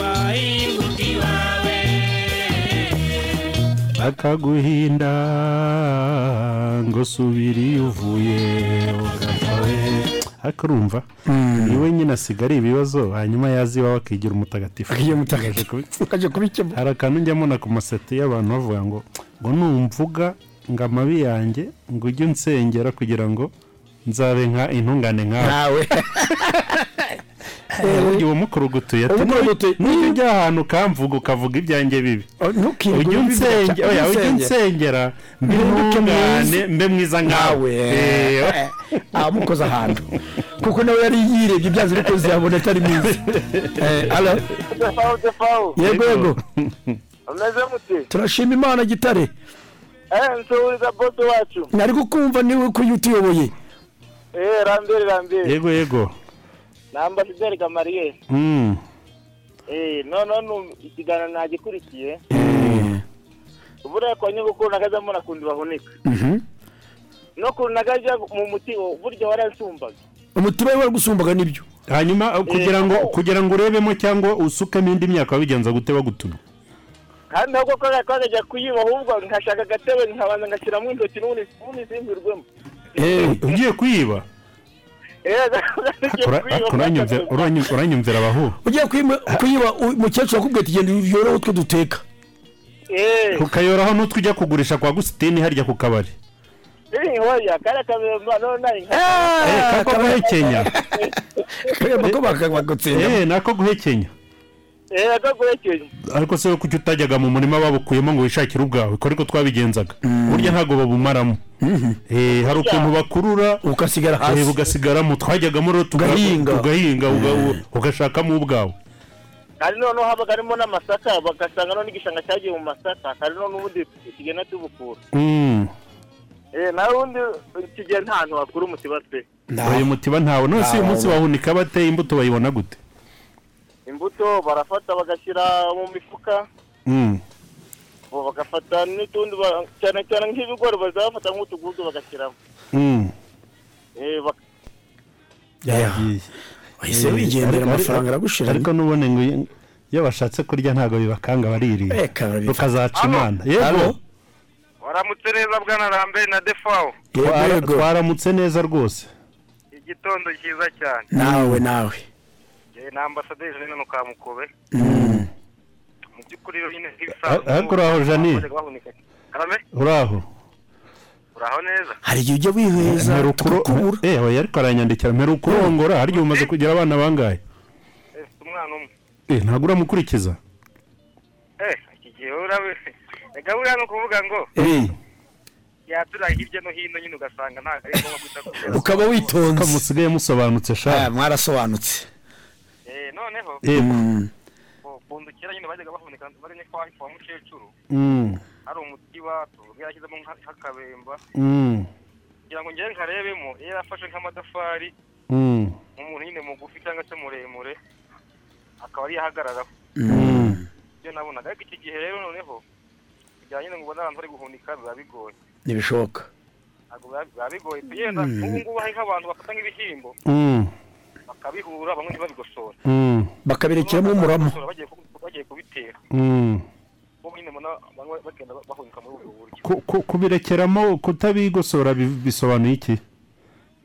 Speaker 7: wayimuti wawe
Speaker 4: akaguhinda ngo subira iyo uvuye ugapfa we ariko urumva ni we nyine asigaye ibibazo hanyuma yaza iwawe akigira umutagatifu
Speaker 5: Akigira umutagatifu.
Speaker 4: ukajya kubikemura hari akantu njya mbona ku maseti y'abantu bavuga ngo ngo numvuga ngo amabi yanjye ngo ujye unsengera kugira ngo nzabe nka intungane nkawe burya uwo mukurugutuye Oh, ati
Speaker 5: Umukurugutuye.
Speaker 4: nujya ujya ahantu ukamvuga ukavuga ibyanjye bibi
Speaker 5: ntukirwe
Speaker 4: ujye
Speaker 5: ubivuga
Speaker 4: unsenge-
Speaker 5: cyane,
Speaker 4: oya, ujye
Speaker 5: unsenge.
Speaker 4: unsengera mbe
Speaker 5: Mpinduke
Speaker 4: intungane
Speaker 5: mwiza.
Speaker 4: mbe mwiza nkawe Eh,
Speaker 5: Eh, amukoze ahantu kuko nawe yari yirebye ibyazo ariko ziyabona atari
Speaker 4: [LAUGHS]
Speaker 5: mwiza Eh, alo
Speaker 21: Defawu, defawu.
Speaker 5: yego yego
Speaker 21: Ameze mute?
Speaker 5: turashima imana gitare
Speaker 21: Eh, nsuhuza bodo wacu.
Speaker 5: nari kukumva niwe ko iyo utuyoboye
Speaker 21: Eh, rambere rambere.
Speaker 4: yego yego
Speaker 21: Ni ambasaderi Gamariye.
Speaker 4: Mm.
Speaker 21: Eh, noneho nu- ikiganiro nagikurikiye. Buriya kwa nyogokuru nagaze mbona kundi bahunika. No kundi nagaje mu muti wo, burya waransumbaga.
Speaker 5: umutima we wagusumbaga n'ibyo
Speaker 4: hanyuma eh, kugira ngo kugira ngo urebemo cyangwa usukemo indi myaka wabigenza gute bagutuma
Speaker 21: kandi ahubwo ko nari twajya kuyiba ahubwo nkashaka agatebe nkabanza ngashyiramo intoki n'ubundi n'ubundi simbirwemo
Speaker 5: Eh.
Speaker 4: ugiye kuyiba
Speaker 21: Eh, [LAUGHS]
Speaker 4: Ura- uranyumvira- uranyu- uranyumvira abahu
Speaker 5: ugiye kuyima- kuyiba u- umukecuru akubwiye ati genda uyore utwo duteka
Speaker 21: Eh,
Speaker 4: ukayoraho n'utwo ujya kugurisha kwa gusitini harya ku kabari
Speaker 21: eh, hoya kari akamemba none nari
Speaker 5: Ah,
Speaker 4: kako
Speaker 5: [LAUGHS]
Speaker 4: guhekenya
Speaker 5: Eh,
Speaker 4: nako guhekenya
Speaker 21: eee akaguhekeje
Speaker 4: ariko se kuki utajyaga mu murima babukuyemo ngo wishakire ubwawe ko ariko twabigenzaga
Speaker 5: Mm.
Speaker 4: burya ntabwo babumaramo Eh, hari ukuntu bakurura
Speaker 5: Mm-hmm. ugasigara
Speaker 4: hasi ugasigaramo twajyagamo rero tuga-
Speaker 5: Ugahinga.
Speaker 4: tugahinga uga-
Speaker 5: Mm.
Speaker 4: ugashakamo ubwawe
Speaker 21: kandi noneho habaga harimo n'amasaka bagasanga none igishanga cyagiye mu masaka kandi none ubundi tugenda tubukura
Speaker 5: Mm.
Speaker 21: eee Eh, nawe ubundi kigera nta hantu wakura umutiba pe
Speaker 4: uyu mutiba ntawe none uyu munsi bahunika bateye imbuto bayibona gute
Speaker 21: imbuto barafata bagashyira mu mifuka
Speaker 4: Mm.
Speaker 21: bo bagafata n'utundi ba- cyane cyane nk'ibigori bazafata nk'utugudu bagashyiramo
Speaker 6: 嗯
Speaker 8: Eh,
Speaker 21: eee
Speaker 4: yagiye
Speaker 5: wahise
Speaker 4: Eh,
Speaker 5: wigendera,
Speaker 4: ariko-
Speaker 5: amafaranga aragushira.
Speaker 4: ariko n'ubone ngo iyo- iyo bashatse kurya ntabwo bibakanga baririye
Speaker 5: Eka, barabifata.
Speaker 4: rukazaca imana
Speaker 5: Halo?
Speaker 4: yego
Speaker 21: waramutse neza bwana rambe na defawu
Speaker 4: Twara- twaramutse neza rwose
Speaker 21: igitondo cyiza cyane
Speaker 5: nawe nawe
Speaker 21: Eh, ni ambasaderi jeanine mukamukube mu by'ukuri rero nyine nk'ibisanzwe
Speaker 4: Ah, ariko uraho, Jeanine?
Speaker 21: karame
Speaker 4: uraho
Speaker 21: uraho neza
Speaker 5: hari igihe ujya wiheza
Speaker 4: tukakubura eh oya, ariko aranyandikira mperu kurongora harya ubu umaze kugira abana bangahe
Speaker 21: Eh, mfite umwana umwe
Speaker 4: eh ntabwo uramukurikiza
Speaker 21: eh iki gihe urabe reka buriya ni ukuvuga ngo yatura hirya no hino nyine ugasanga ntabwo ari ngombwa guhita kugira
Speaker 5: ukaba witonze
Speaker 4: musigaye musobanutse
Speaker 5: sha mwarasobanutse
Speaker 21: eh noneho
Speaker 5: Mm.
Speaker 21: ku- ku nzu kera nyine bajyaga bahunika baremye kwa kwa mukecuru
Speaker 6: 嗯
Speaker 4: Mm.
Speaker 21: hari umutiba tuvuga yashyizemo nka- nk'akabemba
Speaker 6: 嗯
Speaker 4: Mm.
Speaker 21: kugira ngo ngere nkarebemo iyo yarafashe nk'amatafari
Speaker 6: 嗯
Speaker 4: Mm.
Speaker 21: umuntu nyine mugufi cyangwa se muremure akaba ariyo ahagararaho
Speaker 4: Mm.
Speaker 21: ibyo nabonaga ariko iki gihe rero noneho kugira nyine ngo ubone abantu bari guhunika biba bigoye
Speaker 5: ntibishoboka
Speaker 21: ntabwo biba biba bigoye tugenda
Speaker 5: Mm.
Speaker 21: ubu ngubu hari nk'abantu bafata nk'ibishyimbo
Speaker 4: Mm.
Speaker 21: bakabihura bamwe ntibabigosora
Speaker 4: Mm.
Speaker 5: bakabirekeramo umurama
Speaker 21: Bagosora bagiye ku- bagiye kubitera
Speaker 4: Mm.
Speaker 21: ubu nyine mbona bamwe bagenda bahunika muri ubwo buryo
Speaker 4: Ku- ku- kubirekeramo kutabigosora bi- bisobanuye iki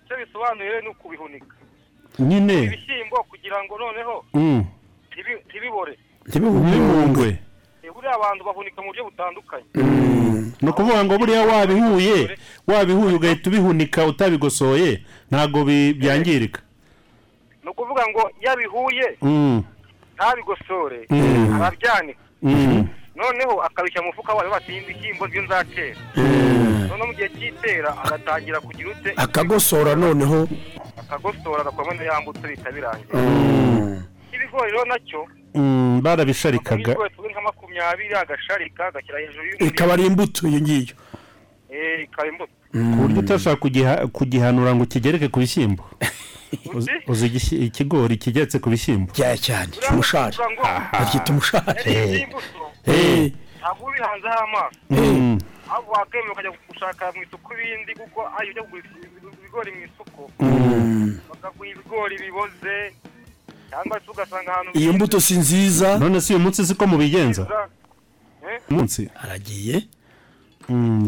Speaker 21: icyo bisobanuye rero ni ukubihunika
Speaker 4: nyine
Speaker 21: ibishyimbo kugira ngo noneho
Speaker 4: Mm.
Speaker 21: ntibi- ntibibore
Speaker 4: ntibimungwe
Speaker 21: Eh, buriya abantu bahunika mu buryo butandukanye
Speaker 4: ni ukuvuga ngo buriya wabihuye wabihuye ugahita ubihunika utabigosoye ntabwo bi- byangirika
Speaker 21: ni ukuvuga ngo iyo abihuye
Speaker 4: Mm.
Speaker 21: ntabigosore
Speaker 4: Mm.
Speaker 21: arabyanika
Speaker 4: Mm. Mm.
Speaker 21: noneho akabishyira mu mufuka wayo bati ibishyimbo byo nzakera noneho no mu gihe cy'itera agatangira kugira ute
Speaker 5: akagosora noneho
Speaker 21: akagosora agakoramo ya mbuto bihita birangira
Speaker 4: Mm.
Speaker 21: ibigori rero nacyo
Speaker 4: Mm, barabisharikaga
Speaker 21: ibigori tuzi nka makumyabiri agasharika agashyira hejuru y'umuriro
Speaker 5: ikaba ari imbuto iyo ngiyo
Speaker 21: Eh, ikaba imbuto
Speaker 4: ku buryo utashobora kugiha- kugihanura ngo kigereke ku bishyimbo Uzi- uzi igishyi- ikigori kigeretse ku bishyimbo
Speaker 5: cyane cyane umushari abyita umushari
Speaker 21: Eh,
Speaker 4: Eh.
Speaker 21: ntabwo ubihanzeho amaso
Speaker 4: Mm.
Speaker 21: ahubwo wakwemewe ukajya gushaka mu isoko ibindi kuko ayo ujya kugura ibigori mu isoko
Speaker 4: Mm.
Speaker 21: bakaguha ibigori biboze cyangwa se ugasanga ahantu
Speaker 5: iyo mbuto si nziza
Speaker 4: none si uyu munsi siko mubigenza munsi Hmm,
Speaker 5: aragiye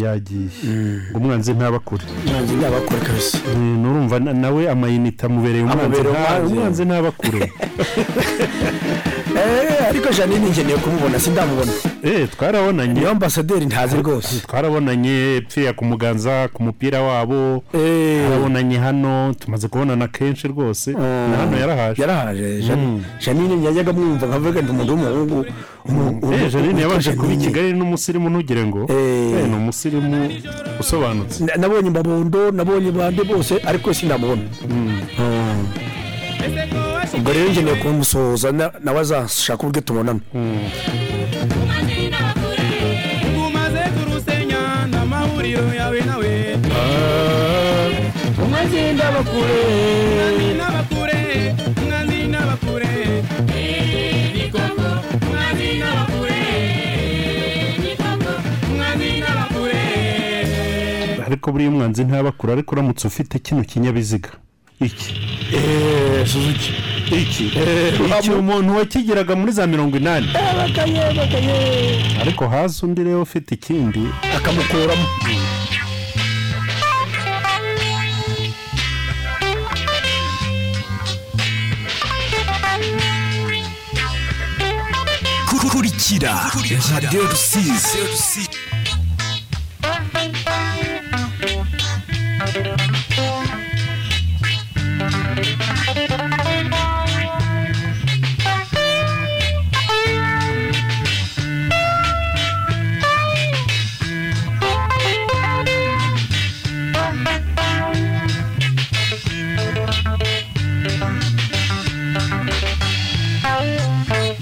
Speaker 4: yagiye ngo umwanzi ntabakure
Speaker 5: Hmm. umwanzi ntabakure kabisa
Speaker 4: nurumva na- nawe amayinite amubereye umwanzi
Speaker 5: Amubereye
Speaker 4: nta-
Speaker 5: umwanzi.
Speaker 4: umwanzi ntabakure
Speaker 5: [LAUGHS] Eh, ariko janine nkeneye kumubona sindamubona
Speaker 4: eh twarabonanye
Speaker 5: niyo ambasaderi ntazi rwose
Speaker 4: twarabonanye pfiya ku muganza ku mupira wabo
Speaker 5: Eh.
Speaker 4: twarabonanye hano tumaze kubonana kenshi rwose na hano yarahaje
Speaker 5: Ah.
Speaker 4: Hmm.
Speaker 5: yarahaje Jan- janine yajyaga mwumva nkavuga ndi umuntu w'umuhungu umu- umu-
Speaker 4: Eh, Janine yabanje
Speaker 5: Janine.
Speaker 4: kuba i Kigali n'umusirimu ntugire ngo Eh, ni umusirimu usobanutse
Speaker 5: Na- nabonye mbabondo nabonye bande bose ariko sindamubona
Speaker 4: Hmm.
Speaker 5: ubwo rero nkeneye kumusohoza na- nawe azashaka uburyo tubonana
Speaker 4: Hmm.
Speaker 7: umaze kurusenya n'amahuriro yawe nawe umwanzi n'abakure umwanzi n'abakure umwanzi n'abakure Eh, ni koko umwanzi n'abakure ni koko umwanzi n'abakure
Speaker 4: ariko buriya umwanzi ntabakure ariko uramutse ufite kino kinyabiziga iki
Speaker 5: Eh, suzuki Eh,
Speaker 4: iki iki umuntu wakigiraga muri za mirongo inani
Speaker 5: bakaye bakaye
Speaker 4: ariko hasi undi rero ufite ikindi
Speaker 5: akamukuramo
Speaker 19: kurikira radiyo rusizi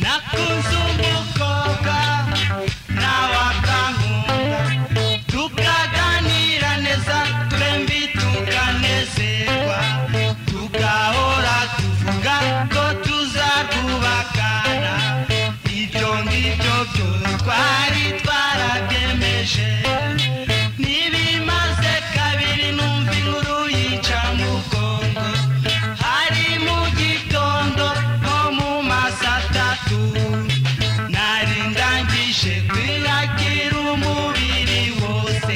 Speaker 7: nakunze umukobwa nawe akankunda tukaganira neza twembi tukanezerwa tugahora tuvuga ko tuzarwubakana ibyo ngibyo byo twari twarabyemeje ntibimaze kabiri numva inkuru yica mu bwongo hari mu gitondo nko mu masatatu nari ndangije kwiyakira umubiri wose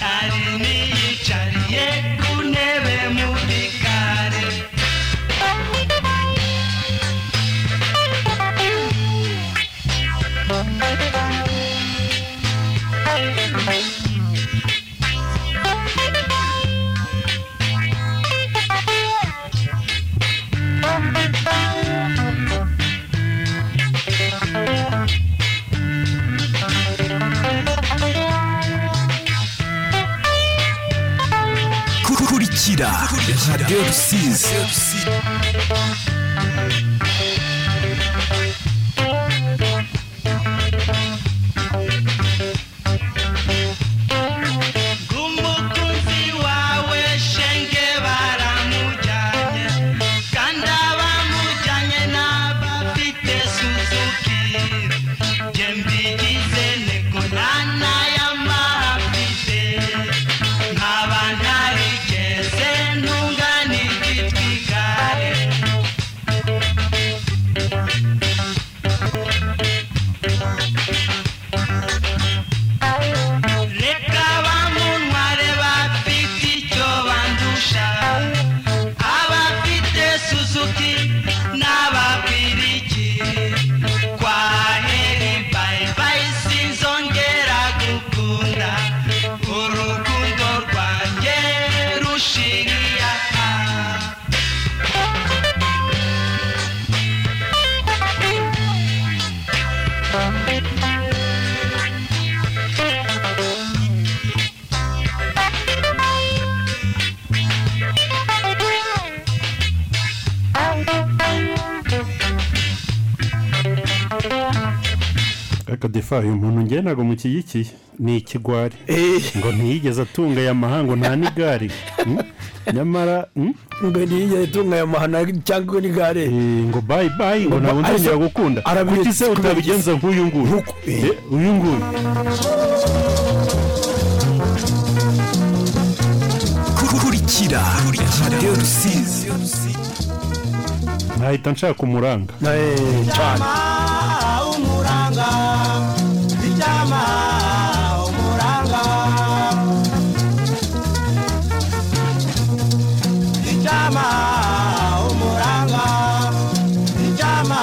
Speaker 7: nari niyicariye ku ntebe mu bikari
Speaker 19: kurikira radiyo rusizi
Speaker 7: umukunzi wawe shenge baramujyanye kandi abamujyanye n'abafite suzuki jye mbigize nego nana y'amahafite nkaba ntarigeze ntungana igitwi igare
Speaker 3: Hmm.
Speaker 4: akadefaye umuntu ngewe ntabwo mushyigikiye ni ikigwari
Speaker 5: Eh.
Speaker 4: ngo ntiyigeze atunga aya mahanga nta n'igare mm? nyamara hmm?
Speaker 5: ngo ntiyigeze atunga aya mahanga cyangwa n'igare
Speaker 4: Eh, ngo bayi bayi ngo ntabwo nzongera gukunda
Speaker 5: arabizi
Speaker 4: kuki se
Speaker 5: kubera
Speaker 4: utabigenza nk'uyu nguyu Eh, uyu nguyu
Speaker 19: kurikira radiyo rusizi
Speaker 4: nahita nshaka umuranga
Speaker 5: cyane
Speaker 7: umuranga icyama umuranga icyama umuranga icyama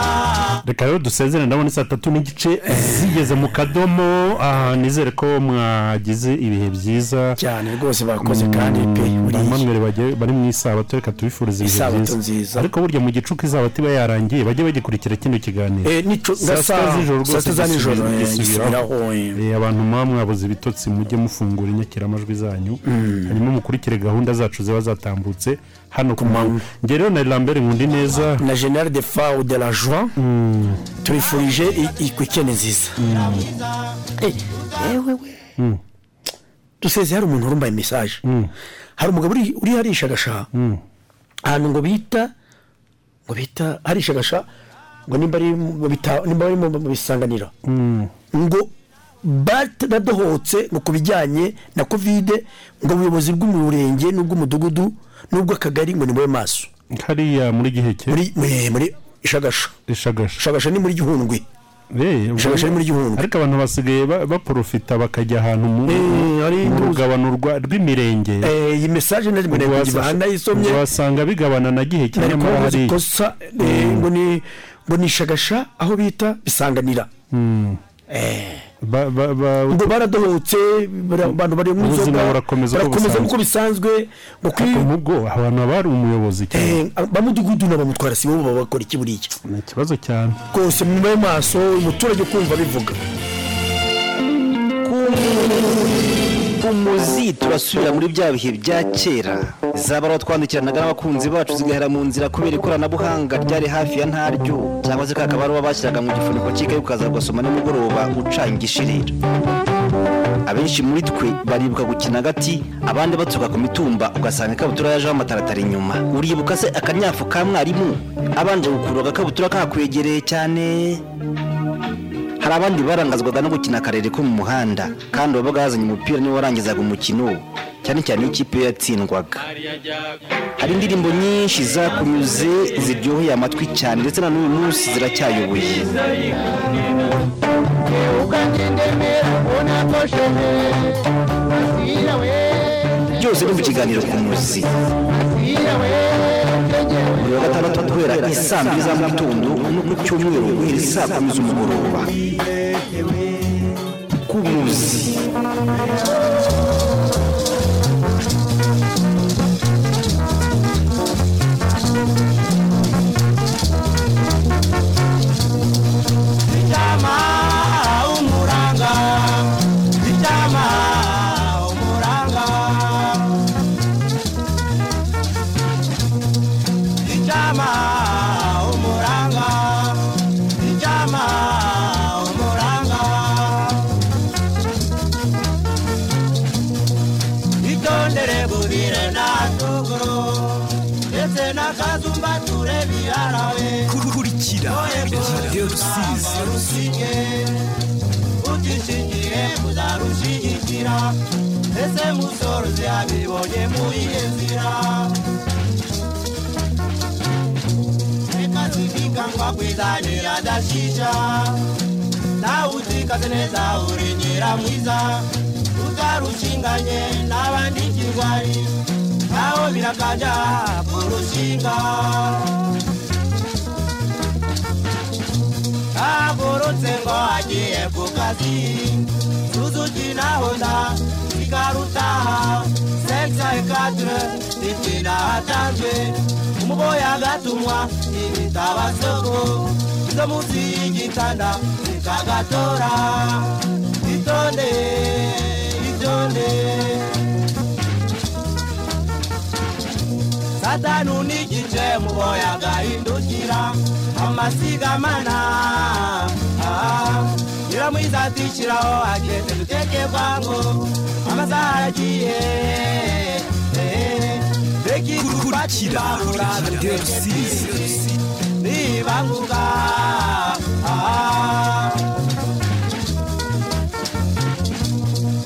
Speaker 4: reka rero dusezerane ndabona saa tatu n'igice zigeze mu kadomo aha nizere ko mwagize ibihe byiza Mm,
Speaker 5: cyane rwose bakoze kandi pe
Speaker 4: bamwe bari mu isabato reka tubifurize
Speaker 5: Isabato
Speaker 4: ibihe
Speaker 5: nziza.
Speaker 4: byiza ariko burya mu gicuku isabato iba yarangiye bajye bagikurikira kino kiganiro
Speaker 5: Eh, nico- nga saa- saa sita za nijoro, eh, gisubiraho,
Speaker 4: Eh, abantu muba mwabuze ibitotsi mujye mufungura inyakiramajwi zanyu
Speaker 5: Mm.
Speaker 4: hanyuma mukurikire gahunda zacu ziba zatambutse hano ku manywa njye rero na lambert nkundi neza
Speaker 5: na general de fao de la joie tubifurije i- ikwikene nziza Eh, yewe we duseze hari umuntu urumbaye mesaje hari umugabo uri uri harishagasha ahantu ngo bita ngo bita harishagasha ngo nimba ari mu bita- nimba ari mu mu bisanganira ngo baradohotse ngo ku bijyanye na kovide ngo ubuyobozi bw'umurenge n'ubw'umudugudu n'ubw'akagari ngo nimube maso
Speaker 4: hariya muri giheke
Speaker 5: muri muri- muri ishagasha
Speaker 4: ishagasha
Speaker 5: ishagasha ni muri gihundwe ishagasha ni muri gihundwe
Speaker 4: ariko abantu basigaye ba- baporofita bakajya ahantu mu mu rugabano rwa- rw'imirenge
Speaker 5: Eh, iyi mesaje nari mbona
Speaker 4: Ubwo
Speaker 5: kugira
Speaker 4: wasa-
Speaker 5: ndayisomye
Speaker 4: ubwo wasanga bigabana na gihe
Speaker 5: nari
Speaker 4: cyangwa
Speaker 5: kubaza
Speaker 4: hari
Speaker 5: ikosa eh, ngo ni ngo ni ishagasha aho bita bisanganira
Speaker 3: Hmm.
Speaker 4: Mm. Ba- ba- ba-
Speaker 5: ngo baradohotse bara- abantu bari mu
Speaker 4: Ubuzima
Speaker 5: nzoga
Speaker 4: burakomeza uko
Speaker 5: barakomeza
Speaker 4: busanzwe.
Speaker 5: uko bisanzwe ngo Eh, kuri
Speaker 4: ubwo abantu bari umuyobozi
Speaker 5: cyane bamudugudu n'abamutwara si bo babakora iki buriya
Speaker 4: ni ikibazo cyane
Speaker 5: rwose mu maso umuturage ukumva bivuga
Speaker 1: umuzi turasubira muri bya bihe bya kera zabaruwa twandikiranaga n'abakunzi bacu zigahera mu nzira kubera ikoranabuhanga ryari hafi ya ntaryo cyangwa se kakabaruwa bashyiraga mu gifuniko cy'ikayi ukaza kugasoma nimugoroba ucanga ishirira abenshi muri twe baribuka gukina agati abandi baturuka ku mitumba ugasanga ikabutura yajeho amataratara inyuma uribuka se akanyafu ka mwarimu abanje gukurura agakabutura kakwegereye cyane hari abandi barangazwaga no gukina akarere ko mu muhanda kandi wabaga yazanye umupira niwe warangizaga umukino cyane cyane iyo ikipe ye yatsindwaga hari indirimbo nyinshi zakunyuze ziryoheye amatwi cyane ndetse na n'uyu munsi ziracyayoboye
Speaker 10: Assim é.
Speaker 1: byose ni mu kiganiro ku muzi buri wa gatandatu guhera isaa mbiri za mu gitondo no ku cyumweru guhera isaa kumi z'umugoroba ku muzi
Speaker 7: icyama umuranga icyama umuranga icyama umuranga icyama umuranga itondere bubire na tuguru ndetse n'akazumbature biharawe
Speaker 19: kurikira radiyo rusizi
Speaker 7: utishingiye muzarushyigikira ese musorozi abibonye muyihe nzira reka zibikangwa kwizanira dashisha nawe utikaze neza uri nyiramwiza utarushinganye n'abandi kirwari naho birakajya kurushinga agorotse ngo agiye ku kazi suzuki na honda ikarutaha seksa ekadre ikina atanzwe umuboya agatumwa ibitaba soko izo munsi y'igitanda ikagatora itonde itonde satanu n'igice muboya agahindukira amasiga mana ah, nyiramwiza ati shyiraho agende duteke kwango amasaha aragiye reka ikurikira radiyo rusizi nibanguka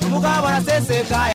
Speaker 7: umugabo araseseka